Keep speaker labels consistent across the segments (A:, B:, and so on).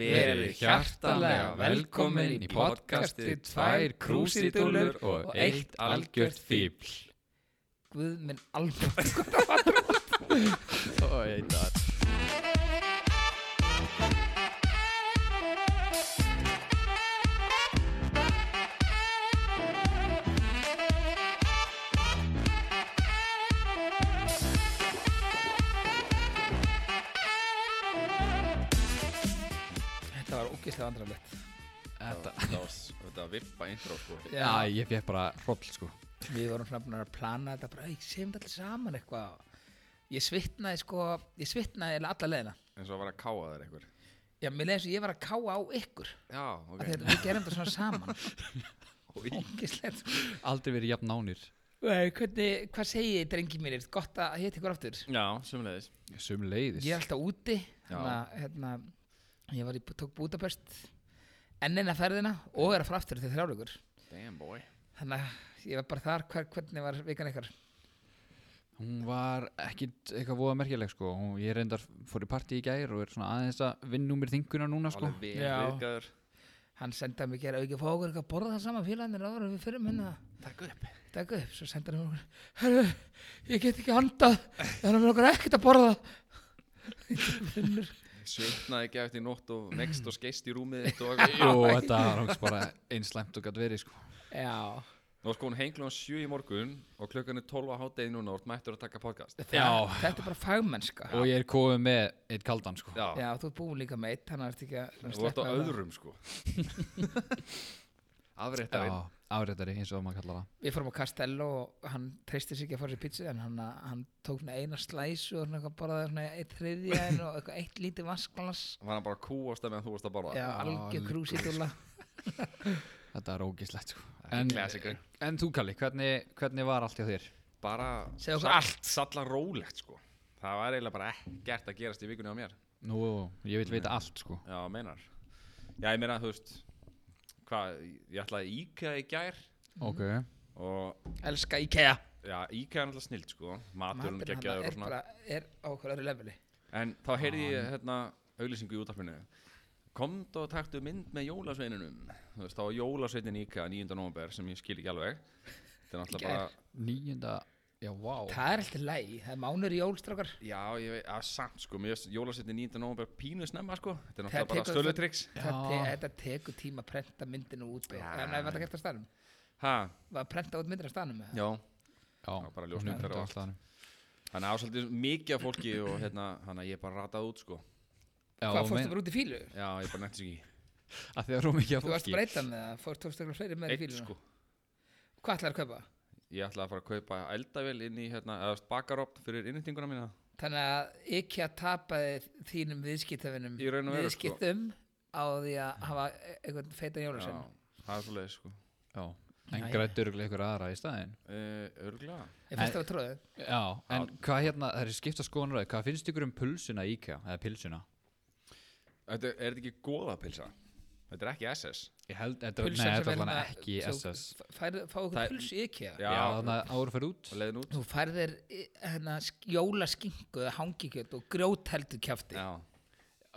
A: Verið hjartanlega velkomin í podcastið Tvær krúsidúlur og eitt algjört fíbl.
B: Guð minn alveg
A: Ó, eitar.
B: Þetta var ógeðslega vandrarlegt
A: Þetta,
C: Það var- Þetta var vippa intro sko
A: já, ég fekk bara hroll, sko.
B: Við vorum svona búin að plana þetta bara, ég segjum þetta allir saman eitthvað Ég svitnaði sko, ég svitnaði eiginlega alla leiðina
C: En svo var að káa þær einhver
B: Já, mér leiði eins og ég var að káa á ykkur
C: Já, ok
B: okay. Þegar við gerum þetta svona saman
C: Í.
B: Ógeðslegt sko.
A: Aldrei verið jafn nánir.
B: Nei, Hvernig, hvað segið þið drengi mínir? Gott að hétt ykkur aftur
C: Já, sumleðis
A: Sum leiðis.
B: Ég er alltaf úti
C: Já.
B: hana, hérna, Ég var í, tók Budapest Ennina ferðina og er að fara aftur til þrjálugur
C: Damn boy
B: Þannig að ég var bara þar, hver, hvernig var vikan ykkar?
A: Hún var ekkit eitthvað voða merkileg, sko. Hún, ég reyndar fór í partí í gær og er svona aðeins að vinna um mér þinguna núna, sko.
C: Alveg vel
B: Já.
C: viðgæður
B: hann senda mig gera auki fá okkur eitthvað að borða það saman félagarnir áður en við fyrir minna
C: Takk upp
B: dag upp, svo senda hann okkur herru, ég get ekki handað þannig að mér okkur ekkert að borða
C: Svitnaði ekki eftir nótt og next og skeist í rúmið þitt og
A: Jú, þetta var hans bara einslæmt og gætt verið, sko.
B: já,
C: Nú er sko hún henglum sjö í morgun og klukkan er 12 á hádegi núna og þú ert mættur að taka podcast
B: það, þetta er bara fagmennska
A: Og ég er komið með eitt kaldan, sko.
C: Já,
B: já, þú er búin líka meitt þannig að þetta ekki að
C: þú ert á
B: sleppa það.
C: öðrum sko Afréttarinn
A: Já, áréttari, eins og maður kallar það.
B: við fórum á Castello og hann treysti sig ekki að fara sér pizza en hann, hann tók svona eina slæsu og svona eitthvað borðaði svona eitt þriðja en og eitthvað eitt lítið vasklas
C: Var hann bara að kúast það meðan þú varst að borða
B: já, algjör krúsitúla
A: Þetta er ógislegt, sko.
C: En Klassikur
A: En þú Kalli, hvernig, hvernig var allt hjá þér?
C: Bara
B: Segðu okkur
C: sall-
B: allt.
C: Salla rólegt sko Það var eiginlega bara ekkert að gerast í vikunni á mér
A: Nú, ég vil vita allt sko
C: Já, meinar Já, ég meina, þú veist Hvað, ég ætlaði í IKEA í gær
A: Ok
C: Og,
B: elska IKEA
C: já, IKEA er náttúrulega snilt, sko Maturinn
B: maturinn hann
C: geggjaður og
B: er
C: svona
B: bara er á okkur öðru leveli
C: En þá heyrði ég, hérna, auglýsingu í útarpinu Komd og taktu mynd með jólasveininum Þú veist, þá var jólasveinin í IKEA 9. november Sem ég skil ekki alveg Þetta er
B: Í gær.
C: náttúrulega bara
A: Nýjunda, já,
C: sko.
A: vá
B: Það er alltaf lægi, það er mánur í jólstrákar
C: Já, ég veit, að samt, sko Mér finnst jólasveitin 9. november pínu snemma, sko Þetta er
B: Það
C: náttúrulega bara
B: tekur-
C: stölutryggs
A: Já.
B: Það te- Þetta tekur tíma að prenta myndinu út og-
C: Já.
B: En það var það gert á stanum
C: Ha,
B: Var að prenta út myndir á stanum eða?
C: já
A: Já,
C: bara ljósmyndar og allt.
A: það
C: Þannig að ásaldið mikið af fólki og hérna, þannig að ég bara rataði út, sko
A: Já,
B: Hvað
A: þú
B: fórstu
A: meinar-
B: bara út í fílu?
C: Já, ég bara nefndi sig ekki
A: að því að rúm ekki að
B: Þú varst
A: fólki
B: breytan með það, fórst tókstu eitthvað fleiri með í
C: Eitt
B: fíluna
C: sko
B: Hvað ætlaði að kaupa?
C: Ég ætlaði að fara að kaupa eldavél inn í hérna, eða bakaropt fyrir innýtinguna mína
B: Þannig að ekki að tapaði þínum viðskiptafinum
C: Í raun og veru, sko.
B: Viðskiptum á því að hafa e- einhvern feitan jólasinn
C: Já, það er svo leið sko
A: Já, en
B: Jæja.
A: grættur ykkur aðra í staðinn
C: uh, Örglega
B: Ég finnst það að tróðu
A: Já, en hvað hérna, það er skipta skoðanur Hvað finnst ykkur um pulsuna í IKEA, eða pilsuna?
C: Þetta er þetta ekki góða pilsa? Þetta er ekki SS
A: Ég held, þetta nei, þetta var alveg ekki í SS
B: hérna- Færðu, fá okkur
C: Það-
B: puls í ekki
A: Já, þannig að áru fyrir út
C: og leiðin út
B: Þú færðir hérna, sk- jólaskingu eða hangikjöld og grjótheldu kjafti
C: Já,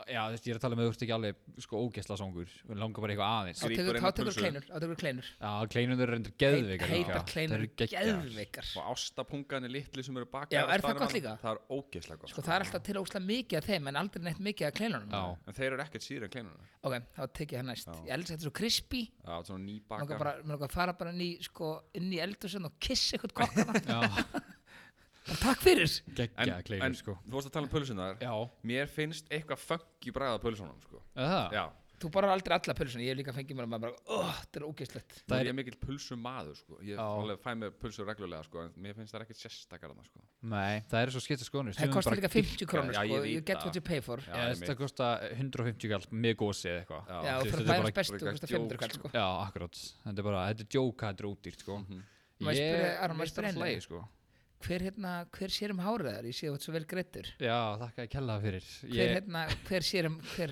A: Já, þú veist, ég er að tala með þú ert ekki alveg sko ógesla songur Við langar bara eitthvað aðeins
B: Þá
C: Grípur
B: tekur
C: inn
B: þá
C: á
B: tekur
C: pulsu.
B: kleinur, þá tekur kleinur
A: Já, kleinundur er reyndur geðveikar
B: Heit-
A: líka.
B: heitar kleinur
A: Þær eru geggjaðar.
B: geðveikar
C: og ástapungan er litli sem eru bakað
B: Já,
C: á
B: er það
C: staðnum
B: gott
C: hann.
B: líka?
C: Það er ógeðslega gott
B: sko það er alltaf til óslega mikið af þeim en aldrei neitt mikið af kleinunum
A: Já,
C: En þeir eru ekkert síður en kleinuna Já,
B: ok, þá tek ég það næst ég elska þetta svo crispy
C: þetta er svona
B: mér
C: nýbaka
B: langar bara- mér langar að fara bara inn í sko, inn í eldursun og kissa eitthvað kokkana
A: já,
B: Bara takk fyrir
C: En,
A: geggja
C: en
A: kleinur sko
C: þú varst að tala um pulsunar
A: Já,
C: Mér finnst eitthvað funk í bræða pulsunum sko.
A: eða það?
C: Já,
B: þú borðar aldrei alla pulsun ég hef líka fengið mér að maður bara, oh, þetta er ógeðslegt
C: Það er
A: Það er-
C: ég mikill pulsum maður sko Ég
A: Já.
C: alveg fæ mér pulsur reglulega sko En mér finnst það ekkert sérstakar annað sko
A: Nei, það eru svo skipta skoðanur
B: það
A: Sumum
B: kostar
A: bara
B: líka 50 krónur
C: Já,
B: sko,
C: ég veit
B: you get
C: það.
B: what you pay for
C: Já,
A: Já,
C: ég
A: þetta kosta 150 kall með gósi eða eitthvað
C: Já.
B: já,
A: Þú
B: og
A: veist, þetta
B: fyrir
A: er
B: bæðins
A: bara-
B: bestu
C: bara
B: kostar
C: joke,
B: 500 kall sko
A: Já, akkurát, þetta er bara, þetta er djóka, þetta er útýrt sko
C: Mhm.
B: Má ég spyrja- Aron, má
A: veist
B: ég
A: það
B: spyrja
A: er
B: einu?
A: slæði sko
B: hver, hérna, hver sér um hárið þar, ég sé þetta svo vel greittur
A: Já, þakka að kella fyrir
B: hver,
A: ég,
B: hérna, hver sér um hver,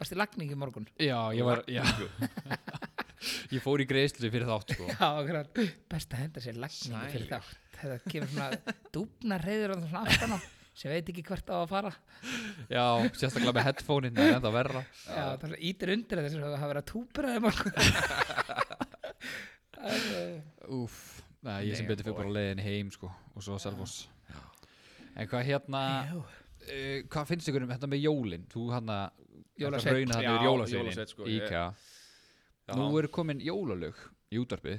B: varstu lagning í morgun
A: Já, ég var, já Ég fór í greiðslu fyrir þátt sko
B: Já, akkurat. best að henda sér lagningu fyrir
C: Sælir.
B: þá þetta kemur svona dúbna reyður og svona aftan á sem veit ekki hvert á að fara
A: Já, sérstaklega með headphone-in Það er enda verra
B: Já, það ítir undir þess að það verið að túbra þeim alveg
A: Úf, Nei, ég sem
C: Damn
A: betur fyrir
C: boy.
A: bara leiðin heim sko, og svo selfos En hvað hérna uh, Hvað finnst ykkur um þetta með jólin? Þú hérna
B: Jólasveinn.
C: Já,
A: rauna hérna yfir jólasveinin
C: jólasveinn, sko, ég-
A: Íka
C: Já.
A: Nú eru komin jólalög í útarpið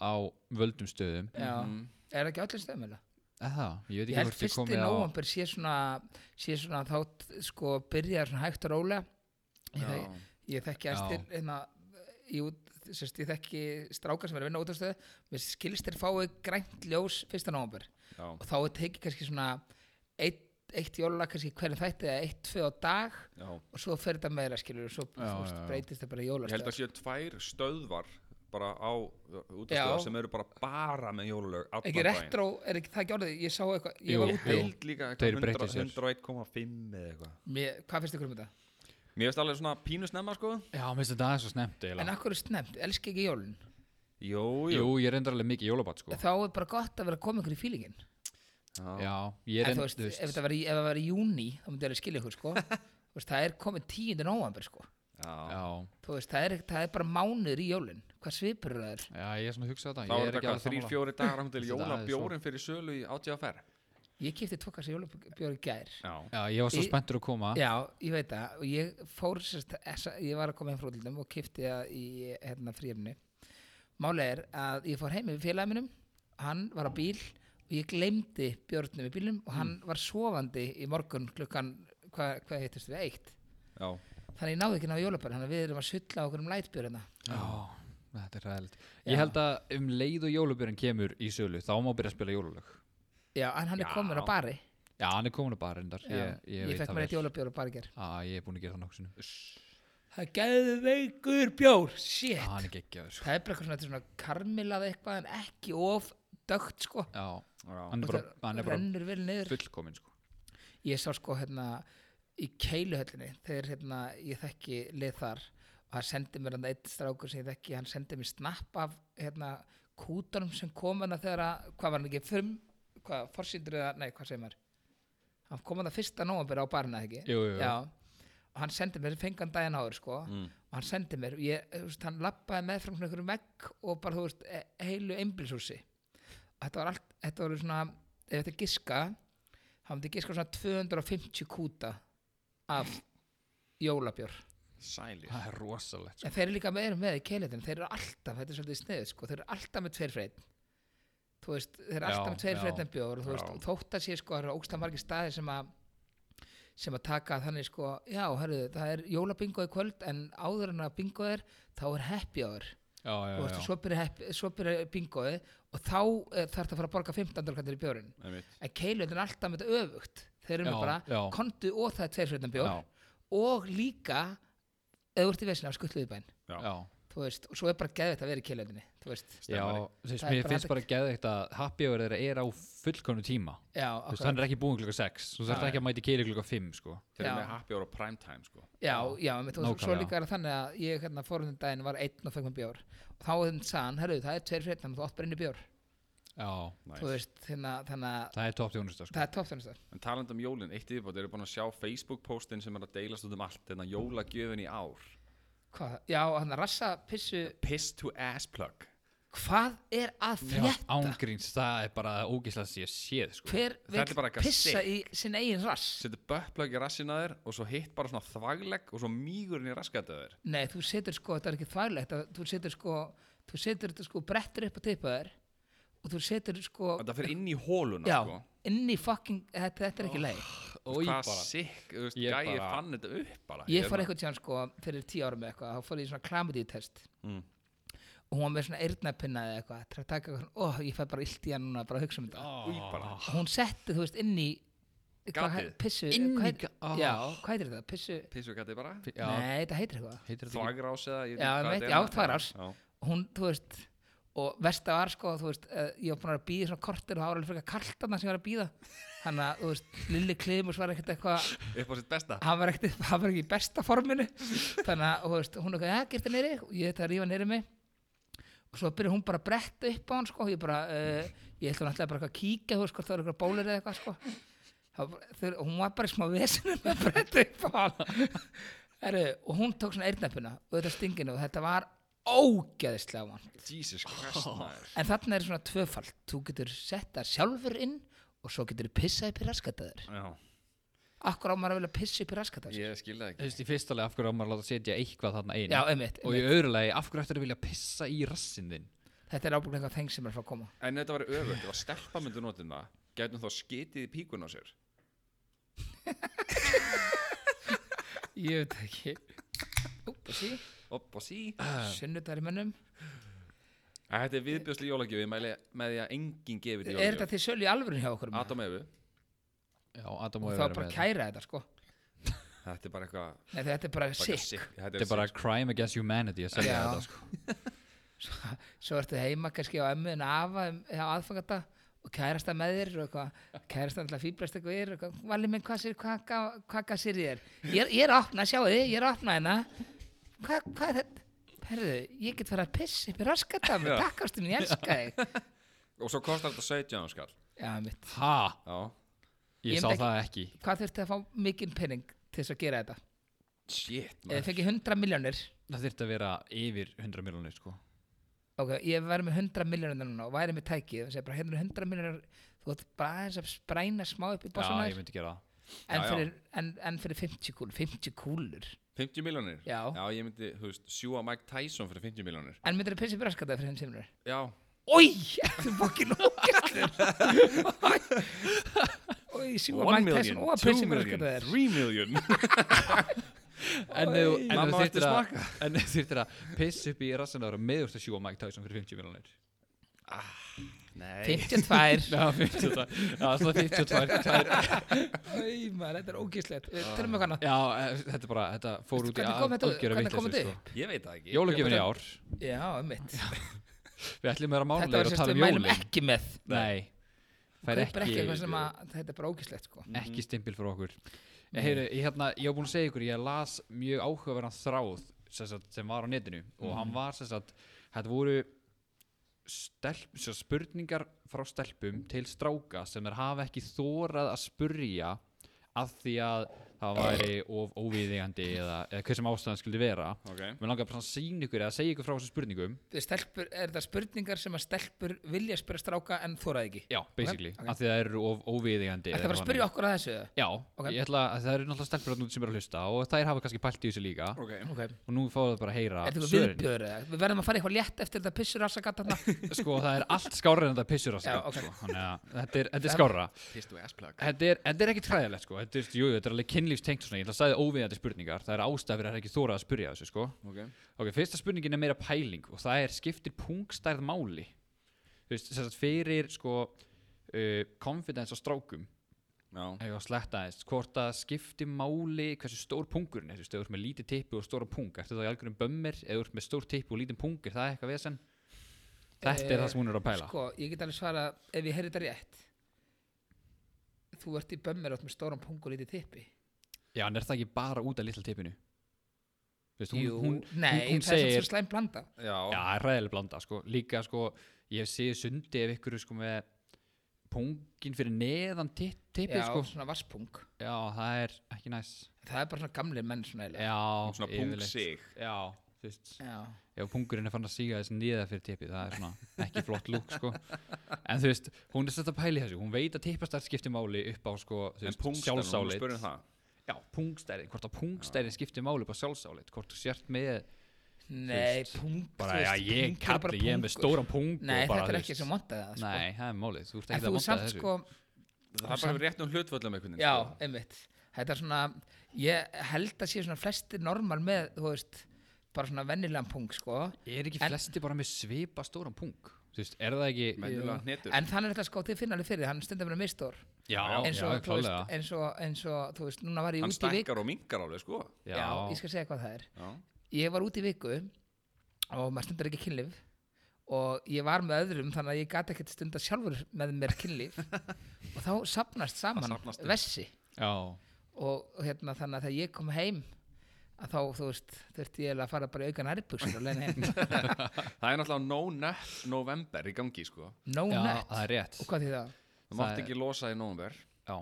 A: á völdum stöðum
B: Já,
C: Mhm.
B: er það ekki allir stöðum eða?
A: Eða það, ég veit
B: Ég
A: ekki
B: held
A: hvort þið
B: fyrst í
A: komið á
B: nóvambur sé svona, sé svona þá sko byrjaði svona hægt og rólega ég, þek-
C: Já.
B: ég þekki
A: Já.
B: æstir hérna, í út, sérst, ég þekki strákar sem er að vinna út af stöðu mér skilst þeir fáið grænt ljós fyrsta nóvambur
C: Já.
B: og þá er tekið kannski svona eitt, eitt jólulag kannski hvernig þætti eða eitt, tvö á dag
C: Já.
B: og svo fer þetta meira skilur og svo
A: Já,
B: þú veist,
A: já, já.
B: breytist það bara í
C: Ég held
B: jólastöð
C: að séu tvær stöðvar bara á útastöðar
B: Já.
C: sem eru bara bara með jólalög allan
B: ekki
C: daginn.
B: retro, er ekki það ekki orðið ég sá eitthvað, ég
A: Jú.
B: var
C: Ég
B: úti
A: Jú.
C: held líka
A: Þeir
C: eitthvað
A: breyttu
C: 100
A: sér.
C: 101,5 eða eitthvað
B: Mér, hvað finnst ykkur um þetta?
C: Mér finnst alveg svona pínu snemma sko
A: Já, mér finnst þetta aðeins svo snemt
B: en
A: eiginlega.
B: akkur er snemt, elski ekki jólun
A: Sko.
C: Jú,
A: Jú, ég reyndar alveg mikið jólabat sko
B: þá er bara gott að vera að koma ykkur í fílingin
C: Já.
A: Já, ég
B: en þú
A: reyndar
B: veist, ef þetta var í, ef það var í júni þá myndi ég alveg skilja ykkur sko Þú veist, það er komið 10. november sko
C: Já.
A: Já,
B: þú veist, það er, það er bara mánuður í jólun hvað svipur það er
A: já, ég er svona að hugsa
C: Þá
A: þetta
C: er
A: Ég er
C: þetta
A: ekki
C: hvað,
A: alveg
C: þrýr,
A: sammála.
C: fjóri dagar ánum til
A: Þetta er aðeins
C: jólabjórin fyrir sölu í ATFR
B: ég kipti tvokast í jólabjóri gær
C: Já,
A: Já, ég var svo
B: Í-
A: spenntur að koma
B: já, ég veit það og ég fór, sérst, essa, ég var að koma heim frá útlundum og kipti það í hérna fríöfni máli er að ég fór heim með félagið minnum hann var á bíl og ég glemdi björnum í bílnum og hann
A: Mm.
B: var sofandi í morgun klukkan hvað hva hittist við, eitt
C: já,
B: þannig ég náði ekki að ná jólabjörn þannig að við erum að sulla okkur um lætbjörna
A: Já, þetta er ræðilegt
B: Já.
A: Ég held að um leið og jólubjörn kemur í sölu þá má byrja að spila jólulög
B: já, en hann
C: Já.
B: er komin á bari
A: Já, hann er komin að bara reyndar
B: já.
A: Ég, ég, veit
B: fekk
A: það
B: mér eitt
A: vel
B: jólabjörn á bari ger
A: Á, ég er búin að gera það nokksunum
B: það er geðveikur bjór, shit
A: Á, hann er geggjaður sko.
B: það er bara eitthvað svona, þetta er svona karmilað eitthvað en ekki of dögt sko
A: Já,
C: já.
A: hann er bara, hann er bara
B: rennur vel niður
A: fullkomin sko.
B: ég sá sko hérna í keiluhöllinni þegar hérna ég þekki lið þar og hann sendi mér hann eitt strákur sem ég þekki hann sendi mér snapp af hérna kútanum sem kom hann þegar að hvað var hann ekki frum hvað forsýndur eða nei hvað segir maður hann kom hann að fyrsta nómabir á barna ekki
A: Jú, jú, jú.
B: já og hann sendi mér fengan daginn áður sko
C: Mm.
B: og hann sendi mér og ég, þú veist, hann lappaði með fram svona einhverjum vegg og bara þú veist e- heilu einbilshúsi þetta var allt, þetta var svona ef þetta giska þá myndi ég giska á svona 250 kúta af jólabjór
C: Sælir
A: Það er rosalegt sko.
B: en þeir eru líka meira með í keilutin þeir eru alltaf, þetta er svolítið sniðið sko þeir eru alltaf með tveir freyt þú veist, þeir eru
A: Já,
B: alltaf með tveir
A: já.
B: freyt en bjór og þú veist,
C: Já.
B: þótt að sé sko það eru ógstlega margir staðir sem að sem að taka þannig sko já, herru, það er jólabingo í kvöld en áður en að bingo er, þá er happy hour
A: Já, já,
B: og
A: já,
B: veist, svo byrja, happy- svo byrja bingoði og þá eh, þarf það að fara að borga 15 kvartir í bjórin en keilutin er alltaf með þetta öfugt þeir eru
A: Já,
B: með bara
A: já.
B: kondu og það er tveir fyrir bjór
A: Já.
B: og líka eða úr til vesina á skulluði bæn
C: Já.
A: já.
B: þú veist, og svo er bara geðvægt að vera í keilutinni þú veist,
A: Já,
C: Stemmari.
A: þess,
B: Það er
A: mér
B: bara
A: finnst
B: epic.
A: bara geðveikt að happy hour þeirra er á fullkomnu tíma
B: já,
A: Þú veist,
B: akkurat.
A: hann er ekki búin klukka 6 þú þarf
C: Nei.
A: ekki að mæti keiri klukka 5 sko.
C: Þeir eru
B: Já.
C: með happy hour og prime time sko
B: já, já, með, og svo
A: Nákvæmlega.
B: líka er það þannig að ég hérna fórhundin daginn var einn og fekk með bjór og þá hann sann, herru, það er tveir fyrir þannig að þú átt bara inn í bjór
A: Já,
B: þú
C: nice.
B: veist, hérna, þannig að
A: það er topp þjónusta sko.
B: það er toppþjónustar
C: En talandi um jólin, eitt yfirbótt, eru búin að sjá Facebook postin sem er að deilast út um allt Þetta jólagjöfin í ár
B: hvað, já, hann að rassa, pissu
C: Piss to ass plug
B: hvað er að
A: Já,
B: frétta?
A: Ángríns, það er bara ógislega sér séð sko.
B: hver
C: Þetta er bara
B: vil
C: eitthvað
B: pissa í sinn eigin rass
C: Setur böttplug í rassinn að þér og svo hitt bara svona þvaglegg og svo mýgurinn í raskat að þér
B: nei, þú setur sko, þetta er ekki þvælegt þú setur sko, þú setur þetta sko brettur upp á tippaður og þú setur sko,
C: Þetta fyrir inn í hóluna
B: já,
C: sko
B: inn í fucking þetta, þetta er ekki leið
A: Oj,
C: Hvað
A: bara.
C: sikk, þú veist,
A: Ég
C: gæi
A: bara-
C: fann þetta upp bara
B: ég fór eitthvað tján sko fyrir tíu árum eða eitthvað, þá fór ég í svona klamidíu test
C: Mm.
B: og hún var með svona eyrnapinna eða eitthvað til að taka eitthvað, ó, ég fæ bara illt í hann núna bara að hugsa um þetta,
C: Í bara
B: Og hún setti, þú veist, inn í hvað-
C: Gatið.
B: pissu,
A: Inn í
B: hvað, heit-
A: ga- ah.
B: já, hvað heitir þetta, pissu
C: Pissugati bara
A: Já,
B: nei, þetta heitir eitthvað
A: heitir þetta ekki
C: Þvagrás eða ég veit
B: Já,
C: ekki hvað
B: einmitt,
C: þetta er,
B: já,
C: en-
B: þvagrás.
C: Já.
B: hún, þú veist og versta var sko, þú veist uh, ég var búin að býða svona kortir og það var alveg frekar kalt þarna sem ég var að býða hann að, þú veist, Lilli Klimus var ekkert eitthvað
C: Upp á sitt besta
B: hann var ekkert, hann var ekki í besta forminu þannig að, þú veist, hún er eitthvað, ja, gert það neyri og ég þetta að rífa neyri mig og svo byrja hún bara að "Eh, bretta upp á hann sko, ég bara, uh, ég ætla náttúrulega bara eitthvað að kíkja, þú veist, hvort það var eitthvað bólir eða eitthvað sko Það var- þau- hún var bara í smá vesenum að breyta upp á hann Heru, og hún tók svona eirnafuna og þetta stinginu og þetta var ógeðislega vant
C: Jesus Christ
B: Oh.
C: maður.
B: en þarna er svona tvöfald þú getur sett það sjálfur inn og svo getur þú pissað upp í raskataður
C: Já,
B: akkur á maður að vilja pissa upp í raskataður
C: ég skil það
A: Þú
C: ekki
A: veist, í fyrsta leið af hverju á maður að láta setja eitthvað þarna einu
B: já, einmitt,
A: og í
B: einmitt.
A: öðru leið af hverju ættir að vilja pissa í rassin þinn
B: þetta er ábúinlega eitthvað þeng sem er að fara að koma
C: En þetta var öfugt, ef að stelpa myndi notin það Gætum þá skitið í píkun á sér
B: ég veit ekki sí,
C: Opp og sí
B: sunnudar í mönnum
C: Æ, Þetta er viðbjörsli jólagjöf Ég mæli með því að enginn gefið
B: er þetta
C: jólagjöf
B: til sölu í alvörun hjá okkur maður?
C: Adam Efu
A: Já, Adam
B: og
A: og
B: það var bara að kæra þetta sko
C: Þetta er bara eitthvað
B: Nei, þetta er bara
C: bara eitthvað
B: sick
C: Þetta
A: Þetta er bara crime against humanity að segja
B: Já.
A: þetta sko
B: svo, svo ertu heima kannski á emmi en afa um- á aðfangata og kærasta með þér og eitthvað kærasta alltaf fýblast eitthvað er og eitthvað, vali minn hvað sér, hvað, hvað, hvað gaf sér í þér ég er, ég er að opna, sjáu þið, ég er að opna hérna hvað, hvað er þetta herðu, ég get farið að piss upp í raskata með
C: Já.
B: takkastum, ég elska þig
C: Og svo kostar þetta 17 skall
B: já, mitt,
A: Ha,
C: Já
A: ég
B: Ég
A: sá
B: myndi
A: það ekki
B: hvað þurfti að fá mikinn penning til þess að gera þetta
C: Shit
B: ef þið
C: maður
B: fengið 100 miljónir
A: Það þyrfti að vera yfir 100 miljonir sko
B: ok, ég væri með 100 miljónir núna og væri með tækið og segja bara, hérna eru 100 miljónir þú ert bara aðeins að spræna smá upp í
A: Já,
B: bossunar
A: ég myndi gera það
B: en,
C: Já, já.
B: fyrir, en, en fyrir 50 kúlur 50 kúlur
C: 50 miljonir
B: Já.
C: Já, ég myndi, þú veist, sjúa Mike Tyson fyrir 50 miljonir
B: en myndir þú pissi braskata fyrir 50 kúlur
C: Já
B: Í, þú fokkin ógæstur Í, sjúa mægt þessum og að pissi braskata þér
C: 3 million
A: En ef þú-
C: Oj.
A: en ef
C: Mamma
A: þú þyrftir
C: ætti
A: að-
C: smaka.
A: en ef þú þyrftir að pissa upp í rassin ára meðurst að sjúa Mike Tyson fyrir 50 miljonir
C: Nei
B: 52
A: Já, 52 Já, svona 52 tvær-
B: Í, maður, þetta er ógæslegt Tölum við hana
A: Já, eh, þetta er bara, þetta Ah. fór
B: Veistu
A: út í
B: hvernig
A: að-
B: kom þetta-
A: algjöra
B: hvernig kom
A: vitleysu,
B: þetta
A: sko.
C: Ég veit það ekki
A: Jólagjöfin í ár
B: Já, einmitt
A: Við ætlum að vera
B: Þetta
A: málulegur
B: var
A: og
B: sem
A: tala
B: við
A: um
B: mælum
A: jólin
B: ekki með
A: Nei Það er
B: Kaupir ekki
A: ekki,
B: eitthvað sem að Þetta er bara ógæslegt sko
A: ekki stimpil fyrir okkur Heyru, ég, hérna, ég hef búin að segja ykkur, ég las mjög áhugaverðan þráð sem, sagt, sem var á netinu og
B: Mhm.
A: hann var sem sagt, þetta voru stelp, sem sagt, spurningar frá stelpum til stráka sem þeir hafa ekki þórað að spurja að því að það væri of óviðigandi eða, eða hver sem ástæðan skildi vera
C: Ok
A: Mér langar bara að sína ykkur eða segja ykkur frá þessum spurningum
B: Þið Stelpur, er þetta spurningar sem að stelpur vilja spyrja stráka en þóraði ekki
A: Já, basically,
B: ok.
A: að því það eru of óviðigandi eða
B: Þetta var að
A: eitthvað
B: spyrja
A: þannig.
B: okkur að þessu
A: Já,
B: Ok.
A: ég ætla að það eru náttúrulega stelpur þarna úti sem eru að hlusta og þær hafa kannski pælt í þessu líka
C: Ok
B: okay.
A: og nú fáum við bara að heyra
B: Er þetta eitthvað
A: svörin
B: viðbjör eða? Við verðum að fara í eitthvað létt eftir þetta pissur rassagat þarna.
A: sko það er allt skárið en það pissur á sig
B: Já, ok.
A: sko. þannig að þetta er, þetta er skárra
C: Pistu S-plug
A: þetta er, þetta er ekki træðilegt sko þetta er, jú, þetta er alveg kynlífstengt svona ég ætla að sagði óviðandi spurningar það er ástæð fyrir að það er ekki þóra að spyrja þessu sko
C: Ok
A: ok, fyrsta spurningin er meira pæling og það er skiptir punktstærð máli þú veist, þess að fyrir sko uh, confidence á strákum
C: Já
A: ef ég var sletta aðeins, hvort að skipti máli hversu stór pungurinn er, þú veist, ef þú ert með lítið tippu og stóra pung, ertu þá í algjörum bömmir ef þú ert með stór tippu og lítið pung, er það eitthvað vesen? Þetta er
B: Eh,
A: það sem hún er að pæla
B: Sko, ég get alveg svara ef ég heyri þetta rétt Þú ert í bömmir átt með stóran pung og lítið tippi sko-
A: Já, en er það ekki bara út af litla tippinu? Þú veist, hún,
B: Jú,
A: hún,
B: nei,
A: hún, hún
B: það er
A: segir
B: svo slæm blanda
A: Já,
C: Já
A: það er ræðileg blanda, sko, líka sko ég hef séð sundi ef ykkur sko með pungin fyrir neðan tipp, tippið,
B: Já,
A: sko
B: svona vasspung
A: Já, það er ekki næs
B: Það er bara svona gamlir menn svona eiginlega.
A: Já,
C: Svona
A: yfirleitt.
C: pungsig.
A: Já, þú veist
B: Já,
A: ef pungurinn er fann að síga þess nýða fyrir tippið það er svona ekki flott lúk sko. en þú veist, hún er sett að pæli þessu hún veit að tippastærð skiptir máli upp á sko, þú
C: En
A: veist,
C: pungstæðan, hún
A: sjálfsálit
C: spurði um það
A: já, pungstærðin, hvort að pungstærðin skiptir máli upp á sjálfsálit, hvort þú sért með
B: nei, pung
A: bara,
B: þú
A: já,
B: veist,
A: ég
B: pungur er bara
A: kalli, ég er með
B: pungur.
A: stóran pung
B: Nei,
A: og bara,
B: þetta
A: þú
B: er ekki
A: veist,
B: sem montaði það sko.
A: nei, það er málið, þú ert
B: En
A: ekki
B: þú
A: að monta
B: samt
A: þessu
B: sko,
C: Það er bara rétt um hlutvöldum einhvern
B: já,
C: sko.
B: einmitt Þetta er svona, ég held að sé svona flestir normal með, þú veist bara svona vennilegan pung, sko
A: er ekki
B: En-
A: flesti bara með svipa stóran pung þú veist, er það ekki
C: Menn- Venjulega hnetur.
B: En þannig er þetta sko, þið finna alveg fyrir, hann stundar verið mistór
A: já,
B: eins
A: já,
B: og, þú veist,
A: klálega
B: eins, og, eins og, þú veist, núna var ég
C: Hann
B: út í viku
C: stækkar og mingar alveg sko
B: Já,
A: já,
B: ég skal segja hvað það er
C: Já
B: Ég var út í viku og maður stundar ekki kynlif og ég var með öðrum þannig að ég gat ekkert stunda sjálfur með mér kynlif og þá sapnast saman
C: safnast upp.
B: vessi
A: já,
B: og og hérna þannig að þegar ég kom heim að þá, þú veist, þurfti ég eiginlega að fara bara í aukan ærbuxur og leiðin heim
C: Það er náttúrulega no nut november í gangi sko
B: No
A: já,
B: net
A: það er rétt
B: Og hvað því það?
C: Það
A: Það
C: mátti
A: er-
C: ekki losa í november
A: já,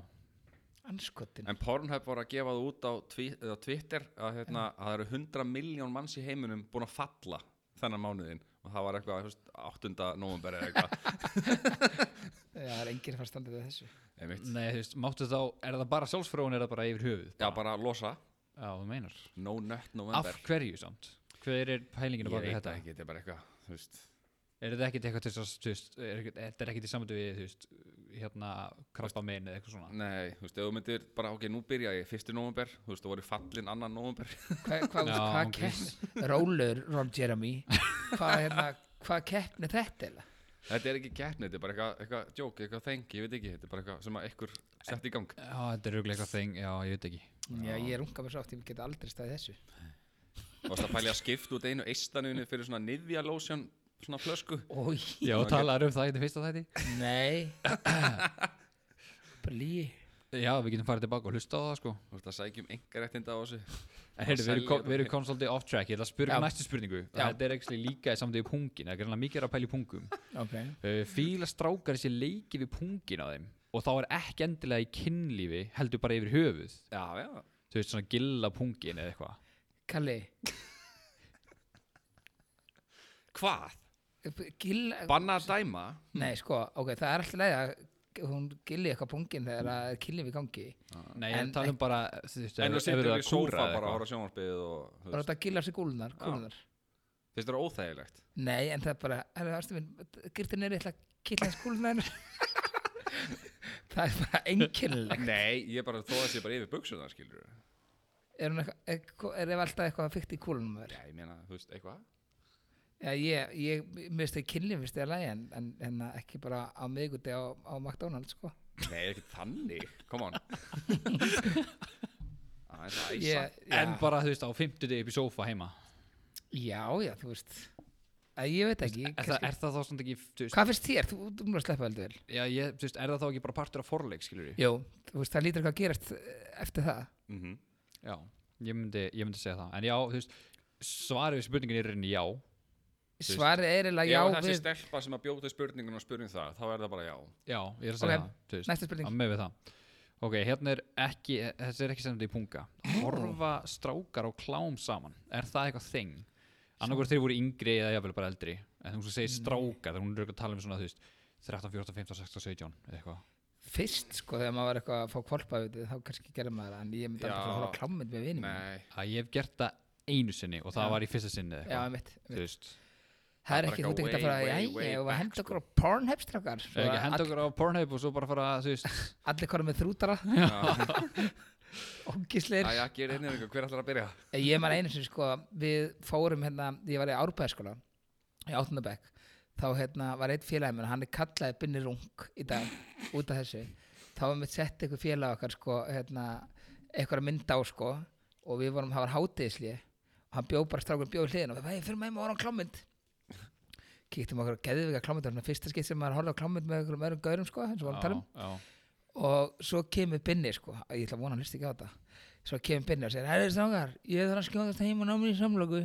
B: anskotin
C: En Pornhub var að gefa það út á tví, eða Twitter að, hérna, að það eru 100 miljón manns í heiminum búin að falla þennan mánuðin og það var eitthvað þú veist, 8. november eða eitthvað
B: það er engir fara standið við þessu
C: Einmitt.
A: Nei, þú veist, máttu þá, er það bara sjálfsfróun, er það bara yfir höfuð?
C: Já, bara losa
A: Já, þú meinar.
C: No nut
A: Af
C: november
A: hverju samt? Hver er pælingin
C: Ég
A: að baka
C: veit
A: þetta?
C: það ekki, þetta er bara eitthvað þú veist.
A: Er þetta ekki eitthvað til þess að, þú veist, er ekkert- þetta er ekki til samandu við, þú veist, hérna, krabba meinu eða eitthvað svona?
C: Nei, þú veist, ef þú myndir bara, ok, nú byrja ég 1. november, þú veist, þú voru fallin 2. november
B: hvað hva,
A: Já,
B: hva, hva
A: ok.
B: keppni Rólur, Ron Jeremy hvað hérna, hva keppni þetta eiginlega?
C: Þetta er ekki keppni, þetta er bara eitthvað, eitthvað joke, eitthvað þengi, ég veit ekki, þetta er bara eitthvað sem að einhver sett í gang
A: Já, þetta er röglega eitthvað þing, já, ég veit ekki.
B: Já, ég runga mér svo oft, ég get aldrei staðið þessu
C: og það pæli að skipta út einu eistanunni fyrir svona Nivea lotion, svona flösku
B: Ói,
A: Já,
C: Ok.
A: talaður um það í þetta fyrsta þætti.
B: nei Bara líi
A: Já, við getum farið tilbaka og hlusta á það, sko.
C: Þú veist að sækjum einkaréttinda á þessu
A: En heyrðu, við erum
C: Selja
A: kom-
C: þetta.
A: við erum komst svolítið off track, ég ætla að spyrja
B: Já.
A: næstu spurningu.
B: Já.
A: Þetta er ekki líka í samtíðu pungin, það er greinlega mikið er að pæla í pungum.
B: okay.
A: Uh, fíla strákar þessi leiki við pungin á þeim og þá er ekki endilega í kynlífi heldur bara yfir höfuð
C: Já, já,
A: þú veist svona gilla pungin eða eitthvað
B: Kalli,
C: Hvað?
B: gill
C: Banna að dæma?
B: Nei, sko, ok, það er alltaf leið að hún gilli eitthvað pungin þegar að killin við gangi
A: Nei, en,
B: En-
A: en talum um bara þú veist, eh,
C: En þú
A: ef- ef
C: situr
A: það
C: í sófa
A: kúra eða
C: bara að
A: eitthvað.
C: horfa á sjónvarpið og þú
B: bara
C: veist,
B: þetta gilla sér gúlunar, gúlunar.
C: finnst þér það óþægilegt?
B: Nei, en það er bara, herru, ástu minn, girtin er eitthvað killa hans gúlunar Það er bara einkennilegt
C: Nei, ég bara þóða sér bara yfir buksuna, skilur
B: Er hún eitthvað, eitthvað- er ef alltaf eitthvað fyrkt í kúlunum þar?
C: Já, ég meina, þú veist, eitthvað
B: Já, ég, ég, mér finnst það killin, mér finnst það lægi en, en, en ekki bara á miðguti á, á McDonalds, sko
C: Nei, ekki þannig, come on Aðeins að æsa
B: ég, já,
A: en bara þú veist á 50 upp í sófa heima
B: já, já, þú veist að Ég veit ekki,
A: er, það, er það þá svona ekki þú veist,
B: Hvað finnst þér? Þú, þú mér að sleppa heldur vel
A: já, ég, þú veist, er það þá ekki bara partur af forleik skilur við
B: Jú, þú veist, það lítur eitthvað að gerast eh, eftir það
C: Mhm.
A: já, ég myndi, ég myndi segja það en já, þú veist, svarið við spurningin er í rauninni já veist,
B: Svarið er
C: Ef
B: eiginlega já
C: þessi
B: við
C: stelpa sem að bjóta spurningun og spurning það, þá er það bara já
A: já, ég er að segja
B: Ok,
A: það þú veist.
B: Næsta spurning
A: að með við það ok, hérna er ekki, þessi er ekki sem þetta í punga horfa strákar á klám saman er það eitthvað þing? annarkur þeir voru yngri eða jafnvel bara eldri en þú
B: Mm.
A: segir strákar, þegar hún er örugglega að tala um svona þú veist, 13, 14, 15, 16, 17 eða eitthvað
B: Fyrst, sko, þegar maður var eitthvað að fá kvolpa við þetta, þá kannski gerir maður það en ég myndi
C: Já.
B: aldrei fara að horfa á klámynd með vinum mínum.
C: Nei,
A: að ég hef gert það einu sinni og það
B: Já.
A: var í fyrsta sinni eða
B: Já,
A: eitthvað
B: mitt,
A: þú
B: mitt.
A: veist,
B: Það er
C: bara
B: ekki,
C: eitthvað
B: þú ert ekki að
C: way,
B: fara að
C: way,
B: jæja
C: way
B: og að
C: back, sko.
B: henda okkur á Pornhub strákar
A: Svo ekki henda
B: all-
A: okkur á Pornhub og svo bara fara, þú veist
B: Allir konar með þrútara,
C: já,
B: ógisleir
C: já, gerir einnig eitthvað, hver ætlar að byrja?
B: Ég man einu sem, sko, við fórum hérna, ég var í Árbæðaskóla í Áttundabæk, þá hérna var einn félagi minn, hann er kallaði Binni Rung í dag, út af þessu þá var mitt sett eitthvað félag okkar, sko hérna, eitthvað að mynda á, sko og við vorum, það var hátíðisli og hann bjóð bara strákur bjóð hliðin og við fyrir maður og vorum klámynd kíktum okkur að geðvika klámynd, það var svona fyrsta skitt sem maður horfði á klámynd með einhverjum öðrum gaurum, sko, eins og vorum að tala um
A: Já, já.
B: og svo kemur Binni sko, ég ætla að vona hann hlusti ekki á þetta svo kemur Binni og segir, herri strákar ég þarf að skjóðast heim og ná mér í samlöku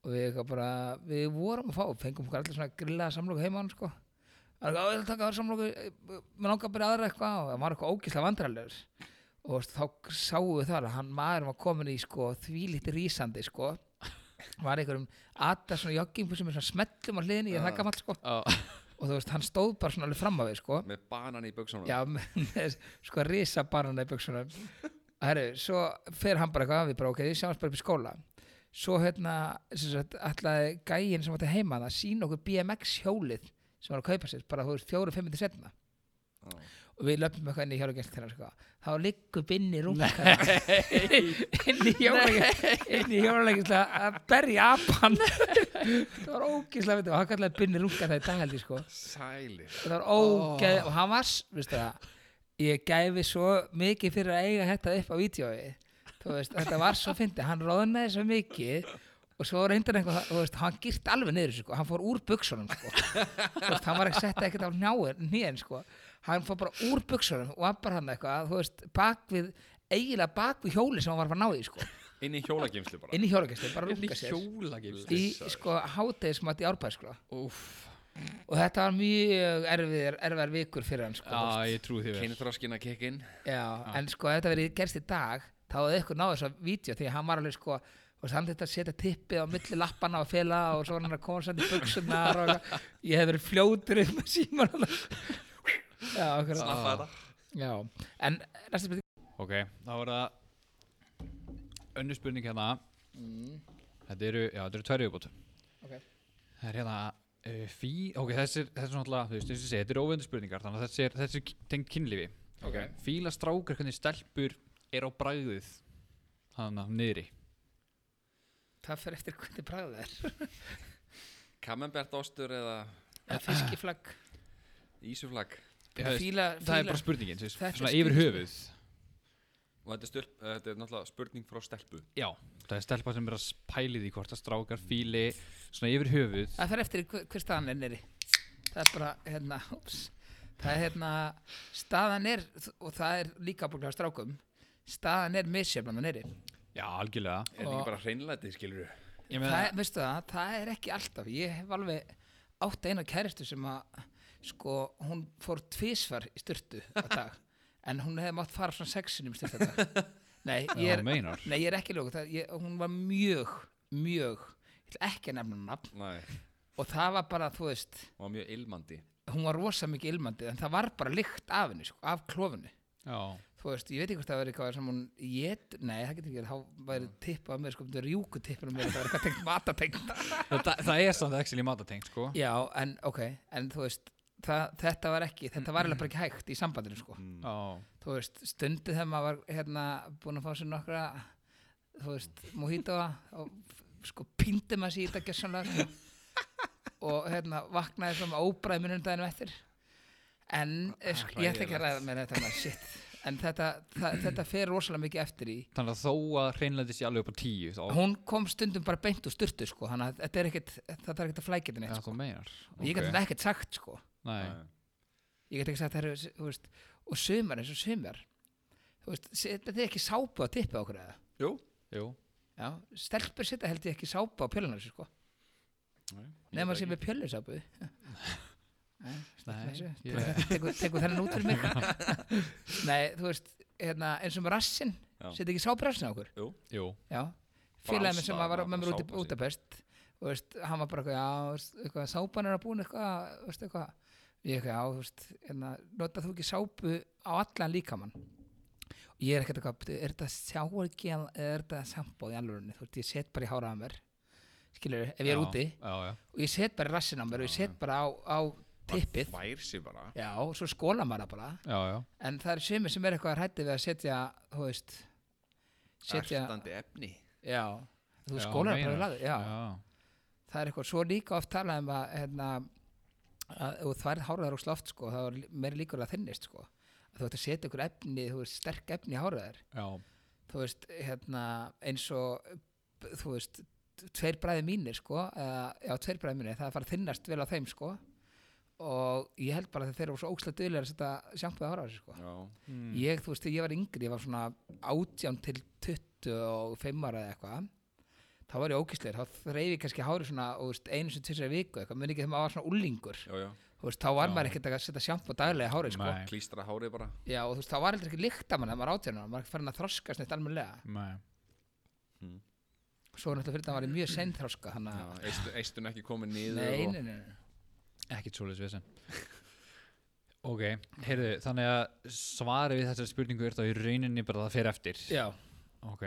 B: og við eitthvað bara við vorum að fá, fengum okkur allir svona grillaða samlöku heima á hann sko Það er eitthvað, "Á, ég ætla að taka þar samlöku, mér langar bara í aðra eitthvað og það var eitthvað ógislega vandrarlegur og þá sáum við það að hann maður var komin í sko þvílíti rísandi sko var einhverjum aðta svona joggingbu sem er svona smellum á hliðinni, ég er það gamall sko
A: Já.
B: og þú veist, hann stóð bara svona alveg fram að við sko
C: Með banan í buksunum
B: Já, með sko risa barna í buksunum Herru, svo fer hann bara eitthvað við bara ok, við sjáumst bara upp í skóla Svo hérna, sem sagt, ætlaði gæin sem átti heima það, sína okkur BMX hjólið sem var að kaupa sér, bara þú veist, fjóru-fimm minnir setna
C: Já.
B: og við löpum eitthvað inn í hjólagjast þeirra sko. þá liggur binni rúka inn í hjólagjast inn í hjólagjast að berja apan það var ógislega veitum og hann kallaði binni rúka það í dag held ég sko
C: Sælir
B: og það var ógeð og hann var, s- veistu það ég gæfi svo mikið fyrir að eiga þetta upp á vídjói þú veist, þetta var svo fyndið, hann roðnaði svo mikið og svo reyndar einhver, þú veist, hann girt alveg niður sko, hann fór úr buksunum sko. þú veist, hann var ekki sett ekkert á njáin nýjan, sko, hann fór bara úr buksunum og hann bara hann eitthvað, þú veist bak við, eiginlega bak við hjóli sem hann var að fara að ná í, sko,
C: Inn í hjólagimslu bara
B: inn í hjólagestu bara
A: inn í
B: runga sér,
A: hjóla
B: í sko hátegismat í árbæð, sko
A: Úff,
B: og þetta var mjög erfiðar, erfiðar vikur fyrir hann sko, þú
A: Já,
B: veist.
A: ég trúi því vel
C: kynþróskin að kikkin
B: Já, en sko ef þetta verið gerst í dag þá hefði ykkur náðu þess að vídeo því að hann var alveg sko og hann þetta setja tippið á milli lappana og fela og svo var hann að koma sann í buksunar og eitthvað. ég hef verið fljótur um að síma hann Já, okkur
A: Snappa þetta.
B: Já, en næsta spurning
A: Ok, þá er það önnur spurning hérna
B: Mm.
A: Þetta eru, já, þetta eru tverju uppbót
B: okay.
A: Það er hérna uh, fí, ok, þessi, þessi er náttúrulega, þú veist, eins og ég segi, þetta eru óvendu spurningar þannig að þessi er, þessi er tengd kynlífi
C: Ah.
B: Ok.
A: Fíla strákar hvernig stelpur er á bragðið þannig að niðri
B: Það fer eftir hvernig bragð það er
C: Kamembert ostur eða
A: Eh,
B: Eða Fiskiflagg
C: ísuflag
A: Það er-
B: Fíla,
A: Það er
B: fíla
A: bara spurningin, þú veist,
B: Þetta er
A: svona yfir
B: spurningin.
A: höfuð
C: Og þetta er, stjörp, eh, þetta er náttúrulega spurning frá stelpu
A: Já, það er stelpa sem er að pæli því hvort að strákar fíli svona yfir höfuð
B: Það fer eftir hver, hver staðan er nýri Það er bara, hérna, ups Það er hérna, staðan er og það er líka ábúinlega strákum staðan er misjöfnum nýri
A: Já, algjörlega
C: Er þetta ekki bara hreinlæti skilur
A: Ég meina,
B: það, er- veistu það, það er ekki alltaf ég hef alveg átt eina kæristu sem að sko, hún fór tvísvar í styrtu á dag en hún hefði mátt fara svona sexinum styrtu á dag nei, ég
A: já,
B: er,
A: meinar
B: nei, ég er ekki lóku það, ég, hún var mjög, mjög ég ætla ekki að nefna hún nafn
C: Nei,
B: og það var bara, þú veist
C: og var mjög ilmandi
B: hún var rosa mikið ilmandi en það var bara lykt af henni, sko, af klofinu
A: Já,
B: þú veist, ég veit ekki hvort það verið eitthvað sem hún ég, nei, það getur ekki verið, þá væri tippað mér sko, rjúku tippað mér, það var eitthvað tengt matatengt
A: það, það er samt ekki í matatengt, sko
B: Já, en ok, en þú veist það, þetta var ekki, þetta var alveg bara ekki hægt í sambandinu sko,
A: Já,
B: þú veist stundu þegar maður var hérna búin að fá sér nokkra, þú veist mojitoa og sko pindi maður sér í þetta gjössanlega sko. og hérna vaknaði svona óbræðminum daginu eftir en eh, sko, ég ætla ekki að ræða með þetta maður, shit, en þetta það, þetta fer rosalega mikið eftir í
A: þannig að þó að hreinlæti sé alveg upp á tíu þá,
B: hún kom stundum bara beint úr styrtu sko, þannig að þetta er ekkit, þetta er ekkit að flækja þetta
A: já,
B: neitt sko,
A: þú meinar
B: og ég gæti þetta ekkert sagt sko
A: Nei,
B: ég get ekki sagt það eru, þú veist og sumar eins og sumar þú veist, setja þið ekki sápu á tippið á okkur eða
C: Jú
A: jú
B: já, stelpur setja held ég ekki sápu á pjölunar sko, nefnum að sé með pjölusápu nei,
A: Nei,
B: snertu þessu.
A: ég-
B: Tekur- tekur tekur þennan út fyrir mig nei, þú veist hérna, eins og með rassin,
C: Já.
B: setja ekki sápu rassin á okkur
A: Jú,
B: já, félagið minn sem
C: alls
B: var
C: staðar
B: með mér
C: var
B: út í
C: sápa sín.
B: Bútapest og veist, hann var bara eitthvað, já, þú veist, eitthvað, sápan er að búin eitthvað, þú veist, eitthvað ég eitthvað, já, þú veist, hérna, notað þú ekki sápu á allan líkamann og ég er ekkert eitthvað, "Bíddu, er þetta sjáargel eða er þetta sambóð í alvörunni, þú veist, ég set bara í hárað á mér skilur, ef ég er
A: já,
B: úti
A: Já, já,
B: og ég set bara í rassin á mér og ég set bara á, á tippið,
C: Vær sér bara
B: já, og svo skóla maður það bara
A: já, já
B: en það er sumir sem er eitthvað hrætti við að setja, þú veist setja,
C: Ertandi efni
B: Já, þú
A: Já,
B: skólar bara
A: meinar.
B: í laði, já.
A: Já,
B: Það er eitthvað, svo er líka oft talað um að, hérna, að ef þú þværð háraðar og slátt, sko, það er meiri líkur að þinnist, sko. Að þú ert að setja ykkur efni, þú veist, sterk efni í háraðar.
A: já,
B: Þú veist, hérna, eins og, b- þú veist, tveir bræði mínir, sko, eða, já, tveir bræði mínir, það er að fara að þinnast vel á þeim, sko. Og ég held bara að þeir eru svo ókslega duðlega að setja sjampið á háraðar, sko.
C: Já
A: Hmm. Mm.
B: Ég, þú veist, þegar ég var yngri, ég var svona 18 til 25 ára eða eitthvað, þá var ég ókýsleir, þá þreif ég kannski hári svona, þú veist, einu sem tvisar viku eitthvað, mun ekki þegar maður var svona úlingur,
C: Já, já
B: þú veist, þá var
A: Já.
B: maður ekkert að setja sjampó daglega í hári, sko.
A: Nei.
C: Klístra hárið bara
B: Já, og þú veist, þá var heldur ekki líkt að mann þegar maður átjörnum, maður var ekki farin að þroskast neitt almennilega.
A: nei
B: Svo er náttúrulega fyrir það var ég
A: Mm.
B: mjög sein þroska, þannig að,
C: Eistu- Eistun ekki komið niður
B: nei,
C: og-
B: nei, nei, nei.
A: Ekkert svoleiðis vesen Ok, heyrðu, þannig að svarið við þessari spurningu er þá í rauninni bara það fer eftir
B: Já,
A: Ok,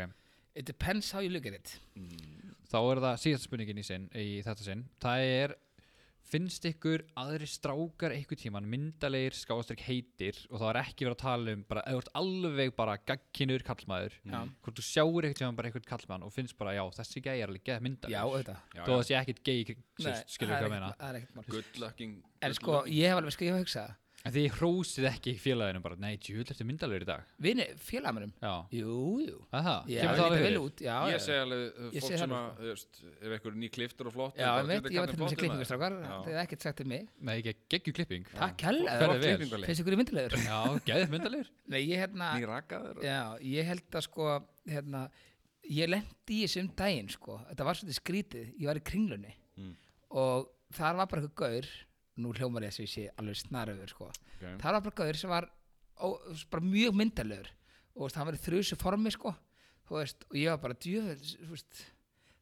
B: it depends how you look at it.
C: Mm,
A: þá er það síðast spurningin í, sinn, í þetta sinn Það er, finnst ykkur aðri strákar einhver tíman myndalegir skáastrik heitir og þá er ekki verið að tala um bara, eða þú ert alveg bara gagkinur kallmaður
B: Já,
A: hvort þú sjáur einhvern tíman bara einhvern kallmann og finnst bara, já, þessi gæi er alveg geða myndalegir
B: já, auðvitað.
C: Já,
A: þó
C: já.
A: að sé ekkert gay
B: Nei,
A: skilur hvað
B: það er
A: að meina
B: ekkert- það er ekkert mál.
C: Good looking
B: En sko, ég hef alveg, sko, ég hef hugsað,
A: en því hrósið ekki félaginu bara nei, djúvel, ertu myndalegur í dag
B: vini, félagmennum,
A: já,
B: jú, jú,
A: að það,
B: Já,
A: kemur það
B: það lítur
A: alveg
B: vel
A: fyrir?
B: út já, já,
C: Ég segi alveg uh,
B: Ég
C: fólk
B: sé það
C: sem
B: alveg,
C: að þú veist, Ef einhver ný kliftur og flott
B: já, ég veit, um ég var til þess að klippingustrákar það er ekkert sagt um mig
A: nei, ekki geggjur klipping
B: Takk
A: Fer
B: kærlega,
A: þér vel?
C: klippingarleg
B: finnst ykkur í myndilegur
A: já, geðið myndalegur
B: Nei, ég hérna
C: Ný rakaður og-
B: já, ég held að sko hérna, ég lendi í þessu um daginn sko, þetta var svolítið skrítið ég var í kringlunni
C: Mm.
B: og þar var bara eitthvað gaur nú hljómar ég þess að ég sé alveg snaröfur sko.
C: okay.
B: það var bara gauður sem var ó, bara mjög myndalögur og þú veist, hann var í þrjusu formi sko. þú veist, og ég var bara djöfell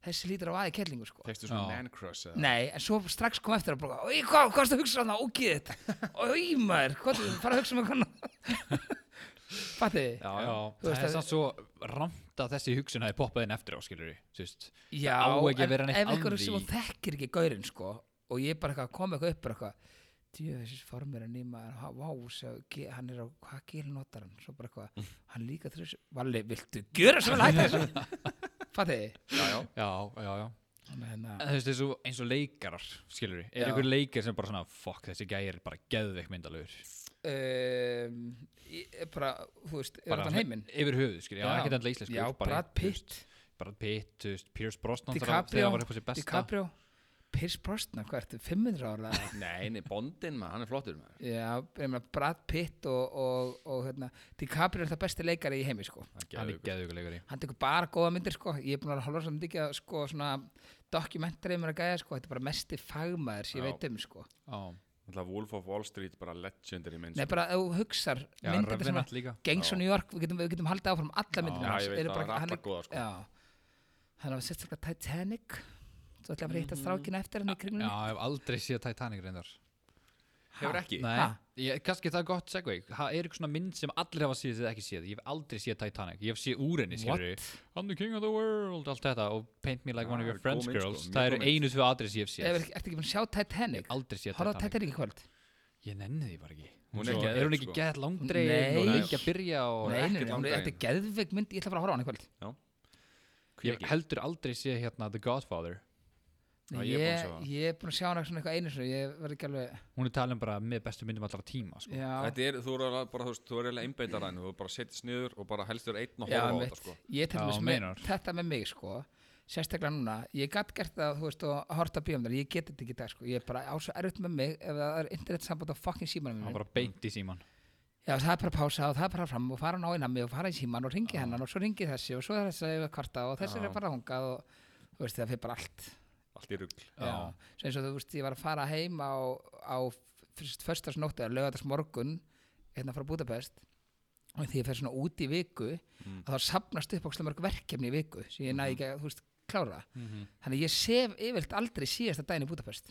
B: þessi lítur á aði kellingu sko.
C: Tekstu svona
A: Já.
C: man crush eða?
B: Nei, en svo strax kom eftir að bara, Í, hvað, hvað erstu að hugsa þarna, ógið þetta Í maður, hvað ertu fara að hugsa um eitthvað Fattu þið?
A: Já,
B: Þú veist
A: það er
B: að-
A: samt svo ramt að þessi hugsun hafi poppað inn eftir á, skilur við, þú veist.
B: Já,
A: á ekki að
B: en
A: vera neitt
B: ef
A: að
B: einhverjum
A: því.
B: sem þú þekkir ekki gaurinn sko og ég er bara eitthvað að koma eitthvað upp bara eitthvað djöfisins formir að nýma vá, sjá, ge- hann er á, hvað gerir notar hann svo bara eitthvað, hann er líka þrjus Valli, viltu gjöra svo vel hægt þessu fatið þið?
C: Já, já.
A: Já, já, já.
B: Þannig hérna,
A: En þú veist, eins og, eins og leikarar, skilur við.
B: Já.
A: Er einhver leikar sem bara svona, fuck, þessi gæi er bara geðveik myndalögur.
B: um, ég er bara, þú veist, er
A: Eh. Bara
B: þetta heiminn?
A: Yfir höfuð, skilur við. Já, ekkert endla íslensku.
B: Já, Brad Pitt,
A: Brad Pitt, þú veist, Pierce Brosnan þegar
B: DiCaprio,
A: þegar hann var upp á sér besta.
B: DiCaprio Pierce Brosnan, hvað ertu, 500 ára eða?
C: Nei, nei, bondin maður, hann er flottur maður
B: Já, ég meina Brad Pitt og, og, og hérna, DiCaprio er það besti leikari í heimi sko.
A: Hann er
C: geðveikur.
A: geðveikur leikari.
B: hann tekur bara góða myndir sko. ég er búin að horfa samt ekki að sko, svona dokumentari mér að gæja sko. þetta er bara mesti fagmaður sem ég
C: Já.
B: veit um sko.
A: Já,
C: Náttúrulega Wolf of Wall Street, bara legendary mynd
B: Nei, bara ef þú hugsar
A: já
B: myndir sem
A: Revenant líka.
B: Gangs of
C: Já.
B: New York, við getum, við getum haldið áfram alla
A: Já.
B: myndir
C: Já, ég veit það, það er allar góða sko.
B: Já, þannig að sérstaklega Titanic svo ætla ég að fara að hitta strákina eftir hann
A: Mm.
B: í
A: Já,
B: kringunni
A: ég hef aldrei séð Titanic reyndar.
C: Hefur ekki?
A: Nei,
B: Ha?
A: ég, kannski það er gott segvei Það er eitthvað svona mynd sem allir hafa séð eða ekki séð Ég hef aldrei séð Titanic, ég hef séð úr henni
B: What?
A: skilur I'm the king of the world, allt þetta og Paint me like
C: Já,
A: one of your
C: góð
A: friends
C: mynd, sko,
A: girls
C: mjög
A: Það
C: góð
A: eru
C: mynd.
A: einu tvö atrið sem ég hef séð
B: Ef er- Ertu ekki búin að sjá
A: Ég
B: Titanic?
A: hef aldrei séð
B: Horfa á
A: Titanic
B: Titanic í kvöld?
A: Ég nenni því bara ekki
C: Hún
A: Svo
C: er geðveik,
A: Er hún ekki
C: sko.
A: gett
B: Nei.
A: langdrein og lengi að byrja og
B: Nei, nei,
C: ekkert
B: nei, hún-
C: langdregin.
B: þetta er geðveik mynd, ég ætla bara að horfa á hann í kvöld
C: Hví
A: Ég
C: ekki?
A: hef heldur aldrei séð hérna The Godfather
C: Já,
B: Nei,
C: ég er búinn að
B: ég,
C: sjá það.
B: ég er búin að sjá hana svona eitthvað einu svona, ég verð ekki alveg
A: Hún er talin bara með bestu myndum allra tíma sko.
B: já,
C: Þetta er, þú er alveg bara, þú veist, þú er eiginlega einbeitar hann Þú bara setjast niður og bara helst þér einn og horfa
B: Já,
C: á
B: einmitt.
C: þetta sko
B: ég til
A: Já,
B: dæmis með
A: meinar.
B: þetta með mig sko sérstaklega núna, ég gat gert það þú veist og horta bíómyndar, ég get þetta ekki í dag sko ég er bara á svo erfitt með mig ef það er internet samband á fucking símanum
A: Hann
B: minn
A: bara beint í síman
B: já það er bara að pása og það er bara fram og fara á náinn að mig og fara í síman og ringi hennan og svo ringi þessi og svo er þessi að kvarta og þessi
C: Já.
B: er bara hungað og þú veist það fyrir bara allt
C: Allt í rugl
A: Já.
B: Já. Svo eins og þú veist, ég var að fara heim á, á fyrstarsnóttu eða lögatars morgun hérna frá Budapest og því ég fer svona út í viku
C: Mm.
B: að þá sapnast upp ókslega mörg verkefni í viku sem ég næði ekki að, þú veist, klára þannig að ég sef yfirlt aldrei síðasta daginn í Budapest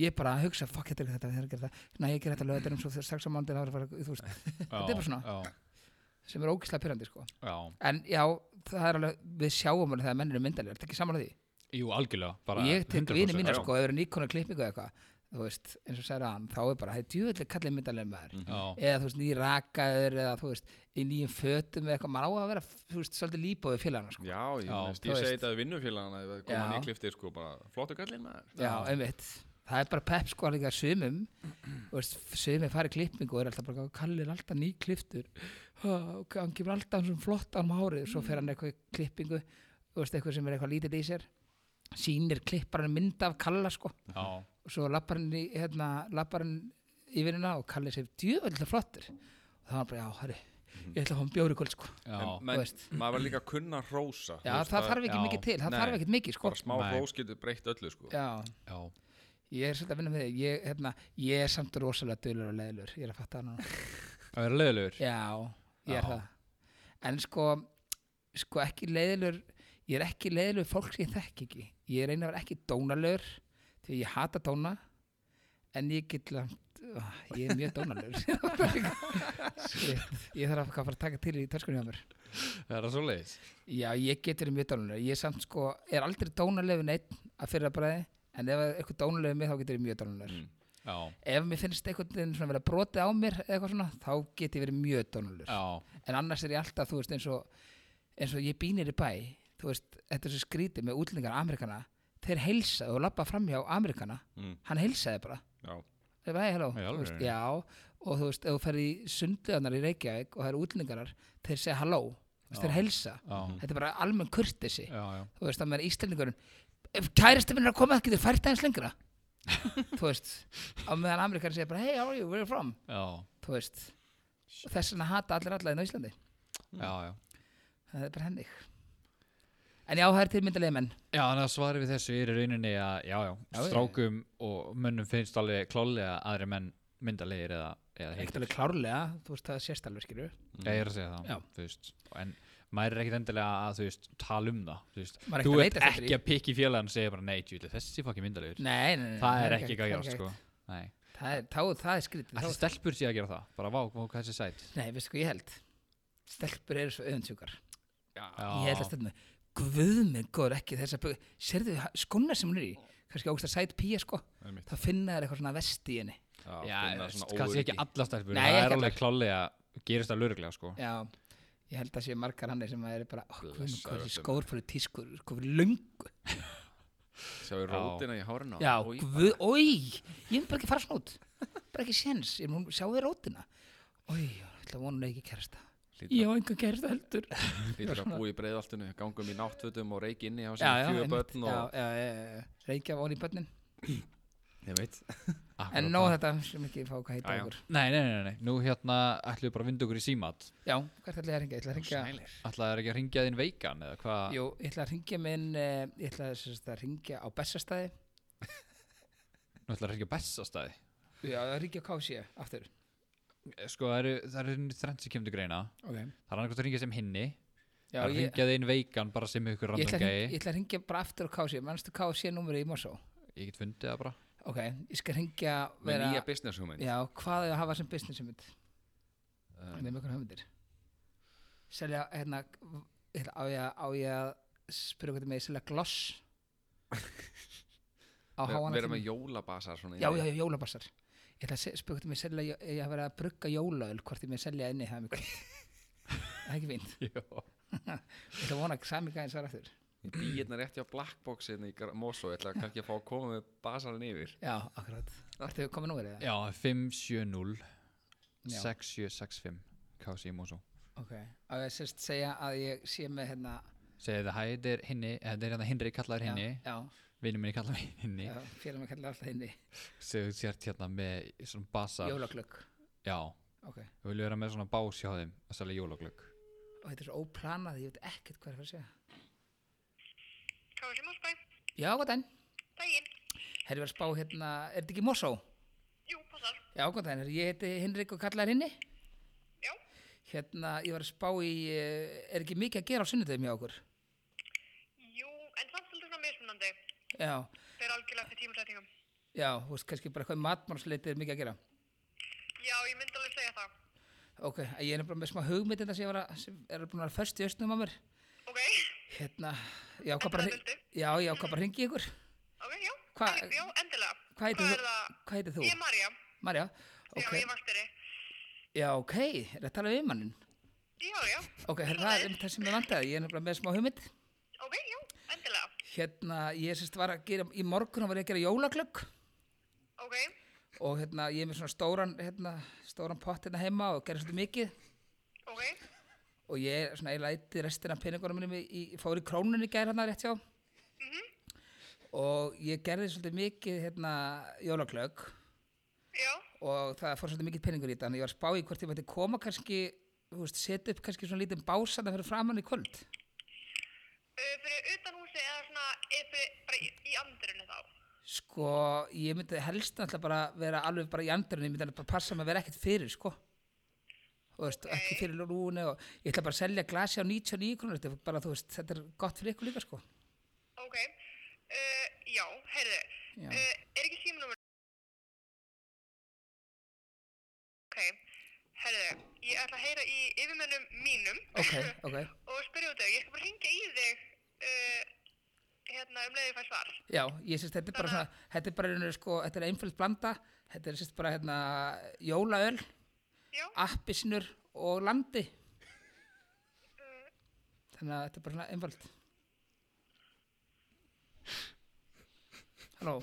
B: ég er bara að hugsa, fuck, þetta er þetta, þetta er þetta næ, ég ger þetta lögatarum svo þegar strax á mándi þú veist, Þetta er bara svona.
A: Já,
B: sem er ógislega pyrrandi, sko
A: já.
B: en já, það er alveg, við sjáum alveg þegar mennir er myndalir, þetta ekki saman að því
A: Jú, algjörlega bara
B: og ég tek
A: 100%.
B: vini mína
C: já.
B: sko, ef það eru nýkona klippingu eða eitthvað þú veist, eins og særa hann, þá er bara það er djúvillig kallið myndalega maður
A: Já,
B: eða þú veist, nýrakaður eða þú veist, í nýjum fötum eða eitthvað, maður á að vera þú veist, svolítið líbóðið félagana sko.
C: Já, ég,
A: Já,
C: veist,
B: þú
C: ég
B: veist.
C: segi þetta við vinnufélagana Ef það koma
B: Já.
C: hann í kliftir sko, bara flottu gallin maður
B: já, einmitt, það er bara pepp sko líka sumum, þú veist, sumum fari klippingu og er alltaf bara, kallir alltaf nýkliftur Ha, ok, hann kemur alltaf svona flott ánum hárið, svo fer hann eitthvað í klippingu, þú veist, eitthvað sem er eitthvað lítið í sér sýnir klipparinn mynd af kalla sko
A: já,
B: og svo lappar hann í hérna, lappar hann í vinnuna og kallir sér djöfaldilega flottur og það var bara, já, herri, ég ætla að fá hann bjóri kvöld sko.
A: já
C: En menn-
B: Þú veist.
C: Maður var líka að kunna rósa
B: já, það þarf ekki
A: já,
B: mikið til, það
C: nei,
B: þarf ekkit mikið sko.
C: Bara smá
A: Nei.
C: rós getur breytt öllu sko
B: já,
A: já.
B: ég er svolítið að vinna með þig ég, hérna, ég er samt rosalega dölur og leðlur ég er að fatta það núna,
A: Að vera leiðilegur
B: já, ég er
A: Já.
B: það en sko, sko ekki leðlur ég er ekki leðlur fólk sem ég þekki ekki, ég reyna að vera ekki dónalur því ég hata dóna en ég get langt ah, ég er mjög dónalur Shit, ég þarf að fara að taka til í törskunni á mér
A: Það er svo leiðis
B: já, ég get verið mjög dónalur ég samt sko, er aldrei dónalegu neitt að fyrir að bræði, en ef það er eitthvað dónalegu mig þá get ég verið mjög dónalur
C: Mm.
A: Já,
B: ef mér finnst eitthvað svona verið að brotið á mér eða eitthvað svona, þá get ég verið mjög dónalur
A: já,
B: en annars er ég alltaf, þú veist, eins og eins og ég býnir í bæ þú veist, þetta er svo skrítið með útlendingar Amerikana þeir heilsa og labba framhjá Amerikana,
C: Mm.
B: hann heilsaði bara
C: Já.
B: Þeir bara, hey, hello,
A: Í
B: þú veist,
A: alvörunni?
B: já, og þú veist, ef þú ferð í sundlegarnar í Reykjavík og það eru útlendingarar, þeir segja hello, þú
A: Já.
B: veist, þeir heilsa
A: já,
B: þetta er bara almenn kurtesi,
A: já, já.
B: þú veist, að maður íslendingurinn ef kæristi minn er að koma, það getur fært aðeins lengra þú veist, á meðan Amerikann segja bara, hey, how are you, where are you from
A: já,
B: þú veist, og hérna þess vegna hata allir alla í Íslandi
A: já, já.
B: það er bara hennig en já, það er til myndalega menn
A: Já, þannig að svarið við þessu er í rauninni að já, já,
B: Já, já.
A: strákum og mönnum finnst alveg klálega aðri menn myndalegir eða, eða
B: ekkert
A: heitir.
B: alveg klárlega, þú veist það sést alveg skilur
A: Já, ég er að segja það,
B: Já.
A: þú veist. En maður er ekkit endilega að, þú veist, tala um það, þú veist.
B: Maður er
A: Þú
B: ekkert
A: ert
B: að leita eftir
A: ekki að pikki félagann og segja bara, nei, tjúli, þessi fokki myndalegur.
B: nei, nei, nei,
A: það er ekki ekki að
B: það
A: gera,
B: er
A: sko. Nei.
B: það er, þá, það er skrítið
A: Ætli
B: þá,
A: stelpur sé að gera það, bara vá, vá, hvað þessi sæt.
B: nei, veistu hvað ég held stelpur eru svo öfundsjúkar
C: Já,
B: ég held að stelpur, guð minn góður ekki þess að, sérðu skona sem hún er í kannski ógst að sæt píja sko
C: einmitt.
B: þá finna þær eitthvað svona vest í henni
A: Já,
C: finna
A: veist,
C: svona
A: kannski
C: óöryggi.
A: ekki alla stelpur,
B: Nei,
A: það
B: ekki
A: er
B: allar.
A: alveg klálega, gerist það lögreglega, sko.
B: já, ég held að séu margar hann sem að eru bara, ó, guð minn
C: Blessaður
B: góður þessi
C: vertu
B: skór fyrir tískur, sko fyrir löngu
C: Sjáu rótina í hárinu á
B: Já,
C: Oj,
B: guð, oi, ég vil bara ekki fara svona út bara ekki séns, ég mun sjá þér rótina oi, ég ætla að vona hún eigi kærasta
C: hlýtur
B: ég á engan kærasta heldur já,
C: að- hlýtur að búa í breiðaltinu gangum í náttfötum og reiki inni á
B: já,
C: sem fjögur
B: einmitt,
C: börn
B: já,
C: og
B: já, já, já, reykja von í börnin
C: ég veit
A: Akkurat
B: en
A: það.
B: nóg þetta, sem ekki fá hvað heita
C: Já, já.
B: okkur
A: Nei, nei, nei, nei, nú hérna ætlum við bara að vinda okkur í símat
B: já, hvert ætla ég að ringja, ég ætla að ringja
C: Sælir.
A: Ætlaðu þær ekki að ringja þinn veikan eða hvað?
B: jú, ég ætla að ringja minn eh, ég ætla sem sagt, að ringja á bestastæði
A: Nú ætlaðu að ringja bestastæði
B: já, að ringja á KC
C: E
B: aftur
A: Sko, það eru, það eru þrennt sem kemur til greina
B: okay.
A: Það er annað að ringja sem hinni
B: já,
A: Það er að
B: ég,
A: ringja þinn veikan bara sem ykkur
B: ég, ætla
A: random
B: að
A: gæi
B: hringja, ég ætla að ringja bara aftur á E. KC mannstu KC númur í Mosó
A: Ég get fundið það bara
B: ok, ég skal ringja
C: með nýja business hugmynd
B: Já, hvað er að hafa sem business hugmynd?
C: Um,
B: Nefnum ykkur hugmyndir Selja, hérna, hérna á, ég, að- á ég að spyrja hvað það með selja gloss á
C: ver-
B: háana
C: vera með jólabasar svona
B: Já,
C: inni.
B: já, já, jólabassar Ég ætla að se- spyrja hvað það með selja ég- ég að vera að brugga jólaöl hvort ég með selja inni það er mjög gott Það er ekki fínt Ég ætla að vona að sami gæðin svar aftur
C: Ég bý hérna rétt hjá Blackbox hérna í Gra- Mosó, ég ætla kannski að fá að koma með basarinn yfir
B: Já, akkurat Ertu komið nú verið það?
A: Já, 570
B: Já.
A: 6765 Kási Mósó
B: Ok Á ég að sérst segja að ég sé með hérna
A: Segðu það, hæ, þetta er hinni eh, Þetta er hérna hinri kallaður hinni
B: Já,
A: Vinnu minni kallaður hinni
B: já, já Fyrir mig kallar alltaf inni
A: Segðu sért hérna með svona basar
B: Jólaglögg
A: Já,
B: Ok
A: við viljum vera með svona bás hjá þeim að selja jólaglögg
B: og þetta er svo óplanað, ég veit ekkert hvað er að fara að segja.
D: Kási Mosbæ,
B: Já, góð dæn.
D: daginn.
B: Herri var að spá hérna, er þetta ekki Mosó?
D: Jú, passar.
B: Já, góð dæn, ég heiti Hinrik og kallar henni.
D: Já.
B: Hérna, ég var að spá í, eh, er ekki mikið að gera á sunnudöfum hjá okkur?
D: Jú, en samt svolítið svona mismunandi.
B: Já,
D: Þeir algjörlega eftir tímasetningum.
B: já, þú veist kannski bara hvað matmánsleiti er mikið að gera.
D: Já, ég myndi alveg segja það.
B: Ok, ég er bara með smá hugmynd þetta sem ég var að, sem er búin að vera först í östnum á mér.
D: Ok,
B: Hérna, já, hvað bara,
D: Endilega
B: hring-
D: vildu.
B: já, já, hvað bara hringi ykkur?
D: ok, já.
B: Hva-
D: Alveg- Já, endilega.
B: Hvað heitir
D: er
B: þú?
D: það?
B: Hvað heitir þú?
D: Ég er Marja.
B: Marja?
D: Já,
B: Ok,
D: ég er vaksteri.
B: já, ok, er það að tala við mannin?
D: Já, já.
B: Ok, herra, það er einmitt það sem ég vandaði, ég er nefnilega með smá hugmynd.
D: Ok, já, endilega.
B: Hérna, ég sérst var að gera, í morgun var ég að gera jólaglögg
D: Ok,
B: og hérna, ég er með svona stóran, hérna, stóran pott hérna heima og gerði svolítið mikið
D: ok,
B: og ég er svona eiginlega eitt restina af peningunum mínum í, í, fór í krónunni gæri hérna rétt hjá og ég gerði svolítið mikið, hérna, jólaglögg
D: já,
B: og það fór svolítið mikið peningur í þetta, þannig ég var að spá í hvort ég mætti koma kannski, þú veist, setja upp kannski svona lítið básana fyrir framann í kvöld.
D: uh, fyrir utan húsi eða svona, eða fyrir bara í, í andrunni þá.
B: Sko, ég myndi helst náttúrulega bara vera alveg bara í andrunni, ég myndi alveg bara passa mig að vera ekkert fyrir, sko. Þú veist, ekki fyrir lúni og ég ætla bara að selja glasi á 99 krónur, þetta er bara, þú veist, þetta er gott fyrir ykkur líka, sko.
D: Ok, uh, já, heyrðu,
B: Já.
D: uh, er ekki símanúmer? Ok, heyrðu, ég ætla að heyra í yfirmönnum mínum
B: Ok, ok.
D: og spyrja út þau, ég skal bara hringja í þig uh, hérna um leiðið fæ svar.
B: Já, ég syns þetta er bara svona, þetta er bara, einhverju, sko, þetta er einföld blanda, þetta er syns bara, hérna, jólaöl,
D: Já,
B: Ah. appisnur og landi. Þannig að þetta er bara svona einföld. Halló,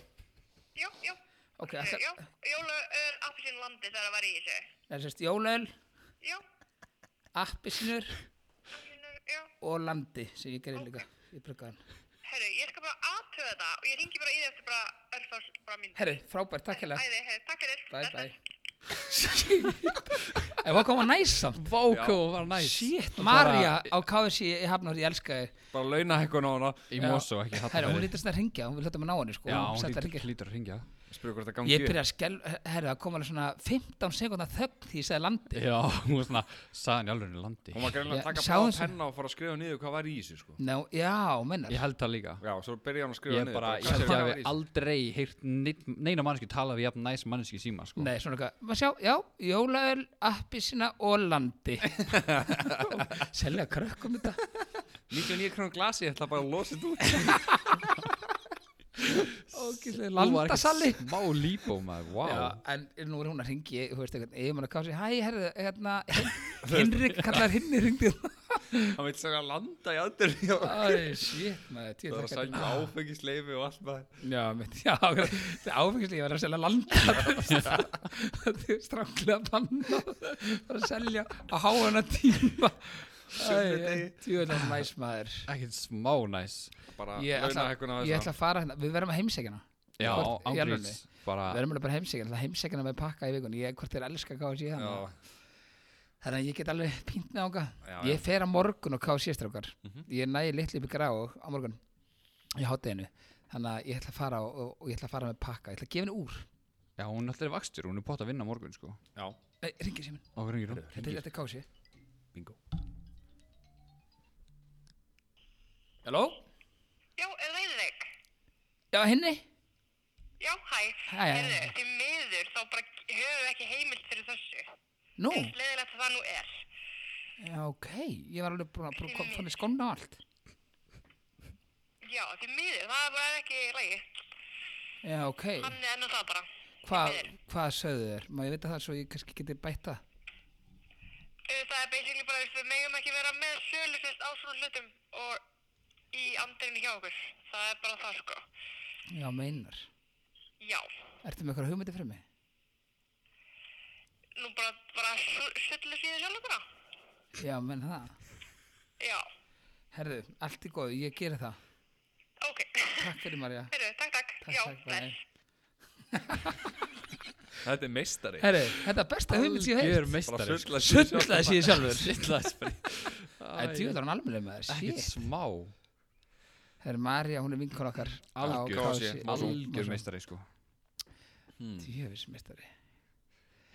D: já, já.
B: ok,
D: heyrðu,
B: ætla,
D: Eh, Já, Jóla er appelsín landi þegar það var í þessu.
B: það er sérst jólaöl,
D: Já,
B: appisnur
D: appelsínur, já.
B: og landi sem ég gerði líka í bruggaðan.
D: Herru, ég skal bara aðtöða það og ég ringi bara í þig eftir bara örfars bara mín.
B: Herri, frábært, takk hérlega.
D: Æði, herru, takk fyrir.
B: Bæ,
D: Bless,
B: bæ.
D: bless.
B: Ef hann kom að næsa
A: Vákó var næs
B: Shit Marja á KFC í Hafnur, ég elska þér
C: bara launahækkun á hana
A: Í Mosó ekki
B: Herra, hún
A: Hafnarfirði.
B: lítur svona að ringja, hún vil hluta maður ná henni sko
A: Já, hún
B: hlýtur að
A: hlýtur-
B: ringja
A: hlýtur að ringja
C: spyrur hvort það gangi
B: Ég byrja að skel, herra, það kom alveg svona 15 sekundar þögn því ég segði landi
A: Já, hún var svona Sagan í alveg landi
C: hún var greinlega
B: Já,
C: að taka
B: sjáum
C: bláð
B: svo-
C: penna og fara að skrifa niður hvað var í þessu sko
B: Ná, já, mennar
A: Ég held það líka
C: já, svo byrja hann að skrifa
A: Ég
C: niður
A: bara,
C: bara,
A: ég
C: hvað
A: held
C: var
A: ég
C: í
A: hafi
C: þessu?
A: aldrei heyrt neinn- neina manneski tala við jafn næs manneski síma sko.
B: Nei, svona eitthvað, maður sjá, já, jólaöl, appisina og landi Selja krökkum þetta
C: 99 krónum glasi, ég ætla bara að losa þetta út
B: Ógislega
A: Hún var ekkert
B: landasalli
A: Smá líbó maður, wow
B: Já, en nú er hún að ringi, þú veist eitthvað, ég man að kási, hæ, herðu, hérna, Henrik kallar hinni ringdi
C: hann vil segja landa í aðdur það
B: Æ, shit, maður, tíu
C: er að sækja áfengisleifi og allt maður
B: Já, mitt, já, það er áfengislega, ég var að selja landa, þú veist, þetta er stráklega banna, það er að selja á háana tíma.
C: Sunnudegi.
B: Tjóðan næs maður.
A: Ekkert smá næs
C: bara
B: Ég ætla,
C: launahækkun á
B: ég
C: þessu
B: ætla að fara hérna, við verðum að heimsækjana,
A: Já,
B: Hvort- í
A: ángríns Bara,
B: við verðum alveg bara að heimsækjana, það heimsækjana með pakka í vikunni, ég hvort þér elska kási í þannig.
C: Já.
B: Þannig að ég get alveg pínt með ánga.
C: Já, Mhm.
B: Ég fer á morgun og ká sérstrákar. Ég næði litli upp í grá á morgun í hátteginu. Þannig að ég ætla að fara og, og ég ætla að fara með pakka. Ég ætla að gefa henni úr.
A: já, hún alltaf er vakstur Hún er bótt að vinna á morgun, sko
C: já,
B: Nei, ringir sér minn.
A: Og hún ringir hún
B: Þetta er- þetta er kási.
C: bingo
B: Halló?
D: Já, Reyðrik.
B: Já, henni?
D: Já, hæ.
B: Hæ, hæ.
D: Heyrðu, því miður þá bara höfum við ekki heimild fyrir þessu.
B: Nú?
D: Eins leðilegt að það nú er.
B: Já, ok. Ég var alveg búin að búin að fann í skóna og allt.
D: Já, því miður, það er bara ekki í lagi.
B: Já, ok.
D: Hann er ennum það bara.
B: Hvað hva sögðu þér? Má ég vita það svo ég kannski geti bæta?
D: Uh, Það er basically bara, við megum ekki vera með sölufjöld á svona hlutum og í andirinu hjá okkur. Það er bara það, sko.
B: Já, meinar.
D: Já,
B: Ertu með eitthvað hugmyndi fyrir mig?
D: nú bara, bara söllu síðan sjálf bara.
B: Já, menn það.
D: Já,
B: Herðu, allt í góðu, ég geri það.
D: ok.
B: Takk fyrir Marja.
D: Heyrðu, takk, takk. Já, bless.
C: þetta er meistari
B: Herri, þetta er besta hugmynd sem ég hef
A: Algjör
B: heilt.
C: bara
A: meistari
C: sulla sig sjálf.
B: Sullaði síðan sjálfur.
A: Sittlaði spil
B: Það er djúðar hann alveg með þér,
A: Ekkert
B: shit.
A: smá
B: Herri, Marja, hún er vinkon okkar.
A: Algjör,
C: KFC. Mosó.
A: algjör meistari, sko
C: Hmm.
B: Djöfismestari.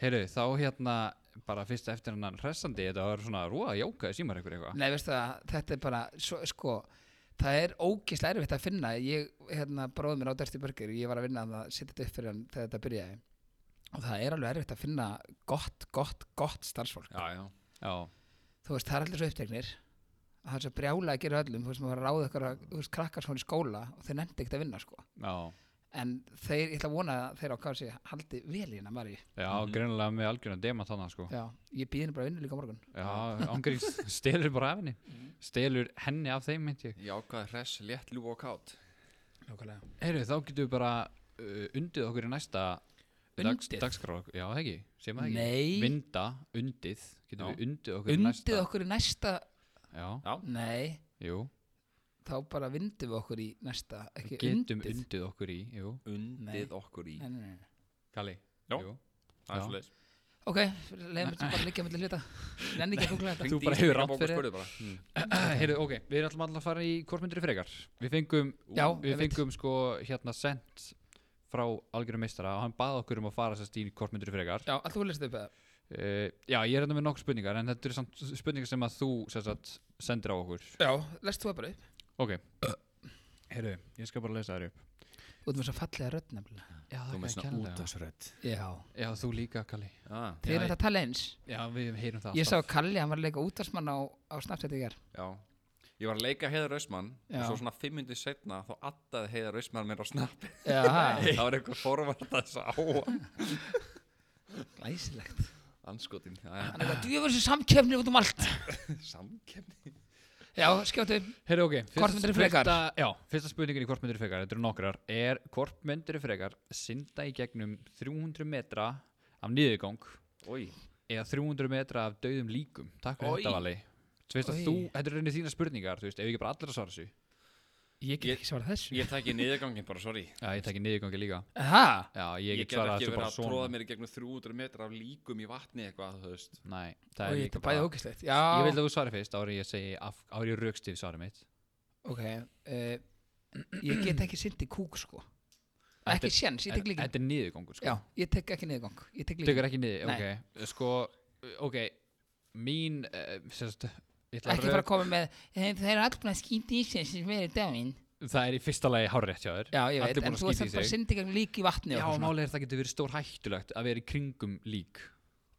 A: Heyrðu, þá hérna Bara fyrst eftir hennan hressandi Þetta var svona rúa jóka í símar ykkur eitthvað
B: Nei, veistu það, þetta er bara, svo, sko, það er ógislega erfitt að finna. Ég, hérna, bróði mér á Dirty Burger, ég var að vinna að setja þetta upp fyrir hann þegar þetta byrjaði. Og það er alveg erfitt að finna gott, gott, gott starfsfólk.
C: já, já
A: Já,
B: þú veist, það er allir svo uppteknir að það er svo brjála að gera öllum þú veist, maður var að ráða ykkur að, þú veist, krakkar svona í skóla og þeir nefndi ekkert að vinna, sko
A: já
B: en þeir, ég ætla að vona að þeir á KFC haldi vel í hérna, Maríu
A: Já, greinilega með algjörna demant þannig, sko
B: já, ég býð henni bara að vinna líka á morgun
A: Já, ángríns Stelur bara af henni Stelur henni af þeim, myndi ég
C: já, hvað er hress, létt, ljú og kátt
B: Lókulega.
A: Heyrðu, þá getum við bara uh, undið okkur í næsta dags,
B: Undið?
A: dagskrá, já það ekki, sem það ekki
B: Nei.
A: Vinda, undið, getum
C: Já.
A: við undið okkur í næsta
B: undið okkur í næsta
A: Já,
C: já,
B: nei,
A: jú,
B: þá bara vindum við okkur í næsta ekki
A: getum
B: undið
A: undið. okkur í, jú
C: undið okkur í
B: Nei, nei, nei.
A: Kalli,
C: Já.
A: jú
C: það
A: Já.
C: er svolítið
B: ok, leiðum við bara liggja mellir hluta nenni ekki að kúkla þetta
A: bara hefur rátt fyrir Hmm.
C: spurðu bara mm.
A: Heyrðu, ok, við erum alltaf að fara í kortmyndri frekar Við fengum,
B: já,
A: við fengum sko hérna sent frá algjörum meistara og hann bað okkur um að fara sérst í kortmyndri frekar
B: já, allt þú lesið upp eða
A: uh, Já, ég er hérna með nokkur spurningar en þetta eru samt spurningar sem að þú sérst sendir á okkur
B: já, lest þú það bara upp
A: Ok Heyrðu, ég skal bara lesa þær upp
B: út með svo fallega rödd nefnilega
A: Já,
C: þú með svona út af srödd
B: já,
A: Já, þú líka, Kalli
C: já,
B: þeir
A: Já,
B: eru að tala eins
A: Já, við heyrum það
B: Ég sá Kalli, hann var að leika útvarsmann á, á Snapchat í hér.
C: ég var að leika Heiðar Ösmann
B: Já.
C: og svo svona fimm myndið setna þá attaði Heiðar Ösmann mér á snappi
B: Já,
C: það var einhver forvart að þess að á
B: glæsilegt.
C: anskotin,
B: Hann er að djöfur þessu samkefni út um allt.
A: Ah.
C: samkemni
B: Já, skjóttu.
A: Heyrðu, ok fyrsta-
B: Kortmyndir eru frekar.
A: fyrsta- Já, fyrsta spurningin í kortmyndir eru frekar Þetta eru nokkrar Er kortmyndir eru frekar synda í gegnum 300 metra af niðurgang
C: oi,
A: eða 300 metra af dauðum líkum Takk fyrir
C: Oj.
A: þetta, Vali Þú veist að
B: Oj.
A: þú, þetta eru reyni þína spurningar Þú veist, ef ekki bara allir að svara þessu
B: Ég get
C: Ég-
B: ekki svarað þessu.
C: Ég tæki niðurgangin bara, sorry
A: Já, ég tekki niðurgangi líka
B: Það?
A: Já, ég,
C: Ég,
A: get
C: get
A: svarað
C: ekki
A: þessu
C: verið
A: bara
C: að tróða
A: svona
C: mér í gegnum 300 metra af líkum í vatni eitthvað, þú veist
A: Nei, það
B: Og
A: er
B: ég
A: líka
B: þetta bæði
A: bara
B: ógæslegt. Já,
A: Ég vil að þú svarið fyrst árið ég segi af, árið ég raukstif svarið mitt
B: ok. Uh, ég get ekki synd í kúk, sko.
A: Þetta
B: Ekki
A: er-
B: séns,
A: En
B: ég tek líka.
A: Þetta er niðurgangur sko
B: Já, ég tek ekki niðurgang. Ég tek líka.
A: Tekur ekki niður,
B: Nei.
A: ok Sko, ok Mín, uh, sérst Ekki
B: Ekki fara að koma með, "Eh, það eru allir búin að skýta í sig sem verið daginn.
A: Það er í fyrsta lagi hárétt hjá þér
B: Já, ég veit,
A: Allir búin
B: en
A: að
B: þú
A: skíta í
B: ert bara
A: sig.
B: synd í gegnum lík í vatni
A: Já,
B: og eitthvað svona.
A: málega er það getur verið stór hættulegt að vera í kringum lík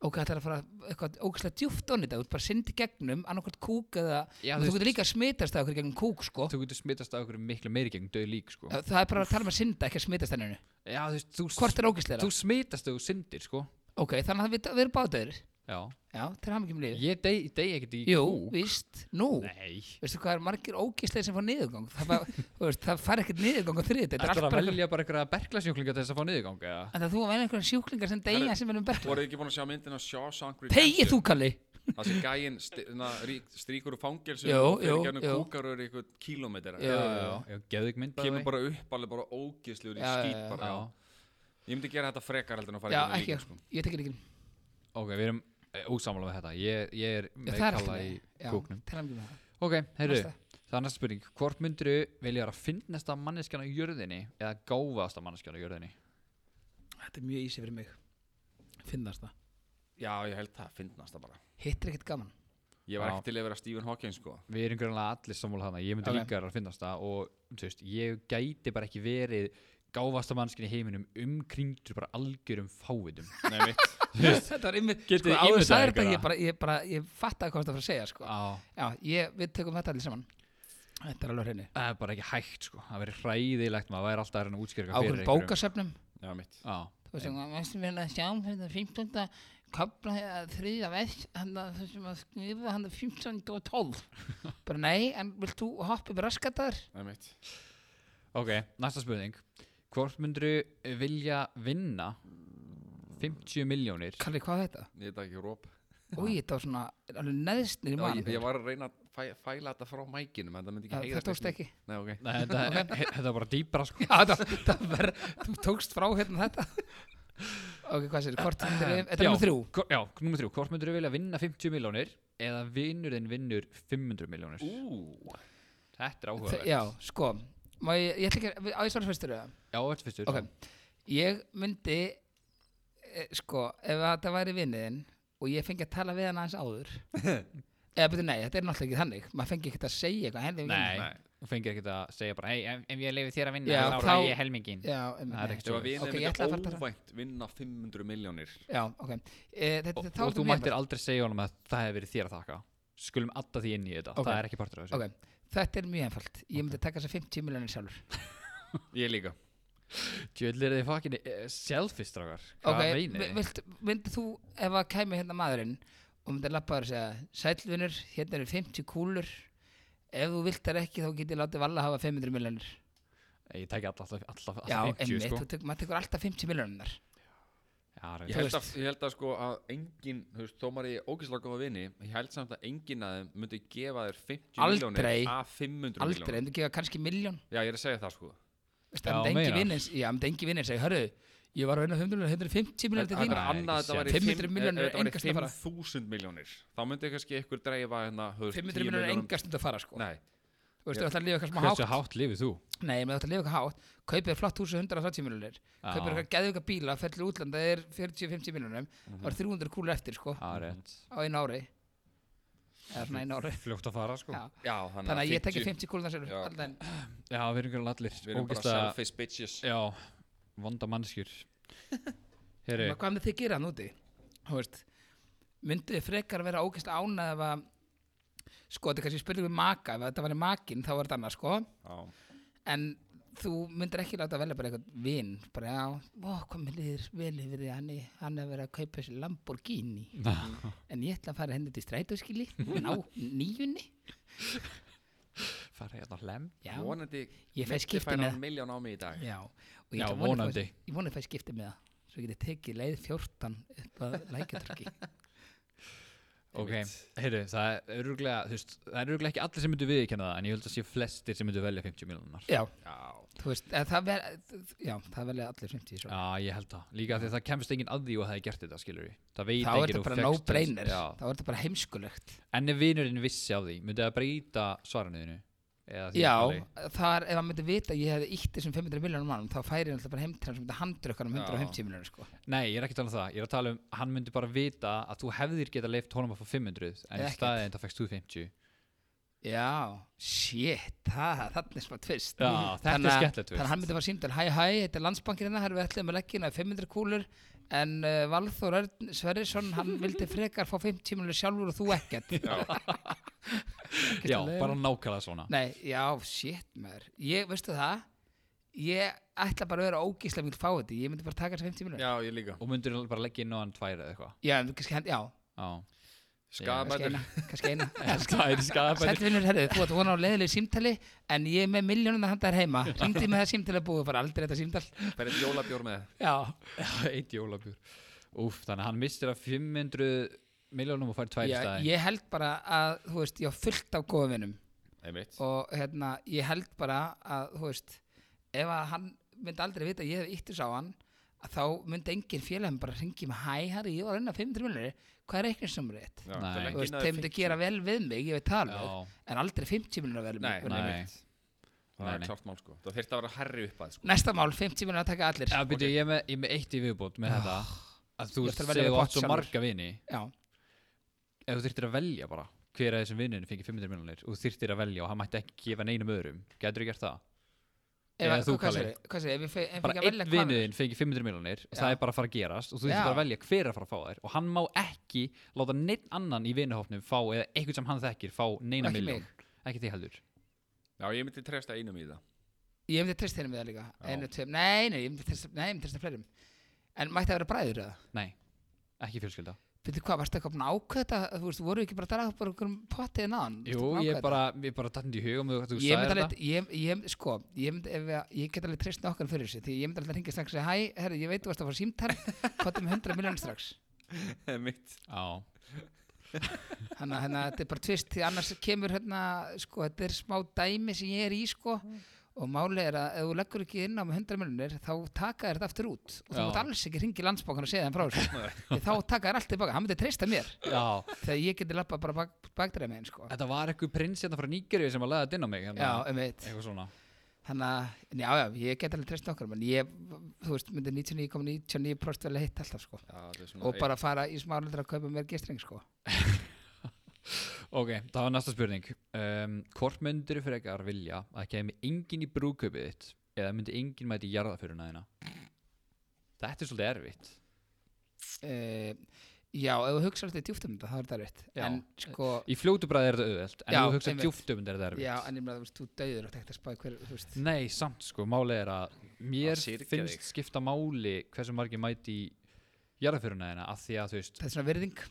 B: Ok, það er að fara eitthvað ógæslega djúft onni þetta, þú ert bara synd í gegnum, annarkvært kúk eða,
A: Já,
B: þú
A: þú
B: getur líka að smitast af okkur gegnum kúk, sko.
A: Þú getur smitast af okkur miklu meiri gegn döð lík sko
B: Það er bara að tala um að synda, ekki að smitast henninu.
A: Já, þú veist, þú,
B: Hvort er ógæslega?
A: þú smitast ef þú syndir sko
B: Ok, þannig að við, við erum báðdöður.
A: Já,
B: Já, til hann ekki um lífið.
A: ég dey, dey ekkert í
B: Jú,
A: kúk.
B: víst, nú.
A: Nei
B: Veistu hvað er margir ógæslega sem fá niðurgang? Það, bara, þú veist, það fær ekkert niðurgang á þriðið. Þetta er
A: Þetta
B: allt
A: er að
B: bara...
A: velja bara einhverja berglasjúklinga til þess að fá niðurgang eða?
B: En það þú að velja einhverjum sjúklingar sem
C: Herru,
B: deyja sem erum bergla.
C: Voruð þið ekki búin að sjá myndin á Shawshank
B: Pegið þú, Kalli!
C: Það sem gæinn sti- na, rí- strýkur úr fangelsu
B: Jú,
C: og
B: jú,
C: fyrir gernum
B: jú.
C: kúkarur í eitthvað kílómetra
B: Jú, jú, jú.
A: já Geðug mynd
C: Kemur bara upp alveg bara ógisluður í
B: Já, já,
C: skýt
B: já.
C: bara
A: Já,
C: Ég myndi gera þetta frekar heldur en að fara
B: Já,
C: gegnum
B: ekki,
C: líkin, sko.
B: ég tekir ekki.
A: ok, við erum úsamála með þetta Ég, ég er
B: Já,
A: með
B: það er
A: kalla í
B: alltaf.
A: kúknum
B: Já, tala ekki um það.
A: Ok, heyrðu,
B: Næsta.
A: það er næsta spurning Hvort myndiru vilja vera að finnasta manneskjan á jörðinni eða gáfaðasta manneskjan á jörðinni
B: Þetta er mjög ísi fyrir mig. Finnast það.
C: Já, ég held það, finnast það bara
B: Hitt er ekkert gaman.
C: Ég var
A: Já.
C: ekki til að vera Stephen Hawking sko
A: Við erum greinlega allir sammála hana Ég myndi
B: Ok.
A: líka vera að finnast það og þú veist, ég gæti bara ekki verið gáfaðasta manneskjan í heiminum umkringdur bara algjörum fávitum
C: Nei, mitt
B: þetta var ymmið,
A: Getið
B: sko,
A: þið
B: áður
A: ímyndað
B: sagði
A: ykkur
B: þetta, ég
A: það? Ah.
B: bara, ég bara, ég fatt að hvað það var að segja, sko.
A: Á,
B: Já, ég, við tökum þetta allir saman. Þetta er alveg hreinu.
A: það er bara ekki hægt sko Það verið hræðilegt, maður væri alltaf að reyna að útskýra eitthvað
B: Ákveðin
A: fyrir einhverjum.
B: bókasöfnum,
C: Já, mitt
A: Á,
B: þú veist, það mestum við erum að sjá hérna 15. kapla þriðja vers, hann að þessum að skrifa hann að 15. og 12. bara nei, en vilt þú hoppa upp raskatar?
C: Nei, mitt
A: Ok, næsta spurning Hvort myndiru vilja vinna 50 miljónir
B: Kalli, hvað er þetta?
C: Ég veit það ekki róp
B: Úi, þetta var svona alveg neðstnir í
C: ég,
B: mann.
C: ég var að reyna að fæ, fæla þetta frá mækinum en það myndi ekki
B: Það
C: heyrast
B: tókst
C: neitt.
B: ekki.
C: Nei, ok
A: Nei, þetta, þetta var bara dýpra sko
B: Já, það, það var, þú tókst frá hérna þetta. ok, hvað sér, hvort þetta er, þetta er
A: Já,
B: nú þrjú.
A: hvo- Já, nummer þrjú Hvort myndiru vilja vinna 50 miljónir eða vinnur þinn vinnur 500 miljónir
C: Ú,
A: Þetta er
B: Þe-
A: áhugavert
B: Já, sko má ég, ég ætla ekki, að- á ég svara fyrstur eða?
A: Já, þetta fyrstur
B: Ok, ég myndi e, sko, ef að þetta væri vinniðinn og ég fengi að tala við hann aðeins áður eða betur nei, þetta er náttúrulega ekki þannig maður fengi ekki að segja eitthvað henni
A: Nei,
C: Nei.
A: þú fengir ekkert að segja bara Hei, ef, ef ég leifi þér að vinna
B: Já,
A: þá
B: þá-
A: ræði ég helmingin
B: Já, um,
A: Það er
B: nei.
A: ekki
C: ef að vinna
B: Ok, ég ætla að fara
C: myndi
B: bara-
C: óvænt vinna 500 miljónir
B: Já, ok e, þetta,
A: Og,
B: þá
A: og
B: ertu
A: þú
B: mér
A: mættir aldrei segja honum að það hefur verið þér að þakka Skulum alltaf því inn í þetta
B: Ok.
A: Það er ekki partur af þessu
B: bara- Ok, þetta er mjög einfalt ég myndi taka þess að 50 miljonir sjálfur
C: Ég líka
A: Djöðl er þið fakkinni selfish, strákar Hvað
B: Ok,
A: meinið þið?
B: vilt, myndi þú ef að kæmi hérna maðurinn og myndi lappa þér að segja sælvinur, hérna eru 50 kúlur ef þú vilt þær ekki þá geti ég látið valla hafa 500 miljonir
A: Ég tæki alltaf, alltaf, alltaf
B: Já,
A: 50
B: einmitt,
A: sko
B: þú tek, maður tekur alltaf 50 miljonir
A: Já,
C: Ég
A: reyndar.
C: held, að,
B: veist.
C: ég held að sko að engin, þú veist, þó maður er ógæslega góða vini Ég held samt að engin að þeim myndi gefa þér 50
B: Aldrei.
C: miljónir af 500
B: aldrei,
C: miljónir
B: en þú gefa kannski miljón
C: Já, ég er að segja það sko
A: Já,
B: það myndi engi
A: meinar.
B: vinnins, já, myndi engi vinnins segja, hörru, ég var að vinna 500 miljonir, 150 miljonir til
C: Það
B: þín
C: er
A: Nei,
C: annað að
A: ekki
C: þetta væri
A: séns.
B: 500 milljónir
C: ef eh, þetta væri
B: engast að fara.
C: 5.000 miljónir Þá myndi kannski ykkur dreifa hérna þú veist,
B: 500
C: 10
B: miljonir
C: milljónum-
B: enga stund að fara sko
C: Nei,
B: þú veist, þú ætlar að lifa eitthvað smá hátt
A: Hversu hátt lifið þú?
B: nei, maður ætlar að lifa eitthvað hátt, kaupið þér flott hús og 130 miljonir,
A: Já.
B: kaupið þér eitthvað geðvika bíla fer til útlanda, það er 40-50 miljonum það er 300 kúlur eftir sko
A: Mhm. Já, rétt
B: á einu ári eða svona einu ári
A: Fljótt að fara sko
B: Já.
A: Já,
C: já,
B: þannig að ég tekja
C: 50
B: 50 kúlunar sjálfur
C: Já.
B: allan daginn.
A: við erum greinlega allir
C: Við erum bara
A: ógeðslega-
C: selfish bitches
A: Já, vonda mannskjur Heyri,
B: Þannig að hvað með þið gera hann úti Þú veist, myndu þið frekar að vera ógæst ánað ef að sko, þetta er kannski spurning við maka ef þetta var í makin þá var þetta annað sko
C: Já.
B: en þú myndir ekki láta velja bara eitthvað vin bara já, ó, hvað mér líður vel yfir því hann, er- hann er að vera að kaupa þessi Lamborghini en ég ætla að fara henni til strætóskili á nýjunni
A: fara hérna lem
B: já,
C: vonandi
B: Ég fæ skipti með það.
C: miljón á mig í dag
B: já, og ég
A: Já,
B: ætla að vona að
A: vonandi.
B: fá- ég vona að fæ skipti með það svo getið tekið leið 14 upp að lækjartorki
A: Ok, heyrðu, það er öruglega, þú veist, það er öruglega ekki allir sem myndu viðkjanna það, en ég held að sé flestir sem myndu velja 50 miljonar.
B: já,
C: Já,
B: þú veist, en það verði já, það verði allir 50 svo.
A: Já, ég held það. Líka af því að það kemst enginn að því og það er gert þetta, skilur við. Það veit
B: þá
A: enginn og
B: er þetta bara
A: fékkst þess-
B: no-brainer
A: Já.
B: þá er þetta bara heimskulegt
A: En ef vinurinn vissi af því, myndi það breyta svaranuðinu?
B: já, það er, ef hann myndi vita að ég hefði ítt þessum 500 miljónum mannum þá færi hann alltaf bara heimtrann sem myndi handrökkar um
C: Já.
B: 150 miljónum sko.
A: Nei, ég er ekki að tala um það. Ég er að tala um, hann myndi bara vita að þú hefðir geta leift honum að fá 500, en í
B: Ekkert.
A: staðin það fækst þú 50.
B: já, shit, það, þannig er smá tvist
A: Já, þetta er skemmtilegt twist.
B: þannig að hann myndi bara símdal, hæ hæ, þetta er landsbankirina það er við ætlum að leggja inn að 500 kúlur en uh, Valþór Örn Sverrisson hann vildi frekar fá 50 miljónur sjálfur og þú ekkert
A: Já,
B: að leiðina.
A: bara nákvæmlega svona.
B: Nei, já, shit maður Ég, veistu það Ég ætla bara að vera ógíslega mjög fáið Ég myndi bara taka þessi 50 miljonir
C: já, ég líka
A: Og myndir bara leggja inn á hann tvær eða eitthvað.
B: Já, en kannski hend, já,
A: Já.
B: kannski
C: Skabætur
B: eina Kannski eina
A: Það er
B: Sætt
A: skadabætur.
B: vinnur, herðu, þú átt vona á leðilegu símtali En ég er með miljónum að handa þér heima Ringdi með það símtali að búið bara aldrei þetta símtal
C: Færið jólabjór með
B: Já,
A: Eitt jólabjör. Úf, þannig að hann mistir að 500 miljónum og fær tvær í
B: já
A: staðin.
B: ég held bara að, þú veist, ég á fullt af góðum vinnum
C: Einmitt
B: Og hérna, ég held bara að, þú veist Ef að hann myndi aldrei vita að ég hef yttis á hann að Þá myndi engin félagum bara ringi með Hæ, herri, ég var að reyna 500 miljonir Hvað er reiknisnumrið þitt?
C: Já,
A: Nei.
C: það er
B: Þú veist,
C: ekki innan
B: þeim myndi
C: 50.
B: gera vel við mig, ég veit það alveg,
A: Já.
B: en aldrei 50 miljonar vel við
C: Nei,
B: mig.
A: Nei.
C: Það
A: Nei, nei.
C: er klart mál sko Það þurfti að vera herri upp að sko
B: Næsta mál, 50 miljonar að taka allir.
A: Já, byrju, ég, er með, ég er með eitt í viðbót með þetta að þú
B: Ég ætla að velja
A: segðu
B: við
A: átt
B: pott
A: svo
B: sjálfur.
A: marga vini
B: Já,
A: ef þú þyrftir að velja bara hver að þessum vinninu fengi 500 miljonir og þú þyrftir að velja og hann mætti ekki gefa neinum öðrum getur þú gert það?
B: Ef-
A: Eða þú,
B: hvað
A: Kalli.
B: segirðu? Hvað segir, ef ég fe- ef ég fengi
A: Bara
B: að velja
A: einn
B: hvað-
A: vinnuðinn fengi 500 miljonir og það
B: Já.
A: er bara að fara að gerast og þú
B: Já.
A: þyrftir bara að velja hver er að fara að fá þær og hann má ekki láta neitt annan í vinnuhópnum fá eða eitthvað sem hann þekkir fá neina
B: Ekki
A: miljón
B: mig.
A: ekki þig heldur
C: Já, ég myndi treysta einum í það
B: Ég myndi treyst þeirnum við það líka. Einu, tveim, nei, nei, ég myndi treysta, nei, ég myndi treysta fleirum. En mætti að vera bræður eða?
A: Nei, ekki fjölskylda
B: Veitir hvað, varstu eitthvað búin að ákveða þetta? Þú veist, voru ekki bara að draga upp bara einhverjum hérna potið en aðan?
A: Jú, ég er bara, ég er bara tattind í hugum þú, þú
B: Ég myndi
A: sagðir
B: alveg,
A: þetta.
B: ég, ég, sko, ég myndi, ef ég, ég get alveg treyst nokkar fyrir þessu, því ég myndi alveg að ringa strax og segja, hæ, herri, ég veit þú varst að fara símtal, potið með 100 miljonir strax.
C: Mitt
A: Já.
B: Þannig að hérna, þetta er bara tvist því annars kemur hérna, sko, þetta er smá dæmi sem ég er í, sko og málið er að ef þú leggur ekki inn á með 100 miljonir þá taka þér þetta aftur út og þú
A: Já.
B: mátt alls ekki ringi landsbókan og segja þeim frá þessu Því þá taka þér allt tilbaka, hann myndi treysta mér
A: Já.
B: þegar ég geti lappa bara bak, bakdreið með henn, sko
A: Þetta var eitthvað prins hérna frá Nígerju sem að laða þetta inn á mig hérna.
B: Já, um eitt
A: eitthvað svona
B: Þannig að, en já, já, ég get alveg treyst okkur menn ég, þú veist, myndi 99,99% vel að hitta alltaf, sko
C: Já, það er svona
B: og bara fara í smáleitra að kaupa mér gistring, sko
A: Ok, það var næsta spurning um, Hvort myndir frekar vilja að kemi engin í brúköpið þitt eða myndi engin mæti í jarðaföruna þína Þetta er svolítið erfitt
B: uh, Já, ef þú hugsa alltaf djúpt um þetta, þá er þetta rétt
A: Já.
B: En, sko,
A: Í fljótu bræði er þetta auðvelt en
B: Já,
A: ef þú hugsa
B: einmitt.
A: djúft um þetta er þetta erfitt
B: Já, en ég meina, þú veist, þú döður og tekta spæði hver, þú veist
A: Nei, samt sko, málið er að mér
C: Að syrgja
A: finnst
C: þig.
A: skipta máli hversu margir mæti í jarðaföruna þína af því að þú veist,
B: Það er svona virðing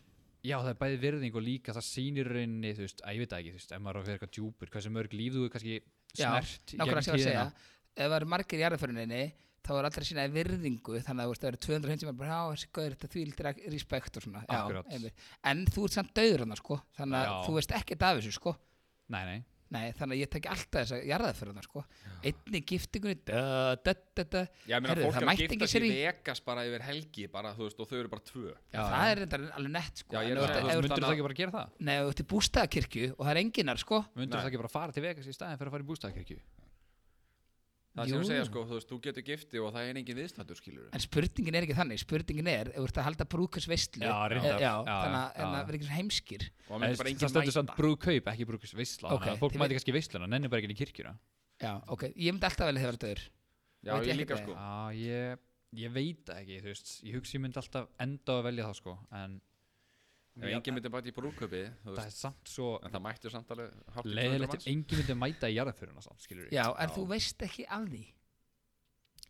A: já það er bæði virðing og líka það sýnir rauninni, þú veist, að ég veit það ekki þú veist, ef maður er að vera eitthvað djúpur, hversu mörg líf þú er kannski
B: Já,
A: snert í
B: Nákvæmlega
A: gegnum
B: sem ég
A: tíðina
B: var að segja Ef það eru margir í jarðaföruninni þá er allra sína virðingu þannig að þú veist, það eru 200 hundsum bara, já, þessi gauður, þetta því lítið respekt og svona já,
A: Akkurát.
B: einmitt. En þú ert samt döður hann, sko þannig að
A: Já.
B: þú veist ekkert af þessu, sko
A: Nei, nei
B: Nei, þannig að ég tekja alltaf þessa jarðaföruna, sko Einni giftingunni, da, da, da, da
C: Já, ég meina,
B: Heyrðu,
C: fólk
B: það
C: er að
B: mætti
C: gifta
B: ekki sér
C: sér í
B: í-
C: Vegas bara yfir helgi bara, þú veist, og þau eru bara tvö
A: Já,
B: Það er reyndar alveg nett, sko
C: Já, ég er
B: En ef
C: að
B: þú
C: segja,
B: ert-
C: þú veist,
A: Myndur
B: ef þú ert-
A: það
C: annað-
A: ekki bara gera það?
B: Nei, ef þú ert í bústaðakirkju og það er enginar, sko
A: Myndur það
C: Nei.
A: ekki bara fara til Vegas í staðin fyrir að fara í bústæðakirkju?
C: Það sem
B: Jú.
C: að segja, sko, þú veist, þú getur gifti og það er engin viðstættur, skilur
B: En spurningin er ekki þannig, spurningin er ef þú ert að halda brúkusveistlu
A: Já, reyndar.
B: já,
A: Já, já,
B: þannig að-
A: já.
B: en það verður ekki svona heimskir
C: Og það
B: eh,
C: myndir bara
A: Það
C: engin
A: stendur samt
C: mæta
A: brúðkaup, ekki brúðkaupsveisla
B: Ok,
A: okay, Fólk
B: þið
A: mæti kannski í veisluna, nennir bara ekki inn í kirkjuna
B: Já, ok, ég myndi alltaf velja þegar það er
C: Já,
B: veit ég
C: ég
B: ekki
C: líka,
B: það.
C: sko
A: Já, ég, ég veit það ekki, þú veist Ég hugsi ég myndi alltaf enda á að velja það sko En
C: Ef engin myndir bara í brúköpi, þú
A: það
C: veist
A: er samt svo
C: En það mættu samt alveg hátt í 200
A: leiðilegt
C: manns.
A: ef enginn myndi mæta í jarðaföruna samt, skilur
B: Já, en þú veist ekki af því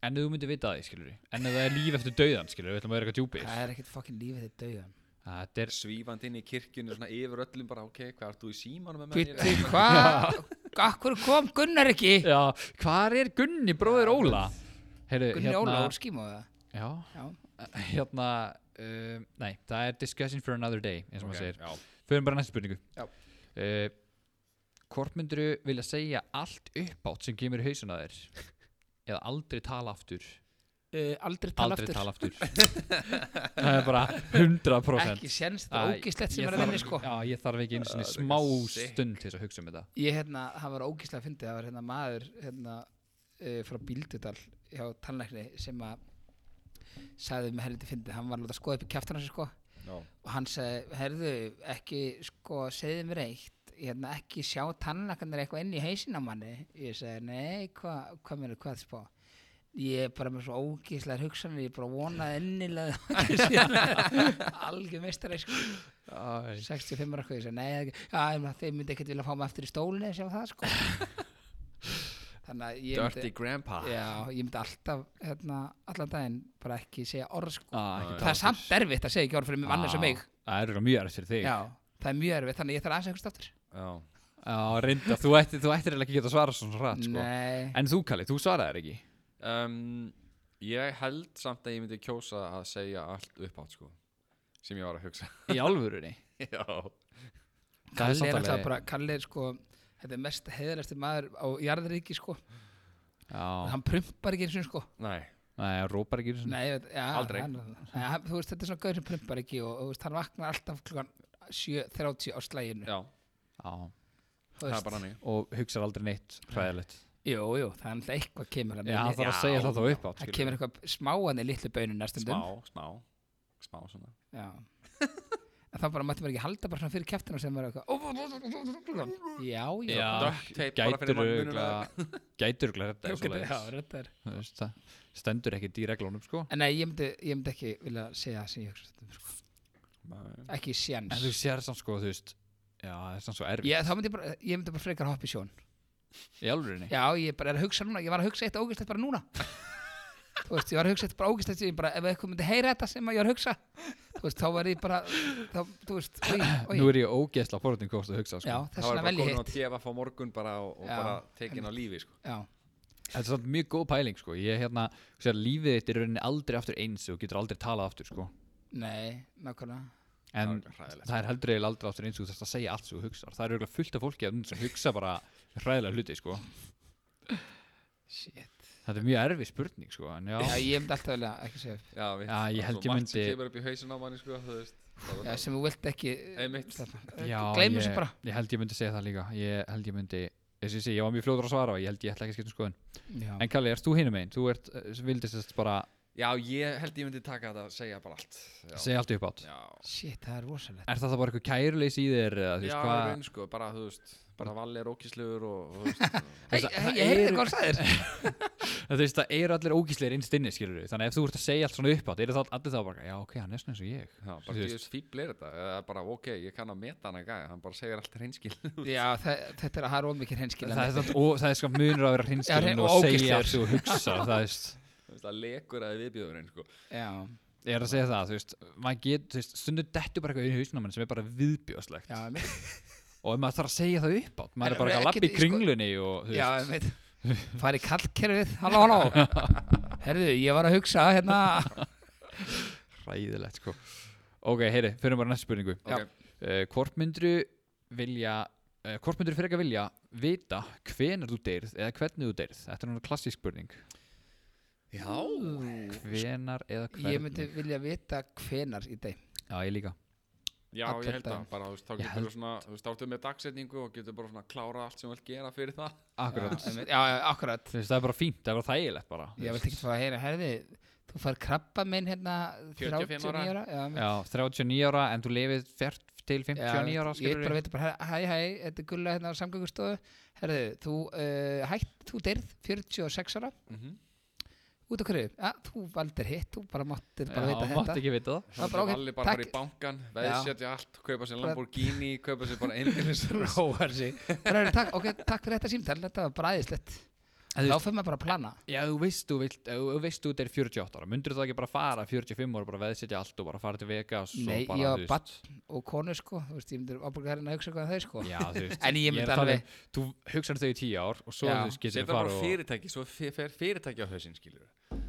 A: En ef þú myndi vita það, skilur En ef það er líf eftir dauðan, skilur við ætlum að vera eitthvað djúpir
B: Það er ekkert fokkin lífið þitt dauðan
A: Þetta er
C: svífandi inn í kirkjunni svona yfir öllum bara ok, hvað ert þú í símanum með mér?
B: Býttu, hvað? Akkur kom Gunnar ekki?
A: Já, hvar er Gunni, bróðir Óla? Heyrðu,
B: Gunni
A: hérna-
B: Óla úr skímu það
A: Já,
B: Já,
A: hérna um, Nei, uh, það er discussion for another day eins og
C: Ok,
A: maður segir
C: já.
A: Fyrir bara að næstu spurningu
B: Já.
A: Eh, Hvort myndur vilja segja allt uppátt sem kemur í hausuna þér eða aldrei tala aftur
B: uh, aldrei tala
A: Aldrei
B: aftur
A: tala aftur Það er bara 100%
B: ekki séns,
A: Æ,
B: það er ógíslegt sem
A: ég
B: er að
A: þarf-
B: vinni sko
A: Já, ég þarf ekki einu
C: Það
A: sinni
C: er
A: smá
C: eitthvað sick.
A: stund til þess að hugsa um þetta
B: ég hérna, það var ógíslega fyndið það var hérna maður hérna uh, frá Bíldudal hjá tannleikni sem að sagði með helviti fyndið, hann var að láta skoða upp í kjæftan hans sko
C: Já.
B: og hann sagði, herðu, ekki sko, segðu mér eitt hérna, ekki sjá tannleikarnir eitthvað inn í hausin á manni ég sagði, nei, hvað hva mér er hvað spá ég er bara með svo ógíslega hugsanir ég bara vonaði ennilega algjör meistari sko 65 ára hvað ég segi, nei, það er ekki- já, ég meina, þeir myndi ekkert vilja fá mig aftur í stólinu sem það sko þannig að ég
C: Dirty
B: myndi,
C: Grandpa
B: já, ég myndi alltaf hérna, allan daginn bara ekki segja orð sko.
A: ah,
C: ekki Ah,
B: það er samt erfitt að segja ekki orð fyrir mig annars og mig
A: Það er örugglega mjög erfitt fyrir þig
B: já, það er mjög erfitt, þannig að ég þarf aðeins eitthvað aftur
C: Já.
A: Já, reynda, þú ættir, þú ættir eiginlega ekki að geta svarað svona rætt sko.
B: nei,
A: En þú Kalli, þú svaraðir ekki
C: Um, ég held samt að ég myndi kjósa að segja allt uppátt sko sem ég var að hugsa
A: Í alvörunni
C: Já,
A: Það er
B: Kalli er
A: samt
B: alltaf
A: alveg-
B: bara Kalli er sko, þetta er mest heiðalæsti maður á jarðaríki sko
A: Já,
B: hann prumpar ekki eins og sko
C: nei
A: nei, hann rópar ekki einu sinni.
B: Nei, ég veit- já,
C: Mm. Aldrei.
B: hann, ja, þú veist, þetta er svona gauður sem prumpar ekki og, og þú veist, hann vaknar alltaf klukkan 7.30 á slæginu
C: Já,
A: Já,
B: Þú
C: það
B: veist.
C: er bara hannig
A: og hugsar aldrei neitt hræðilegt
B: Jú, jú, það er alltaf eitthvað kemur hann
A: Já, hann
B: það,
A: þarf að segja það þá uppátt
B: það
A: skilurðu.
B: kemur eitthvað smáan í litlu baunum
C: Smá,
B: næstundum
C: smá, smá svona
B: Já En þá bara mætti maður ekki halda bara svona fyrir kjæftinu sem var eitthvað Já, já,
A: Já,
C: Duct tape bara fyrir
A: gætur
C: munninn
A: ögla Gætur ögla þetta
B: já,
A: er svoleiðis.
B: já, þetta er
A: Þú veist, Það stendur ekki í reglunum sko
B: En nei, ég myndi, ég myndi ekki vilja segja það sem ég hugsa stundum, sko.
C: Nei.
B: Ekki séns
A: En þú sér samt sko, þú veist Já, það er samt svo erfitt
B: Já, þá myndi ég bara, ég myndi bara frekar hoppa í sjón
A: Í alvörinni
B: Já, ég bara er að hugsa núna, ég var að hugsa eitt ógæstlegt bara núna Þú veist, ég var að hugsa eitt bara ógæstlegt ég bara, ef eitthvað myndi heyra þetta sem að ég var að hugsa Þú veist, þá var ég bara, þá, þú veist, oi, oi
A: Nú er ég ógeðsla fórhundin hvort þú hugsa
B: Já,
A: sko.
B: þess vegna vel ég
C: komin á
B: hitt
C: TFF á morgun bara og, og
B: Já,
C: bara tekin á lífi sko
B: Já,
A: Þetta er samt mjög góð pæling sko Ég hérna, þú sér lífið þitt er í rauninni aldrei aftur eins og þú getur aldrei talað aftur sko
B: nei, nákvæmlega
A: En
C: Það er hræðilegt.
A: það er heldur eiginlega aldrei aftur eins og þú þarfst að segja allt sem þú hugsar Það er örugglega fullt af fólki að sem hugsa bara hræðilega hluti sko
B: Shit
A: Þetta er mjög erfið spurning sko En já,
B: Já, ég myndi alltaf vilja ekki segja upp
C: Já, við,
A: Já, ég held ég
C: Það
A: myndi-
C: kemur upp í hausin á manni sko, þú veist Það var
B: Já,
C: það.
B: sem þú vilt ekki eh,
C: Einmitt.
A: já
B: Gleimur
A: ég,
B: þessu bara
A: ég held ég myndi segja það líka Ég held ég myndi, þess að ég segi, ég var mjög fljóður að svara og Ég held ég ætla ekki að skipta um skoðun
B: Já,
A: En Kalli, erst þú hinum einn? Þú ert, eh, vildist þess bara
C: Já, ég held ég myndi taka þetta að segja bara allt Já,
A: segja allt upp átt
C: já.
B: shit, það er rosalegt
A: Er það það bara eitthvað kæruleysi í þér? eða, þú
C: já
A: veist,
C: í
A: hvað- Mm.
C: raun sko, bara þú veist bara valið er ókíslegur og þú veist
B: Hei,
A: það-
B: hei,
A: það
B: ég heyrði
A: eru-
B: hvað það er
A: En Þú veist, það eru allir ógísleir innst inni, skilur við Þannig að ef þú ert að segja allt svona upp átt Eru það allir þá bara, já ok, hann er svona eins og ég
C: Já,
A: Þú
C: bara
A: veist.
C: djöðs fíblir þetta eða bara ok, ég kann að meta hana gæja hann bara segir allt reynskil
B: Já, það, þetta er að hafa ómikið hreinskil
A: Það er, samt, og, það er sko munur að vera
B: Já, hrein-
A: hreinskilin og,
B: og
A: segja
B: ógeðslegur.
A: allt sem þú hugsa Það veist,
C: það lekur að viðbjöður einn sko
B: Já,
A: ég er að segja það Þú veist, maður get, þú veist, stundum dettur bara eitthvað í hausnáman sem er bara viðbjóðslegt
B: já, einmitt.
A: Og ef maður þarf að segja það upp átt Maður
B: En
A: er bara eitthvað að
B: ekki-
A: labba í
B: sko-
A: kringlunni og, þú
B: já,
A: veist,
B: ég veit Fari kallkerfið, halló, halló Herðu, ég var að hugsa hérna
A: Ræðilegt, sko Ok, heyri, fyrir bara að næstu spurningu
B: Já.
C: Ok.
A: uh, Hvort myndiru vilja uh, Hvort myndiru fyrir ekki vilja vita hvenar þú deyrð eða hvernig þú deyrð Þetta er núna klassísk spurning
C: Já,
A: Hvenar eða hvernig
B: Ég myndi vilja vita hvenar í dag
A: Já, ég líka
C: já
B: Allan
C: ég held það
B: daginn.
C: bara, þú veist, þá
A: Ég
C: getur
A: held-
C: þú svona, þú veist, þá ertu með dagsetningu og getur bara svona klára allt sem þú vilt gera fyrir það
A: Akkurat
B: Já, einmitt. já, já, akkurat
A: Þú veist, það er bara fínt, það er bara þægilegt bara
B: Ég vilt ekki fara að heyra, herði Þú far krabba minn hérna
C: 45 ára.
B: 39 ára Já, einmitt.
A: Já, 39 ára en þú lifið fjart til 59 ára
B: Ég
A: skilur
B: vil bara vita bara, hæ, hæ, þetta er gulla hérna á samgöngustofu Herðu, þú uh, hætt, þú deyrð 46 ára
A: Mhm.
B: Út af hverju, ja, þú valdir hitt Þú bara máttir bara
A: Já,
B: vita
A: mátt
B: þetta
A: ekki vita það
B: Það er bara, ok,
C: Valli bara
B: takk.
C: bara í bankan, veðsetja allt kaupa sér
B: Bara-
C: Lamborghini, kaupa sér bara einbílis
B: Róar sig bara, herðu, takk, Ok, takk fyrir þetta símtal, þetta var bara aðeinslegt
A: En þú
B: Þá
A: veist-
B: fyrir maður bara að plana
A: Já, þú veist, þú, vilt, ef þú veist þú er 48 ára Mundur þú ekki bara fara 45 ára bara veðsetja allt og bara fara til Vegas og
B: Nei,
A: bara,
B: ég
A: þú
B: var
A: veist-
B: bann og konu sko Þú veist, ég myndir ábúrga hérna að hugsa hvað þau sko
A: Já, þú veist
B: En ég myndi
A: er að tala
B: alveg-
A: um, Þú hugsaður þau í 10 ár og svo
B: Já.
A: þú veist getur
C: Setur
A: þú
C: bara
A: fara og
C: fyrirtæki, svo fe- fer fyrirtæki á hausinn skilur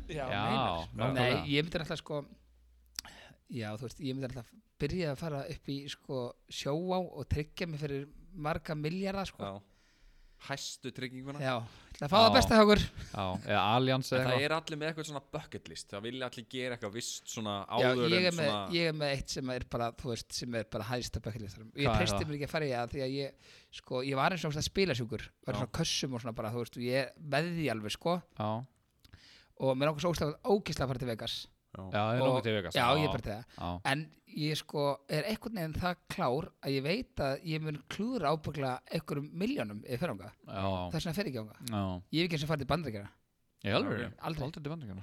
A: Já,
B: Nei,
A: nákvæmlega
B: ég myndi alltaf sko Já, þú veist, ég myndi alltaf byrja að fara upp í sko, sjóá og tryggja mig fyrir marga miljardar sko.
C: Já. hæstu trygginguna
B: Já, ætla að fá það
A: Já.
B: besta hjá okkur
A: Já, eða Allianz
C: En
A: eða
C: það
A: eitthvað
C: er allir með eitthvað svona bucket list það vilja allir gera eitthvað vist svona
B: Já,
C: áður
B: ég
C: en
B: er, með,
C: svona
B: ég er með eitt sem er bara, þú veist, sem er bara hæðist að bæklistarum. Ég
A: Hvað er
B: treysti
A: það?
B: mér ekki að fara í það því að ég, sko, ég var eins og það spilasjúkur, var
C: Já.
B: svona kössum og svona bara, þú veist, og ég veði alveg, sko,
A: Já,
B: og mér langar svo ógeðslega- ógeðslega að fara til Vegas.
A: já, það er
B: Og-
A: langar til Vegas
B: Já, ég er bara til það.
A: Já,
B: En ég sko er einhvern veginn það klár að ég veit að ég mun klúðra ábyggla einhverjum miljónum ef ég fer ánga.
A: já,
B: Þess vegna fer ég ekki ánga.
A: já
B: Ég hef ekki eins og farið til bandaríkjara.
A: Ég alveg
C: Ok.
B: Aldrei.
A: Aldrei til bandingarna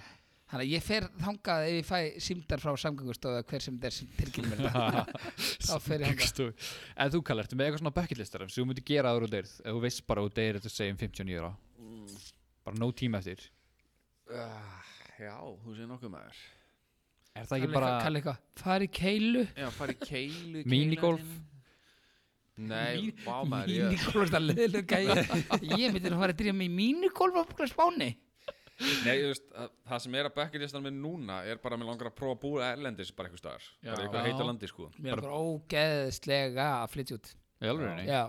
B: Þannig að ég fer þangað ef ég fæ símdar frá samgöngustofu eða hver sem þetta er sem tilkynir mér þetta. Þá fer ég þangað.
A: En þú kallar, ertu með eitthvað svona bucket listar sem þú myndir gera áður og deyrð ef þú veist bara að þú deyrð þetta um segjum 59 ára bara no tíma eftir
C: Ah, já, þú sé nokkuð maður
A: Er það ekki bara
B: Kalli eitthvað, fari keilu.
C: Já, fara í keilu
A: Mínigolf.
C: keila- Nei, vá maður ég,
B: Mínigolf er það leðilega gæði. Ég myndi nú fara að drýja mig í mínigolf á okkur spáni.
C: Nei, þú veist, að- það sem er að bucket listan minn núna er bara að mér langar að prófa að búa erlendis bara eitthvað staðar,
A: Já.
C: bara eitthvað
B: Já.
C: heita landi sko
B: Mér er bara ógeðslega að flytja út.
A: Í alveg,
B: Já.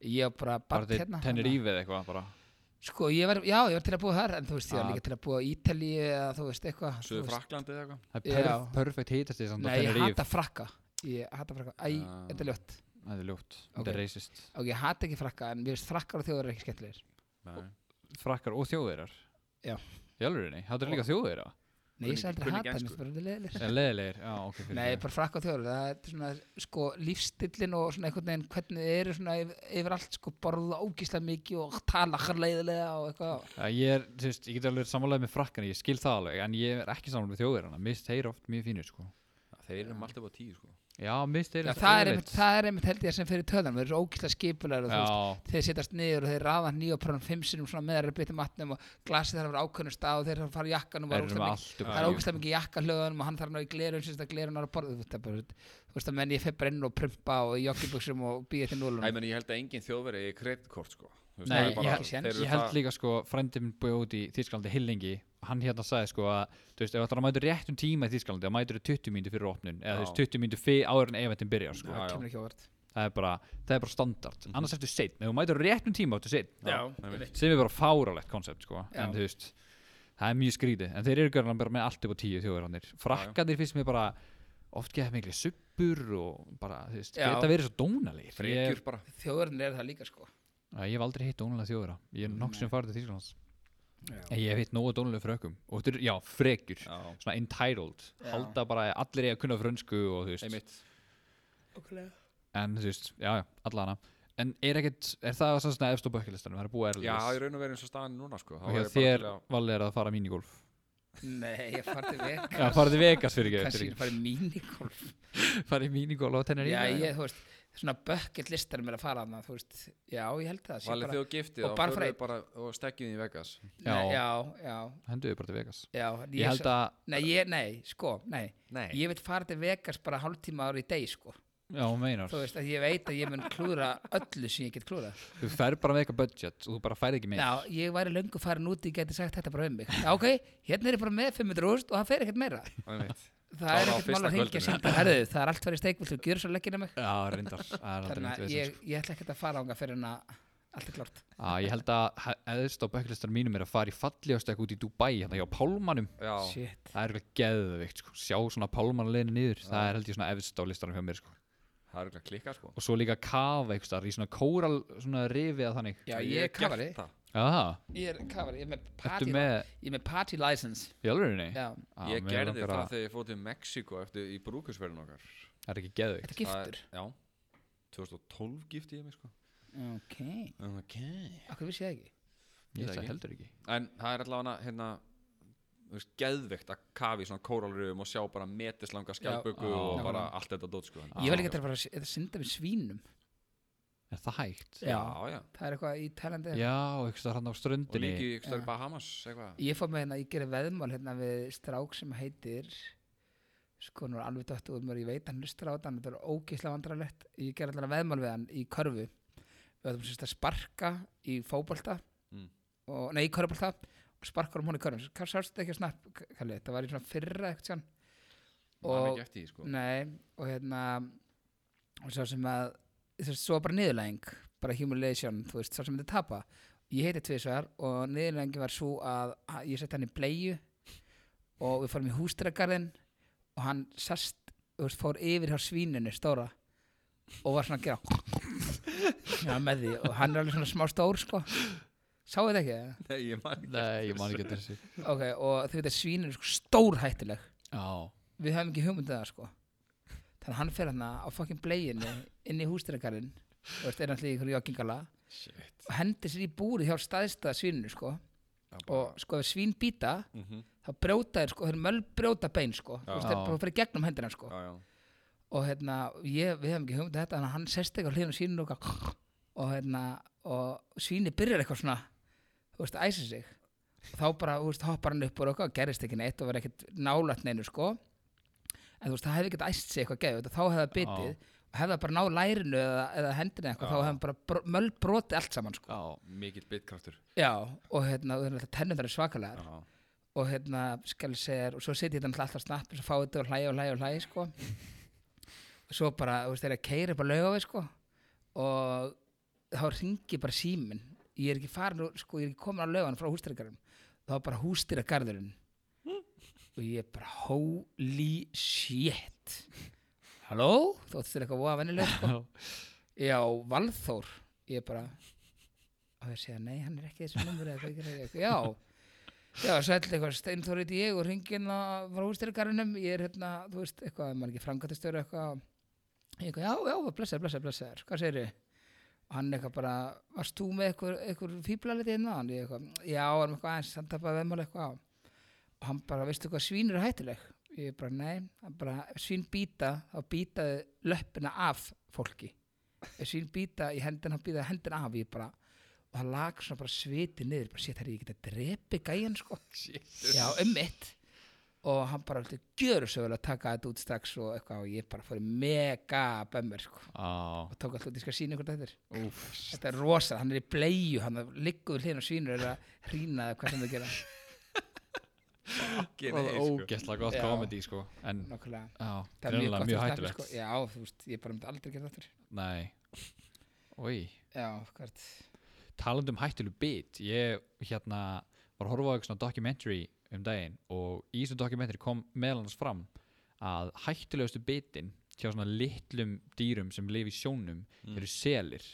B: Ég var bara
A: bara
B: barn
A: til
B: hérna.
A: Tenerife eða eitthvað bara
B: Sko, ég var, já, ég var til að búa þar, en þú veist, ég var
A: Ah.
B: líka til að búa á Ítalíu eða þú veist, eitthvað. þú
C: Suður
B: veist.
C: Fraklandi eða eitthvað
A: Það er
B: Já.
A: perf- perfect hitast því samt á
B: Nei, ég
A: Tenerife
B: hata frakka. Ég hata frakka. Æ,
C: Ah.
B: þetta er ljótt.
A: Það er ljótt, þetta
B: Ok.
A: er racist
B: Ok, ég hata ekki frakka, en mér finnst frakkar og þjóðar ekki skemmtilegir.
C: Nei.
A: Frakkar og þjóðeirar
B: Já.
A: Í alveg, það er líka þjóðeira
B: Nei, ég
C: Kunni-
B: sagði aldrei
C: kunni
B: hata, mér
C: gænsku.
B: finnst bara þetta leðilegir.
A: Eða leðilegir, já, ok fyrir
B: Nei,
A: ekki.
B: bara frakka og þjóðar, það er svona, sko, lífstillin og svona einhvern veginn, hvernig þið eru svona yfir, yfir allt, sko, borða ógíslega mikið og tala harleiðilega og eitthvað.
A: Já, Ég er, þú veist, ég get alveg samanlega með frakkana, ég skil það alveg, en ég er ekki samanlega með þjóðverðana, mist þeir eru oft mjög fínir, sko.
C: Þeir eru um alltaf á tíu sko
A: Já, mist þeir
B: Já, það er einmitt, það er einmitt held ég sem fyrir töðan, þeir eru ógíslega skipulegar og þú veist,
A: Já,
B: þeir setjast niður og þeir raða nýja og pröfum fimm sinnum svona með þeir að byrja matnum og glasið þarf að vera ákveðnum stað og þeir þarf að fara í jakkan
A: þeir
B: og var
A: eru með
B: ógstlega mikið
A: allt upp
B: það er
A: í-
B: ógstlega mikið jakka hlöðunum og hann þarf að ná í glerun sérst að glerun er að borða þú veist, það er bara- þú veist að menn ég febr inn og prumpa og í joggibuxum og býja til
C: Æ,
B: núlunum
C: menn, ég held að engin þjóðveri er kreditkort sko Þú veist,
A: Nei,
C: það er bara-
B: ég- ekki séns.
C: þeir eru
A: Ég held
C: það-
A: líka, sko, frændi minn búið út í Þýskalandi Hillingi, hann hérna sagði, sko, að, þú veist, ef það mætur réttum tíma í Þýskalandi, þá mætur 20 mínútur fyrir opnun, eða þú
C: Já.
A: veist, 20 mínútur fyrir áður en eventin byrjar, sko.
C: Já, Mhm. já.
B: kemur ekki óvart
A: Það er bara, það er bara standard. Annars ertu seinn, ef þú mætur á réttum tíma, ertu seinn.
C: Nei, mitt.
A: sem er bara fáralegt koncept sko.
B: Já.
A: en þú veist, það er mjög skrítið en þeir eru görðan bara með allt upp á tíu þjóðurannir frakkanir finnst mér bara oft geða miklu suppur og bara þú veist,
B: Já.
A: geta verið svo dónalegir ég,
C: Frekjur bara
B: þjóðurinn er það líka sko
A: að ég hef aldrei hitt dónalega þjóðura ég er nokk sem farið til Þýskalands
B: Já.
A: en ég hef hitt nógu dónalega frökkum og þetta er, já, frekjur
C: Já,
A: svona entitled,
B: Já.
A: halda bara að allir eiga að kunna frönsku og þú veist
C: einmitt
A: en þú veist, já, já, alla hana en er ekkert, er það svo svona efst á bökkilistanum, það er búið
C: Já, í
A: erlis
C: raun og verið eins og staðan er núna sko Þá
A: og
C: er
A: hjá
C: ég bara
A: þér
C: til að-
A: valið er að fara mínigolf
B: nei ég farði
A: Já,
B: vekast
A: farið til Vegas fyrir ekki,
B: kannski ég farði mínigolf
A: farið í mínigól á Tenerife
B: já
A: eða
B: ég þú veist svona bucket listar mér að fara þarna þú veist já ég held það sé
C: Valið
B: bara-
C: þjóð giftið
B: og bara
C: förum
B: fara
C: við
B: einn.
C: bara og stekkið í Vegas
A: Já.
B: Nei, já já
A: eitthvað. hendur við bara til Vegas
B: já
A: ég held að
B: nei ég nei sko nei
C: Nei
B: ég vil fara til Vegas bara hálftíma ári í deg sko
A: já, hún meinar,
B: þú veist að ég veit að ég mun klúra öllu sem ég get klúra
A: þú fer bara með eitthvað budget og þú bara færð ekki meir
B: Já, ég væri löngu farin út ég geti sagt þetta bara um mig Já, ok, hérna er ég bara með 500 rúst og það fer ekkert meira
C: Einmitt.
B: Það
C: Klára
B: er
C: á
B: ekkert
C: fyrsta
B: mál að hringja
C: kvöldinu.
B: samt að herðu það er allt farið í steik, viltu gjöra svo leggina mig
A: já, reyndar það er aldrei
B: Þannig
A: neitt
B: að
A: vesen,
B: ég, ég ætla ekkert að fara ánga fyrir en að allt er klart
A: sko. Já, ég held að he- eðst á bökklistar mínum er að fara í fallegast eitthvað út í Dubai hérna hjá Pálmanum
C: Já
B: Shit,
A: það er eitthvað geðveikt sko. sjá svona Pálmanleginu niður það er held ég svona eðst á listanum hjá mér sko.
C: Það er ekki að klikka sko
A: og svo líka kafa eitthvað staðar í svona kóral svona rifi að þannig
B: já, ég er
C: hef gert
B: kafari
C: það.
A: Aha,
B: Ég er kafari, ég er með
A: ertu
B: party,
A: með
B: ég er með party license
A: í alvegurinni?
B: Já,
C: Ég gerði það þegar ég fór til Mexiko eftir í brúkusverðin okkar
A: Það er ekki geðveikt
B: þetta er
C: Það
B: giftur
C: er- Já 2012 gifti ég mig sko
B: Ok,
C: Ok
B: okkur vissi ég það ekki
A: Ég
C: Ég
A: það
C: ekki.
A: heldur ekki
C: En það er allavega hérna Þú veist, geðveikt að kafi í svona kóralröfum og sjá bara metislanga skjálpöku
A: Já.
C: og
A: Já.
C: bara allt þetta dót sko
A: Já.
B: Ég var líka til að fara að s- að synda með svínum
A: Er það hægt?
C: Já,
B: Já,
C: já
B: það er eitthvað í Tælandi
A: Já, eitthvað staðar hann á
C: Og
A: ströndinni
C: líki í
B: Já.
C: störi Bahamas eitthvað
B: Ég fór með hérna, ég gerði veðmál hérna við strák sem heitir sko nú er alveg dött úr mér, ég veit hann hlustar á þetta, hann þetta er ógeðslega vandrarlegt ég gerði allavega veðmál við hann í körfu við höfum sérst að sparka í fótbolta
C: Mm.
B: og, nei í körfubolta og sparkar um hún í körfum, hvað sástu þetta ekki að snapp Kalli, það var í svona fyrra eitthvað sján
C: það er
B: og
C: ekki eftir því sko
B: Nei, og hérna og svo sem að svo, svo bara niðurlæging, bara humiliation þú veist, svo sem þetta tapa ég heiti tvisvar og niðurlægingin var svo að að ég sett hann í bleiu og við fórum í hústrækarðin og hann sest, þú veist, fór yfir hjá svíninu stóra og var svona að gera Já, með því, og hann er alveg svona smá stór sko, sáu þetta ekki eða?
C: Nei, ég man ekki
A: Nei,
C: eftir
A: ég man ekki
C: þessu.
A: eftir þessu
B: ok, og þú veit að svíninu er sko stór hættileg
A: Já,
B: við höfum ekki hugmyndið það sko þannig að hann fer hann á fucking bleginu inn í hústyrkarinn og veist, er hann í ykkur joggingala
C: Shit
B: og hendir sér í búri hjá staðstæða svíninu sko og sko ef svín býta
C: mm -hmm.
B: þá brjóta þeir sko, þeir möll brjóta bein sko þú
C: Já.
B: veist, þeir bara fyrir gegnum hendina sko
C: Já, já
B: og hérna, ég, við hefum ekki hugmyndið þetta þannig að hann sest ekki á hliðinu svíninu og, eitthvað og hérna, og svíni byrjar eitthvað svona, þú veist, æsir sig og þá bara, þú veist, hoppar hann upp og eitthvað og gerist ekki neitt og verður ekkert nálætt neinu sko, en þú veist, það hefði ekkert æst sig eitthvað geðið, þá hefði það bitið og hefði það bara náð lærinu eða, eða hendinu eitthvað,
C: Já.
B: þá hefði hann bara bro, möll brotið allt saman sko,
A: já,
C: Mikill bitkraftur
B: já, og hérna, og hérna tennundar er svakalega
C: Já,
B: og hérna skal ég segja þér, og svo setja ég þetta náttúrulega alltaf snappi og fá þetta og hlæja og hlæja og hlæja sko. og svo bara þú veist, þeir eru að keira upp á laugafi sko. og þá ringi bara símin ég er ekki farin úr- sko, ég er ekki komin á laugan frá hústyrkarinn þá bara hústyrkargarðurinn og ég bara holy shit halló, þóttu þér eitthvað voða vennileg sko. já, Valþór ég bara og ég segja, nei, hann er ekki í þessu numur eða hvað gerir ég?" já Já, sæll eitthvað, Steinþór heiti ég og hringin að frá hústyrkarinnum, ég er hérna, þú veist, eitthvað, maður ekki framkvæmtastjóri eitthvað, ég eitthvað, já, já, blessaður, blessaður, blessaður, hvað segir Og hann eitthvað bara, varst þú með eitthvað, eitthvað fíblaliti hérna? Hann ég eitthvað, já, erum eitthvað aðeins, hann tappaði veðmáli eitthvað á. Og hann bara, veistu hvað, svín eru hættileg? Ég bara, nei, hann bara, ef svín býta, þá býtaði löppina af fólki. Ef svín býta í hendina, þá býtaði hendina af, ég bara, og það lag svona bara sviti niður, bara sétt, herri, ég geti að drepi gæjan, sko.
C: Jesus.
B: Já, um mitt og hann bara vilti gjöru svo vel að taka þetta út strax og eitthvað og ég bara fór í mega bömmur sko
A: já
B: og tók alltaf, ég skal sína ykkur þetta eftir Þetta er rosa, hann er í bleiu hann liggur hlýðin og svínur er að hrína eða hvað sem þau gera
C: Ekki
A: Það
C: nei,
A: var
C: sko.
A: ógeðslega gott
B: Já.
A: comedy sko En
B: Nákvæmlega,
A: já,
B: það er mjög
A: greinilega
B: gott
A: mjög
B: dæmi,
A: hættulegt
B: sko. Já, þú veist, ég bara myndi aldrei gera þetta eftir
A: Nei Í,
B: Já, hvert
A: talandi um hættuleg bit Ég hérna var að horfa á eitthvað svona documentary um daginn og í þessu documentary kom meðal hans fram að hættulegustu bitin hjá svona litlum dýrum sem lifi í sjónum eru selir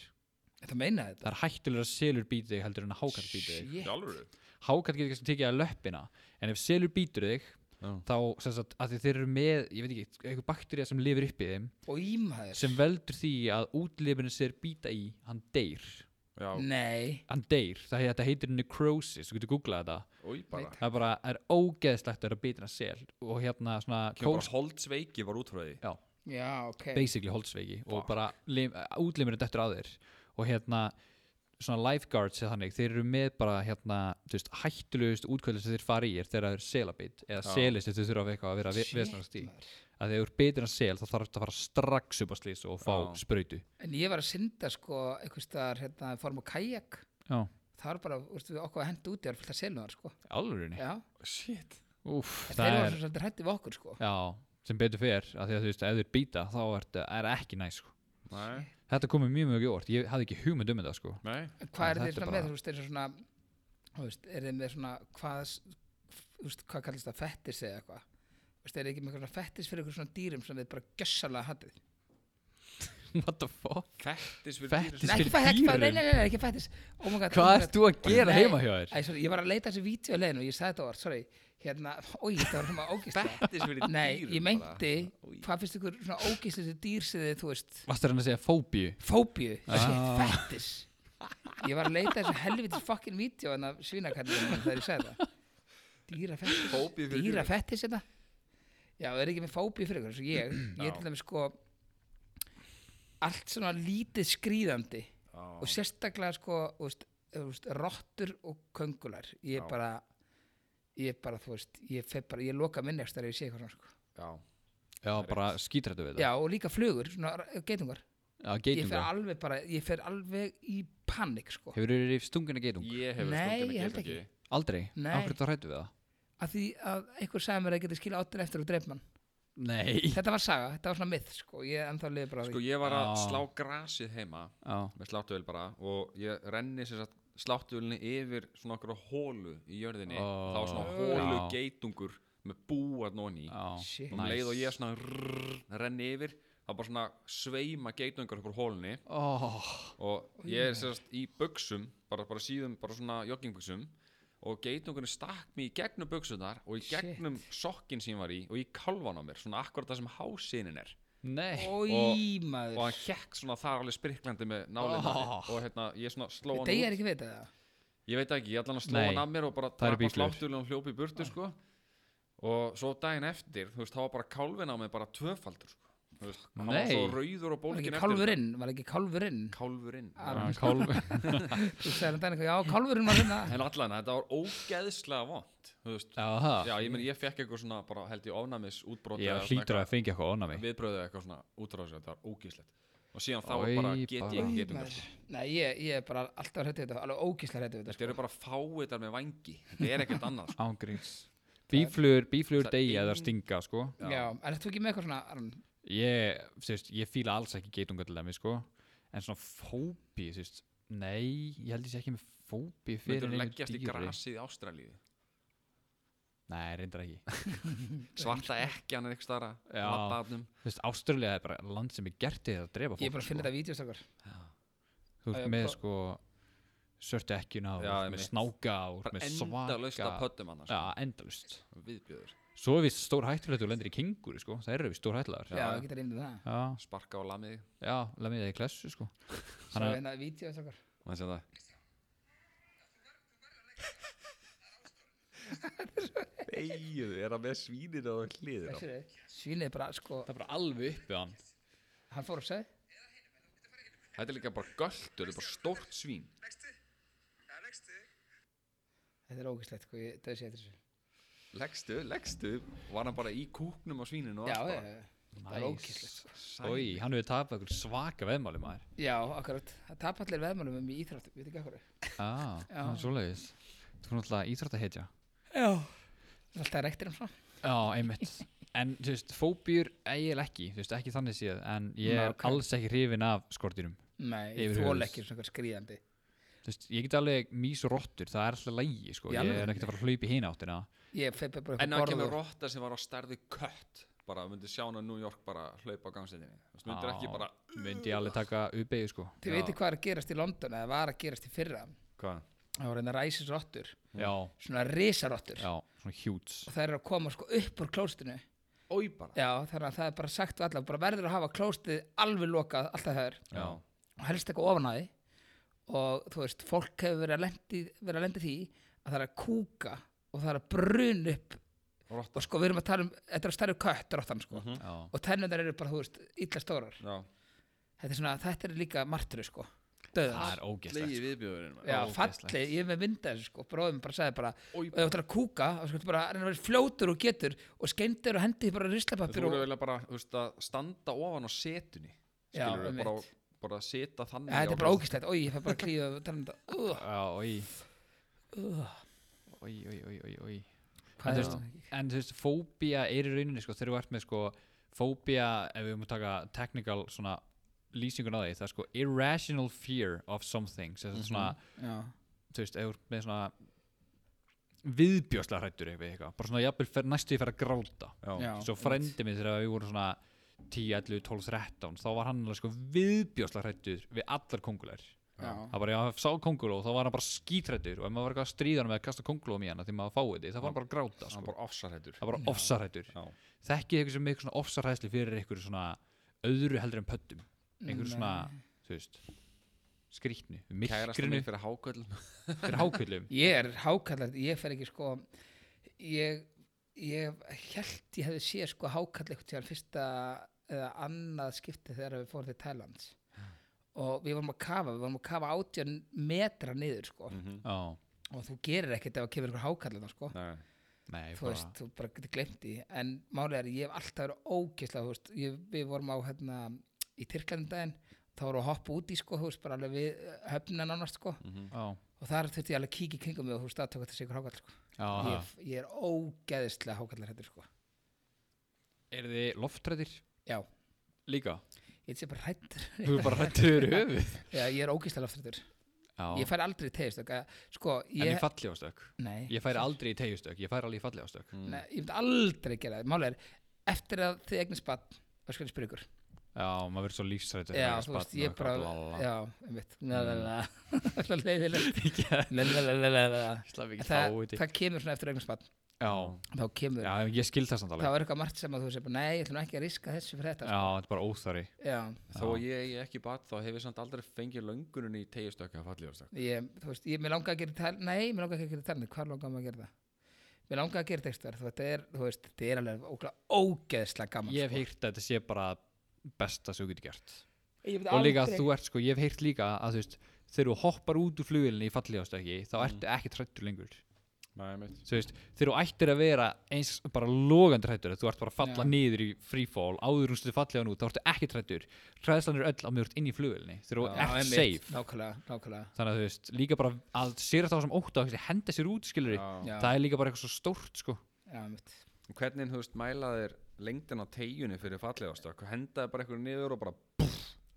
B: Þetta meina þetta
A: Það er hættulegur að selur býti þig heldur en að hákatt býti þig
B: Shit.
C: Sjálfur
A: hákatt getur kannski tekið að löppina en ef selur býtur þig
C: Já.
A: þá sem sagt að því þeir eru með ég veit ekki, eitthvað bakterja sem lifir upp í þeim
B: Og ímaður
A: sem veldur því að útlifinu sér býta í, hann deyr
C: Já,
B: Nei,
A: hann deyr, það hei, þetta heitir necrosis þú getur googlað þetta,
C: oi bara
A: það er bara það er ógeðslegt að vera býtina sel og hérna svona
C: Kjóra
A: kós,
C: holdsveiki var út frá því
A: já,
B: já, ok
A: basically holdsveiki og
C: Fuck.
A: bara lim, útlimurinn dettur að þér og hérna svona lifeguards eða þannig, þeir eru með bara hérna, þú veist, hættulegust útkvöldur sem þeir fara í er þegar þeir eru selabit eða
C: Já.
A: selist þeir þurfa eitthvað að vera
B: Shit,
A: vesnast í
B: maður.
A: að þegar þú eru betur en sel þá þarf þetta að fara strax upp á slís og fá
C: Já.
A: sprautu
B: En ég var að synda sko einhvers staðar hérna, fórum á kajak
A: já,
B: það var bara, þú veist, við okkur að henda út í það er fullt að selja sko
A: alvörinni
B: Já
C: Shit
A: Úf,
B: En þeir
A: það
B: eru
A: er,
B: svo svolítið hrættið við okkur sko
A: já, sem betur fer að því að þú veist, ef þeir býta þá er þetta er ekki næ sko.
C: Nei,
A: þetta komið mjög mjög óvart, ég hafði ekki hugmynd um þetta sko.
C: nei
B: En hvað
A: Þetta
B: er þeir
A: er
B: svona
A: bara-
B: með, þú veist, eins og svona þú veist, er þeir með svona hvað, þú veist, hvað kallist það fettis eða eitthvað Þú veist, er þeir ekki með eitthvað svona fettis fyrir eitthvað svona dýrum sem þeir bara gjössalega hatið
A: what the fuck,
C: Fettis fyrir
A: Fettis
C: dýrasel.
B: Nei, ekki
A: fyrir
B: fettis, nei,
A: dýrum?
B: nei, nei, nei, ekki fettis oh my God,
A: hvað
B: oh my
A: ert
B: God.
A: þú að gera
B: Nei,
A: heima hjá þér
B: Æ, sorry, ég var að leita þessu vídeo að leiðinu og ég sagði þetta orð, sorry Hérna, ói, þetta var svona ógist
C: Fettis fyrir dýrum
B: Nei, ég meinti,
C: bara. Oj.
B: hvað finnst ykkur svona ógist þessu dýr sem þið, þú veist
A: varst það að segja fóbíu
B: fóbíu,
A: Ah.
B: shit, fettis ég var að leita þessu helvitis fucking vídeo en að svínakallinu þegar ég sagði það dýra fettis
C: Fóbíu fyrir
B: dýra
C: dýrum.
B: fettis þetta já, það er ekki með fóbíu fyrir ykkur eins og ég, ég er til dæmis sko allt svona lítið skrýðandi
C: Já.
B: og sérstaklega sko þú veist, þú veist, rottur og köngular ég
C: Já.
B: er bara ég er bara, þú veist, ég, fer bara, ég loka minni eftir að ég sé eitthvað svona sko.
C: Já,
A: já, bara skítrættu við
B: já,
A: þetta
B: og líka flugur, svona geitungar
A: já,
B: ég fer
A: geitunga,
B: alveg bara, ég fer alveg í panik sko,
A: hefur þú verið stungin að geitung
C: ég hefur
B: Nei,
C: stungið
B: ég held
C: með
B: ekki.
C: geitaki
A: aldrei,
B: Nei.
A: af hverju þú hrættu við það
B: af því að einhver sagði mér að geta skila áttin eftir og dreif mann
A: Nei
B: Þetta var saga, þetta var svona myth sko, ég er ennþá liði bara á
C: Sko
B: því
C: ég var að
A: Já.
C: slá grasið heima
A: Já,
C: með sláttuvel bara og ég renni sem sagt sláttuvelni yfir svona okkur hólu í jörðinni
A: Ó.
C: þá var svona
A: Já.
C: hólu geitungur með búað nóni
A: já
B: Shit.
C: og um leið og ég svona rrrr, renni yfir þá bara svona sveima geitungur upp úr hólunni
A: Ó,
C: og ég er sem sagt í buksum bara, bara síðum, bara svona joggingbuksum og geitungurinn stakk mig í gegnum buksunar og í
B: Shit.
C: gegnum sokkin sem ég var í og í kalvan á mér, svona akkurat það sem hásinin er
A: nei
B: Ói
C: og hann
B: maður
C: hekk svona þar alveg spriklandi með nálinni
A: Oh.
C: og hérna, ég svona sló hann
B: Þetta ég
C: út
B: er ekki veit að það
C: ég veit ekki, ég allan að sló
A: Nei.
C: hann af mér og bara
A: Það eru
C: drapa
A: býflugur.
C: sláttulega og hljópi í burtu sko. og svo daginn eftir þú veist, þá var bara kálfin á mig bara tvöfaldur sko. Þú veist, hann var
A: Nei.
C: svo rauður og
B: Var
C: bólgin
B: ekki
C: eftir þetta.
B: kálfurinn, var ekki kálfurinn
C: kálfurinn
B: Ar-
A: Já, Ah, Kálf
B: Þú segir hann dæni eitthvað, já kálfurinn var hérna
C: en allan, þetta var ógeðslega vond þú veist,
A: Já, það
C: já, ég meni, ég fekk eitthvað svona bara held ég ofnæmis útbrot
A: Ah. Ég hlýtur að fengja eitthvað onna mig
C: viðbröðu eitthvað svona útráðs þetta var ógeðslegt og síðan þá
A: Oj,
C: bara get ég
A: bara.
C: ekki um
B: Ói,
C: getungar
B: maður.
A: sko.
B: Nei, ég, ég er bara alltaf hrættu þetta, alveg ógíslega hrættu þetta
C: sko.
B: sko.
C: þetta eru bara fáiðar með vangi þetta er ekkert annað sko.
A: Ángriðs Bíflugur, bíflugur
C: Það er
A: degja eða
C: ein-
A: stinga, sko
C: Já.
B: Já, en ertu ekki með eitthvað svona Aron?
A: Ég, þú veist, ég fíla alls ekki geitunga til dæmi, sko En svona fóbi, þú veist Nei, ég held ég sé ekki með fóbi fyrir
C: myndur
A: neinu
C: leggjast í
A: dýri.
C: grasið í Ástralíu
A: Nei, reyndar ekki
C: svarta ekkjan er eitthvað stara
A: Já. Þú veist, Ástralja er bara land sem er gert til að drepa fólk
B: Ég er bara að finna
A: sko.
B: þetta vídeostakar
A: Þú
B: Já,
A: veist
B: já,
A: með
B: bara-
A: sko Sörtu ekkjuna og
C: Já,
A: já, með
C: einmitt.
A: snáka og
C: bara
A: með
C: endalaust
A: svaka
C: að pöttum
B: sko.
C: hann
A: Já, endalust
C: viðbjöður,
A: Svo er við stór hættulegt og lendir í kenguru sko Það eru við stór hættulegar
B: Já, ég geta reyndið það
A: já,
C: sparka á lamið
A: já lemið það í klessu sko
B: Svo
A: Þannig að-
B: hérna vídeostakar
C: maður sé það Eyjuð, er það með svínir og hliðir á
B: Svínið bara, sko,
A: Það er bara alveg uppið hann
B: hann fór að segja
C: Þetta er líka bara göldur, þetta er bara stórt svín
B: Þetta er ógíslegt, sko, ég döði sér eftir þessu
C: Leggstu, leggstu Var hann bara í kúknum á svíninu og
B: Já,
A: sko.
C: allt
B: já,
C: bara?
B: já, það er ógíslegt
C: Sæl.
A: Í, hann hefur tapað einhver svaka veðmáli maður
B: Já, akkurat, það tap allir veðmálum um í íþróttum, við veit ekki akkur
A: Já,
B: Já.
A: það er Ah, svoleiðis Þú er náttúrulega íþrótt að hetja
B: Já Alltaf rektir hann frá
A: Já, einmitt En þú veist, fóbjur eiginlega ekki Þú veist, ekki þannig séð En ég
B: Nei,
A: er
B: ok.
A: alls ekki hrifin af skortinum
B: Nei, ég
A: Yfir
B: þól
A: höfuð.
B: ekki svona skrýðandi
A: Þú veist, ég get alveg mís og rottur Það er alltaf lægi, sko
B: Í
A: Ég
B: alvöru?
A: er ekkert að fara að hlaupa í hina áttina
B: Ég feg bara upp
C: En
B: á
C: það kemur
B: borðið.
C: rotta sem var á stærði kött Bara myndi sjá hann á New York bara hlaupa á gangstinni Myndir
A: Já,
C: ekki bara
A: Myndi ég alveg taka ubegi, sko
B: Þið
C: Já.
B: veitir hvað er að gerast í London eða var að gerast í fyrra
C: Hvað?
B: Það var reyna ræsisrottur,
A: Já,
B: svona risarottur
A: já, svona hjúts
B: og þær eru að koma sko upp úr klóstinu
C: Ói bara
B: Já, þannig að það er bara sagt við alla bara verður að hafa klóstið alveg lokað alltaf það er
C: Já.
B: og helst eitthvað ofan að því og þú veist, fólk hefur verið að lendi, verið að lendi því að það er að kúka og það er að brun upp
C: Rotta
B: og sko við erum að tala um, þetta er stærri kött rottan sko
C: Mhm.
A: Já,
B: og tennundar eru bara, þú veist, illa stórar
C: Já
B: þetta er svona, þetta er líka martru sko döðar
A: það er ógeðslegt sko.
C: Legi viðbjöðurinn
B: Já,
A: ógeðslegt.
B: falli, ég er með mynda þessu sko bróðum bara sagði bara,
C: Ói
B: og ef þú ætlar að kúka og sko bara reyna að vera fljótur og getur og skeindir og hendi því bara
C: Þú
B: rislapapir
C: eru
B: og
C: vel bara þú veist, að standa ofan á setunni
B: Já,
C: Skilur
B: einmitt.
C: bara, á- bara að seta þannig
B: Ja,
C: á
B: þetta er bara
C: glasið.
B: ógæstlegt, oi, ég fæ bara að klíða og tala um þetta uh,
A: Já, oi,
B: uh.
A: oi, oi, oi, oi, oi
B: Hvað
A: En þú
B: er
A: veist-
B: þetta?
A: En þú veist, fóbía er í rauninni, sko Þegar þú ert með, sko, fóbía Ef við erum að taka technical, svona lýsingun á því, það er sko irrational fear of something, sem mm
C: Mhm.
A: svona
B: Já,
A: þú veist, ef þú ert með svona viðbjóðslega hrættur eitthvað, eitthvað, bara svona jafnvel fer, næstu ég fer að gráta
B: já
A: svo frendi minn þegar við vorum svona 10, 11, 12, 13 þá var hann alveg sko viðbjóðslega hrættur við allar kongulær
B: Já,
A: það bara, já, sá konguló, þá var hann bara skítrættur og ef maður var eitthvað að stríða hann með að kasta kongulóm í hann því maður fáið því, það var hann bara að gráta
C: Hann
A: sko.
C: er bara ofsarhættur
A: það var bara ofsarrættur
C: Já.
A: þekkið eitthvað sem eitthvað svona ofsarræðsli fyrir eitthvað svona öðru heldur en pöttum eitthvað svona, þú veist skrýtnu,
C: Kærasta
A: myrkrinu
C: mín fyrir háköllum
A: fyrir hákvillum
B: Ég er hákallandi, ég fer ekki sko Ég, ég held ég hefði séð sko hákall eitthvað til fyrsta eða annað skipti þegar við fórum til Thailands og við vorum að kafa, við vorum að kafa átján metra niður sko
C: Mhm.
A: já,
B: og þú gerir ekkert ef að kemur eitthvað hákallandi sko
C: Nei.
A: nei,
B: þú
A: bara
B: veist, þú bara getur glemt því en málið er, að ég hef alltaf verið ógeðslega þú veist, ég, við vorum á hérna í Tyrklandum daginn, þá vorum við að hoppa út í sko, þú veist, bara alveg við höfnina nánast sko,
A: já,
B: og þar þurfti ég alveg að kíkja í kringum mig og þú veist, aðtöka þessi ykkur hákall sko.
A: já,
B: ég, ég er ógeðslega hákallar hættur sko
A: Er þið loftrættir
B: Já,
A: líka?
B: ég sé bara rættur
A: Þú eru bara rættur höfuð
B: Já, ég er ógíslega loftrættur
A: Já,
B: Ég fær aldrei tegistökk Sko,
A: en
B: ég
A: í fallífastök
B: Nei,
A: Ég færi aldrei í tegjustök, ég færi alveg í fallífastök
C: Mhm.
B: nei, ég myndi aldrei gera það Mála er, eftir að þið eignast bann Það skal ég spyrja ykkur
A: Já, maður verður svo lífsrættur
B: Já, þú veist, ég bara Já, einmitt
A: Mm.
B: Það er leiðilegt Lalalala.
A: Slaf
B: En
A: ekki þá
B: Það,
A: úti
B: það kemur svona eftir eignast bann
A: Já,
B: Þá kemur
A: já, ég skil það samt
B: Það
A: alveg
B: var eitthvað margt sem að þú segir bara, Nei, ég ætlum ekki að riska þessu
A: Já,
B: fyrir þetta sko.
A: þetta er bara óþari
B: Já,
C: Þó að ég eigi ekki bat þá hef ég samt aldrei fengið löngunin í tegjastökk að fallífastökk
B: ég, þú veist, ég, mér langaði að gera tal Nei, mér langaði ekki að gera talni, hvað langaði maður að gera það? Mér langaði að gera textar, þú veist, þetta er, þú veist, þetta er alveg ógla- ógeðslega gaman sko.
A: Ég hef heyrt að þetta sé bara besta sem þú getur gert
B: Ég myndi
A: Og líka að
B: aldrei-
A: þú ert sko, ég hef heyrt líka að þú veist Þegar þú hoppar út úr flugilni í fallífastöki Þá
B: Mm.
A: ertu ekki trættur lengur
C: Nei, mitt
A: Þú veist, þegar þú ættir að vera eins bara logandi trættur Þú ert bara að falla
B: Já.
A: niður í freefall Áður hún slið fallið hann út, þá ertu ekki trættur Hræðslan er öll að mjög út inn í flugilni Þegar þú
C: Já,
A: ert
C: einmitt.
A: safe
B: Nákvæmlega, nákvæmlega
A: þannig að þú veist, líka bara að sér þá sem ótt að henda sér út skilur
B: Já,
A: það er líka bara eitthvað svo stórt sko
B: já, mitt
C: Hvernig, þú veist, mæla þér lengdin á tegjunni fyrir fallífastökk Hendaði bara eitthvað niður og bara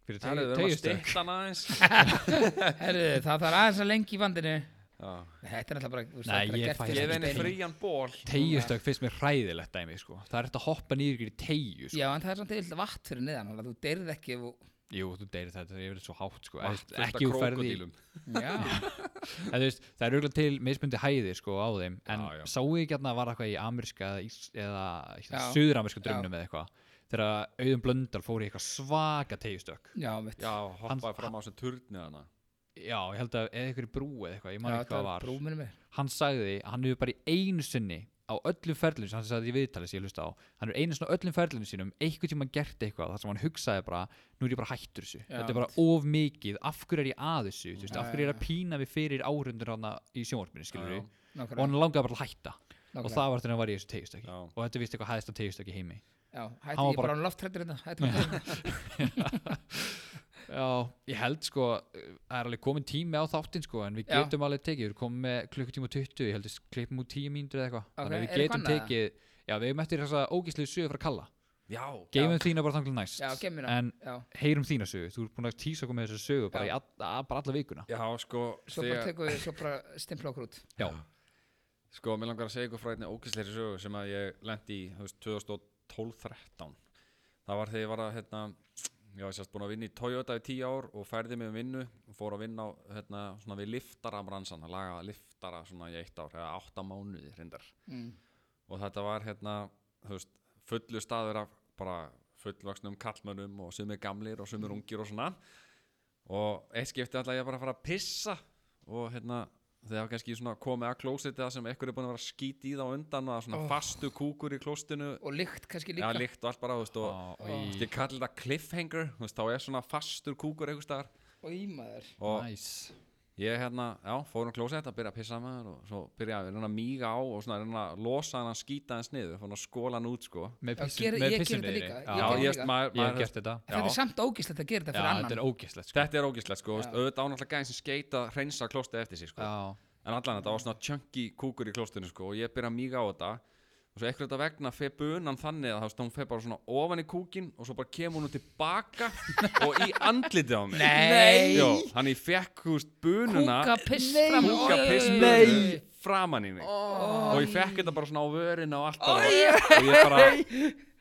A: fyrir
C: Herðu, við erum að
A: tegjustökk
C: stytta hann aðeins
B: Herru, það þarf aðeins að lengi í vandinu
C: Já.
B: Þetta er alltaf bara, þú veist,
A: Nei,
B: þetta er
A: ég
B: gert
A: fæ
B: fyrir
C: Gefa
A: ekki
C: henni
B: spilin.
C: frían ból
A: tegjustökk finnst mér hræðilegt dæmi sko það er þetta að hoppa nýður í tegju sko.
B: Já, en það er samt eitthvað vatt fyrir niðan þannig að Þú deyrið ekki ef þú
A: jú, þú deyrir þetta, það er yfirleitt svo hátt sko
C: Vatn
A: Vatn,
C: fullt af
A: ekki úr ferði
C: krókódílum.
A: Mm.
B: Já,
A: en, þú veist, það er auðvitað til mismundi hæðir sko á þeim en
C: Já, já.
A: sáu ekki hérna var eitthvað í amerska eða, ís- eða hérna,
B: Já.
A: suðuramerska
B: Já.
A: drömmum eða eitthvað þegar auðum blöndal fór í eitthvað svaka tegjustökk
B: já, mitt
C: Já, hoppaði
A: Hann-
C: fram á þessum turni hana
A: já, ég held að eða eitthvað í brú eða eitthvað, ég man ekki hvað var
B: brúminu mér
A: hann sagði að hann hefur bara í einu sinni á öllum ferlinu sem hann sagði í viðtali sem ég hlusta á hann hefur einu sinni á öllum ferlinu sínum einhvern tíma gert eitthvað þar sem hann hugsaði bara nú er ég bara hættur þessu,
B: Já.
A: þetta er bara of mikið af hverju er ég að þessu, þú veist,
B: Já,
A: af hverju er ég
B: já,
A: að pína mig fyrir áhrundur hana í sjónvarpinu skilur
C: Já, já.
A: við, og hann langaði bara að hætta og það var þegar hann var í þessu tegjustöki
C: Já.
A: og þetta er vist eitthvað hæðist að tegjustöki heimi
B: Já, hætti
A: Hann var
B: ég bara
A: bara-
B: án loftrættur hérna hætti mér fyrir þetta.
A: Já, ég held sko, uh, það er alveg komin tími á þáttinn sko, en við
B: Já.
A: getum alveg tekið, við erum komin með klukkutíma og 20, ég held við klippum út 10 mínútur eða eitthvað,
B: Ok,
A: þannig að
B: er
A: við getum
B: eitthvað annað
A: tekið, já, við hefum eftir þessa ógíslegu sögu frá Kalla,
C: Já,
A: geymum þína bara þannig næst,
B: Já, geymum hana.
A: en
B: Já,
A: heyrum þína sögu, þú ert búin að tísa okkur með þessa sögu bara,
B: Já.
A: í all, að, bara alla vikuna.
C: já sko
B: svo bara
C: þegar-
B: tekum við svo bara stimpla okkur út
A: Já,
C: Sko, mér langar að segja ykkur frá einni ókessleiri sögu sem að ég lendi í, þú veist, 2012-13. Það var þegar ég var að, hérna, ég var sérst búin að vinna í Toyota í tíu ár og færði mig um vinnu og fór að vinna á, hérna, svona við liftara bransan, að laga liftara svona í eitt ár, eða átta mánuði reyndar.
B: Mm.
C: Og þetta var, hérna, þú veist, fullu staður af bara fullvaksnum kallmönnum og sumir gamlir og sumir
B: Mm.
C: ungir og svona. Og eitt skipti alltaf ég bara að fara að pissa og, hérna, þegar kannski svona komið að klósiti það sem ekkur er búin að vera skít í það á undan og það er svona
B: Oh.
C: fastu kúkur í klóstinu
B: Og lykt kannski
C: ja,
B: líka
C: líkt og allt bara, þú veist og
A: Á,
C: þú veist,
A: í-
C: ég kalli þetta cliffhanger þú veist, þá er svona fastur kúkur einhvers staðar
B: Og ímaður
C: og
A: nice.
C: ég hérna, já, fór um klósiti að byrja að pissa maður og svo byrja að reyna að míga á og svona reyna að losa hann að skýta hans niður fór að skóla hann út, sko
A: Með
B: Já,
A: pissun-
B: geri-
A: með
B: ég geri
A: pissunni
B: þetta
A: þinni.
B: líka,
C: já,
A: Já,
B: gerði
C: ég
B: líka.
C: veist, maður,
A: ég hef
C: maður
A: gert þetta.
B: En Þetta
C: Já.
B: er samt ógíslegt að
A: Já,
B: gera þetta
A: þetta
B: fyrir annan
A: er ógíslegt sko.
C: þetta er ógislegt, sko, þú veist, auðvitað ánáttúrulega gæðin sem skeita að hreinsa klóstið eftir sig, sko
A: Já,
C: En allan þetta var svona chunky kúkur í klóstunni sko og ég byrja að míga á þetta og svo eitthvað þetta vegna feg bunan þannig að þú veist, hún feg bara svona ofan í kúkin og svo bara kemur hún tilbaka og í andlitið á mig
B: Nei.
C: Jó, þannig ég fekk húst bununa
B: Kúka piss fram
C: kúkapiss
B: Nei
C: framan í mig og ég fekk þetta bara svona á vörina og allt bara og ég bara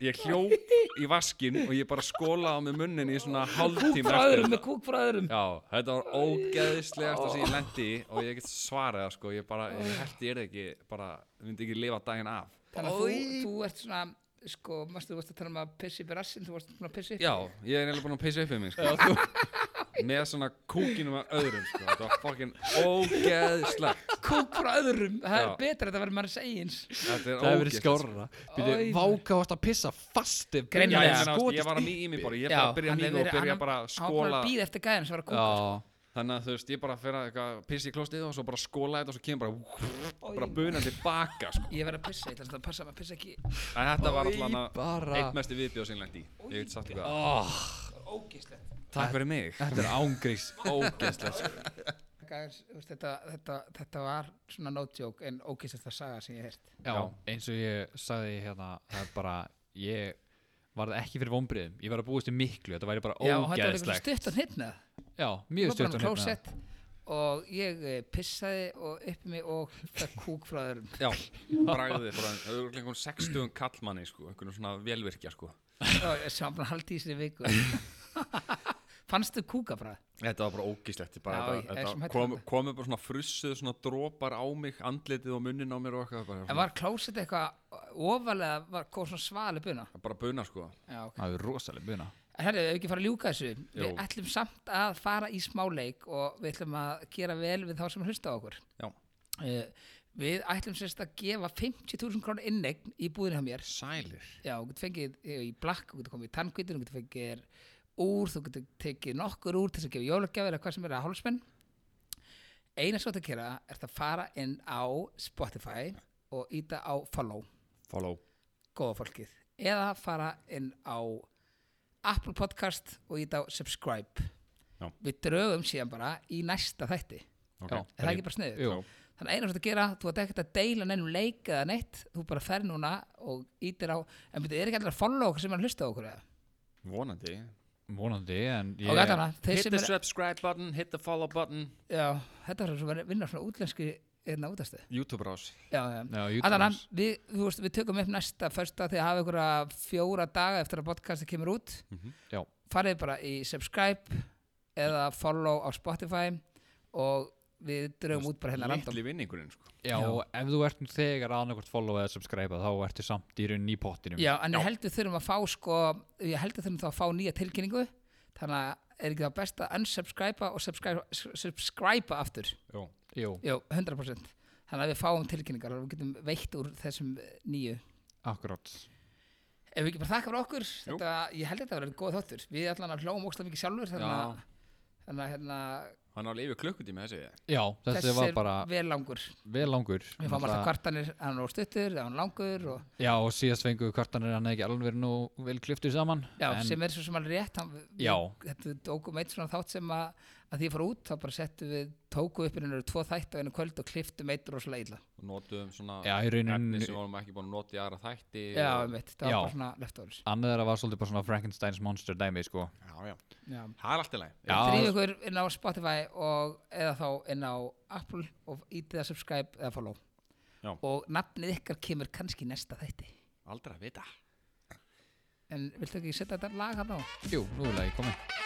C: ég hljóp í vaskin og ég bara skólaði á mig munnin í svona hálftíma
B: Bræðurum með kúk bræðurum
C: Já, þetta var ógeðislegast sem ég lendi í og ég get svarað það sko, ég bara, ég hætti ég er ekki, bara, myndi ekki lifa daginn af.
B: Þannig að þú- þú ert svona Sko, mástu þú varst að tala um að pissi upp í rassin Þú varst búin að pissi upp
C: Já, ég er eiginlega búin að pissa upp í mig sko. Já, með svona kúkinum af öðrum sko, þetta var fokkin ógeðislegt.
B: Kúk bræðurum Það er
C: Já.
B: betra að þetta verður maður segins
C: Þetta er
A: það hefur verið
C: ógeðislegt.
A: skárra. Býtu,
B: Oj.
A: váka ást að pissa
C: Já,
A: fastið.
C: ég,
B: Greinilega.
C: meina, þú veist, ég var að mýja í mig bara, ég bara byrja að mýja og byrja bara að skóla,
B: býð eftir gæðan sem var að kúka
C: sko.
A: Já,
C: þannig að þú veist, ég bara fyrir að eitthvað pissa í klostið og svo bara skóla þetta og svo kemur bara, bara bunan tilbaka sko.
B: Ég verð að pissa, ég ætla samt að passa maður pissa ekki
C: En þetta var
A: Oj,
C: allan að
A: bara.
C: eitt mestu viðbjóð sem ég lendi í, ég veit satt eitthvað.
B: Ah. Ógíslegt
C: Takk fyrir mig.
A: þetta er ángrís.
B: sko.
C: Ógeðslegt
B: þetta, þetta, þetta var svona no joke En ógíslegt að saga sem ég heirt
A: Já,
C: Já.
A: eins og ég sagði hérna, það er bara, ég varð ekki fyrir vonbriðum ég var að búast í miklu, þetta væri bara
B: Já, og þetta var eitthvað
A: ógeðslegt
B: stutt að hnitna
A: já,
B: Ég
A: mjög
B: var bara
A: stutt og
B: með
A: hnefna.
B: klósett og ég eh, pissaði og uppi mig og það kúk frá öðrum
C: Já, bragðið bara, það eru einhvern 60 kallmanni sko, einhvern svona velvirkja sko
B: Já, sem var bara haldið í sér viku Fannstu kúka frá
C: Þetta var bara ógíslegt bara
B: Já,
C: þetta-
B: ég- ég er svo
C: þetta
B: hræddur
C: kom,
B: um þetta.
C: komu bara svona frussuð svona dropar á mig, andlitið og munnin á mér og eitthvað bara,
B: En var klósett eitthvað ofalega var góð svona svali buna
C: bara buna sko
B: Já, ok
A: það er rosalega buna
B: En herri, við hefum ekki fara að ljúka þessu
C: Jú.
B: Við ætlum samt að fara í smáleik og við ætlum að gera vel við þá sem hlusta á okkur
C: Já.
B: Eh, Við ætlum sérst að gefa 50.000 krónu innegn í búðinu hjá mér
C: Sælir
B: Já, þú getur fengið eh, í blakk, þú getur komið í tannkvítur, þú getur fengið úr, þú getur tekið nokkur úr til þess að gefa jólagjafir eða hvað sem er að hálsmenn. Eina svo að gera er að fara inn á Spotify og íta á follow,
C: Follow
B: góða fólkið. Eða fara inn á Apple Podcast og íta á subscribe.
C: Já.
B: Við drögum síðan bara í næsta þætti.
C: okay.
B: Er það ekki bara sniðið?
A: Jú.
B: Þannig að eina sem þú gera, þú ert ekkert að deila neinum leik eða neitt, þú bara fer núna og ítir á, en betur, er ekki allir að follow okkur sem er að hlusta á okkur eða?
C: Vonandi
A: vonandi en
B: Yeah. Og gætana, þeir
C: Hit
B: sem
C: the
B: er,
C: subscribe button, hit the follow button
B: já, þetta er svo að vinna svona hérna útlenski einn á útastu.
C: YouTube rás
B: Já, já.
A: Já,
B: Allara,
A: YouTube-ás.
B: við, þú veist, við tökum upp næsta fyrsta þegar hafa ykkur að fjóra daga eftir að podcasti kemur út.
A: Já.
B: Farið bara í subscribe eða follow á Spotify og við drögum út bara hérna random.
C: Littli vinningurinn sko
A: Já, og ef þú ert nú þegar annarkvært follow eða subscribe þá ertu samt í rauninni í pottinum
B: Já, en ég held við þurfum að fá sko, ég held við þurfum þá að fá nýja tilkynningu, þannig að er ekki það best að unsubscriba og subscriba, subscriba aftur.
C: Jó
A: Jú,
B: Jú, 100%. Þannig að við fáum tilkynningar og við getum veitt úr þessum eh, nýju.
A: akkurát
B: Ef við ekki bara þakka fyrir okkur, þetta, ég held þetta að vera góð þáttur. Við allan að hlóum óslega mikið sjálfur, þannig að,
C: Já.
B: þannig að hérna,
C: Hann á lífi klukkutími þessi
A: Já,
B: þessi
A: þessi var bara
B: vel langur.
A: vel langur
B: Við fáum alltaf
A: Náttúrulega-
B: kvartanir, hann er á stuttur, eða hann er langur og
A: Já, og síðast fengu kvartanir hann ekki alveg verið nú vel kliftur saman
B: Já,
A: en,
B: sem er svo sem alveg rétt hann, við-
A: Já.
B: Þetta við tókum eitt svona þátt sem að, að því ég fór út, þá bara settum við tóku upp innur tvo þætt á einu kvöld og kliftum eitt rosalega illa.
C: Og notuðum svona
A: Já, í
C: efni
A: rauninni
C: sem vorum ekki búin að nota í aðra þætti
B: Já,
C: og-
B: einmitt, það var
A: Já.
B: bara svona leftovers.
A: Annað þeirra var svolítið bara svona Frankensteins monster dæmi sko
C: já, já
B: Já.
C: Það er allt í lagi
A: Já.
B: Drýðu ykkur inn á Spotify og eða þá inn á Apple og ítið að subscribe eða follow.
C: Já.
B: Og nafnið ykkar kemur kannski í næsta þætti.
C: Aldrei að vita
B: En viltu ekki setja þetta lag hann á?
A: Jú, nú er lagi komið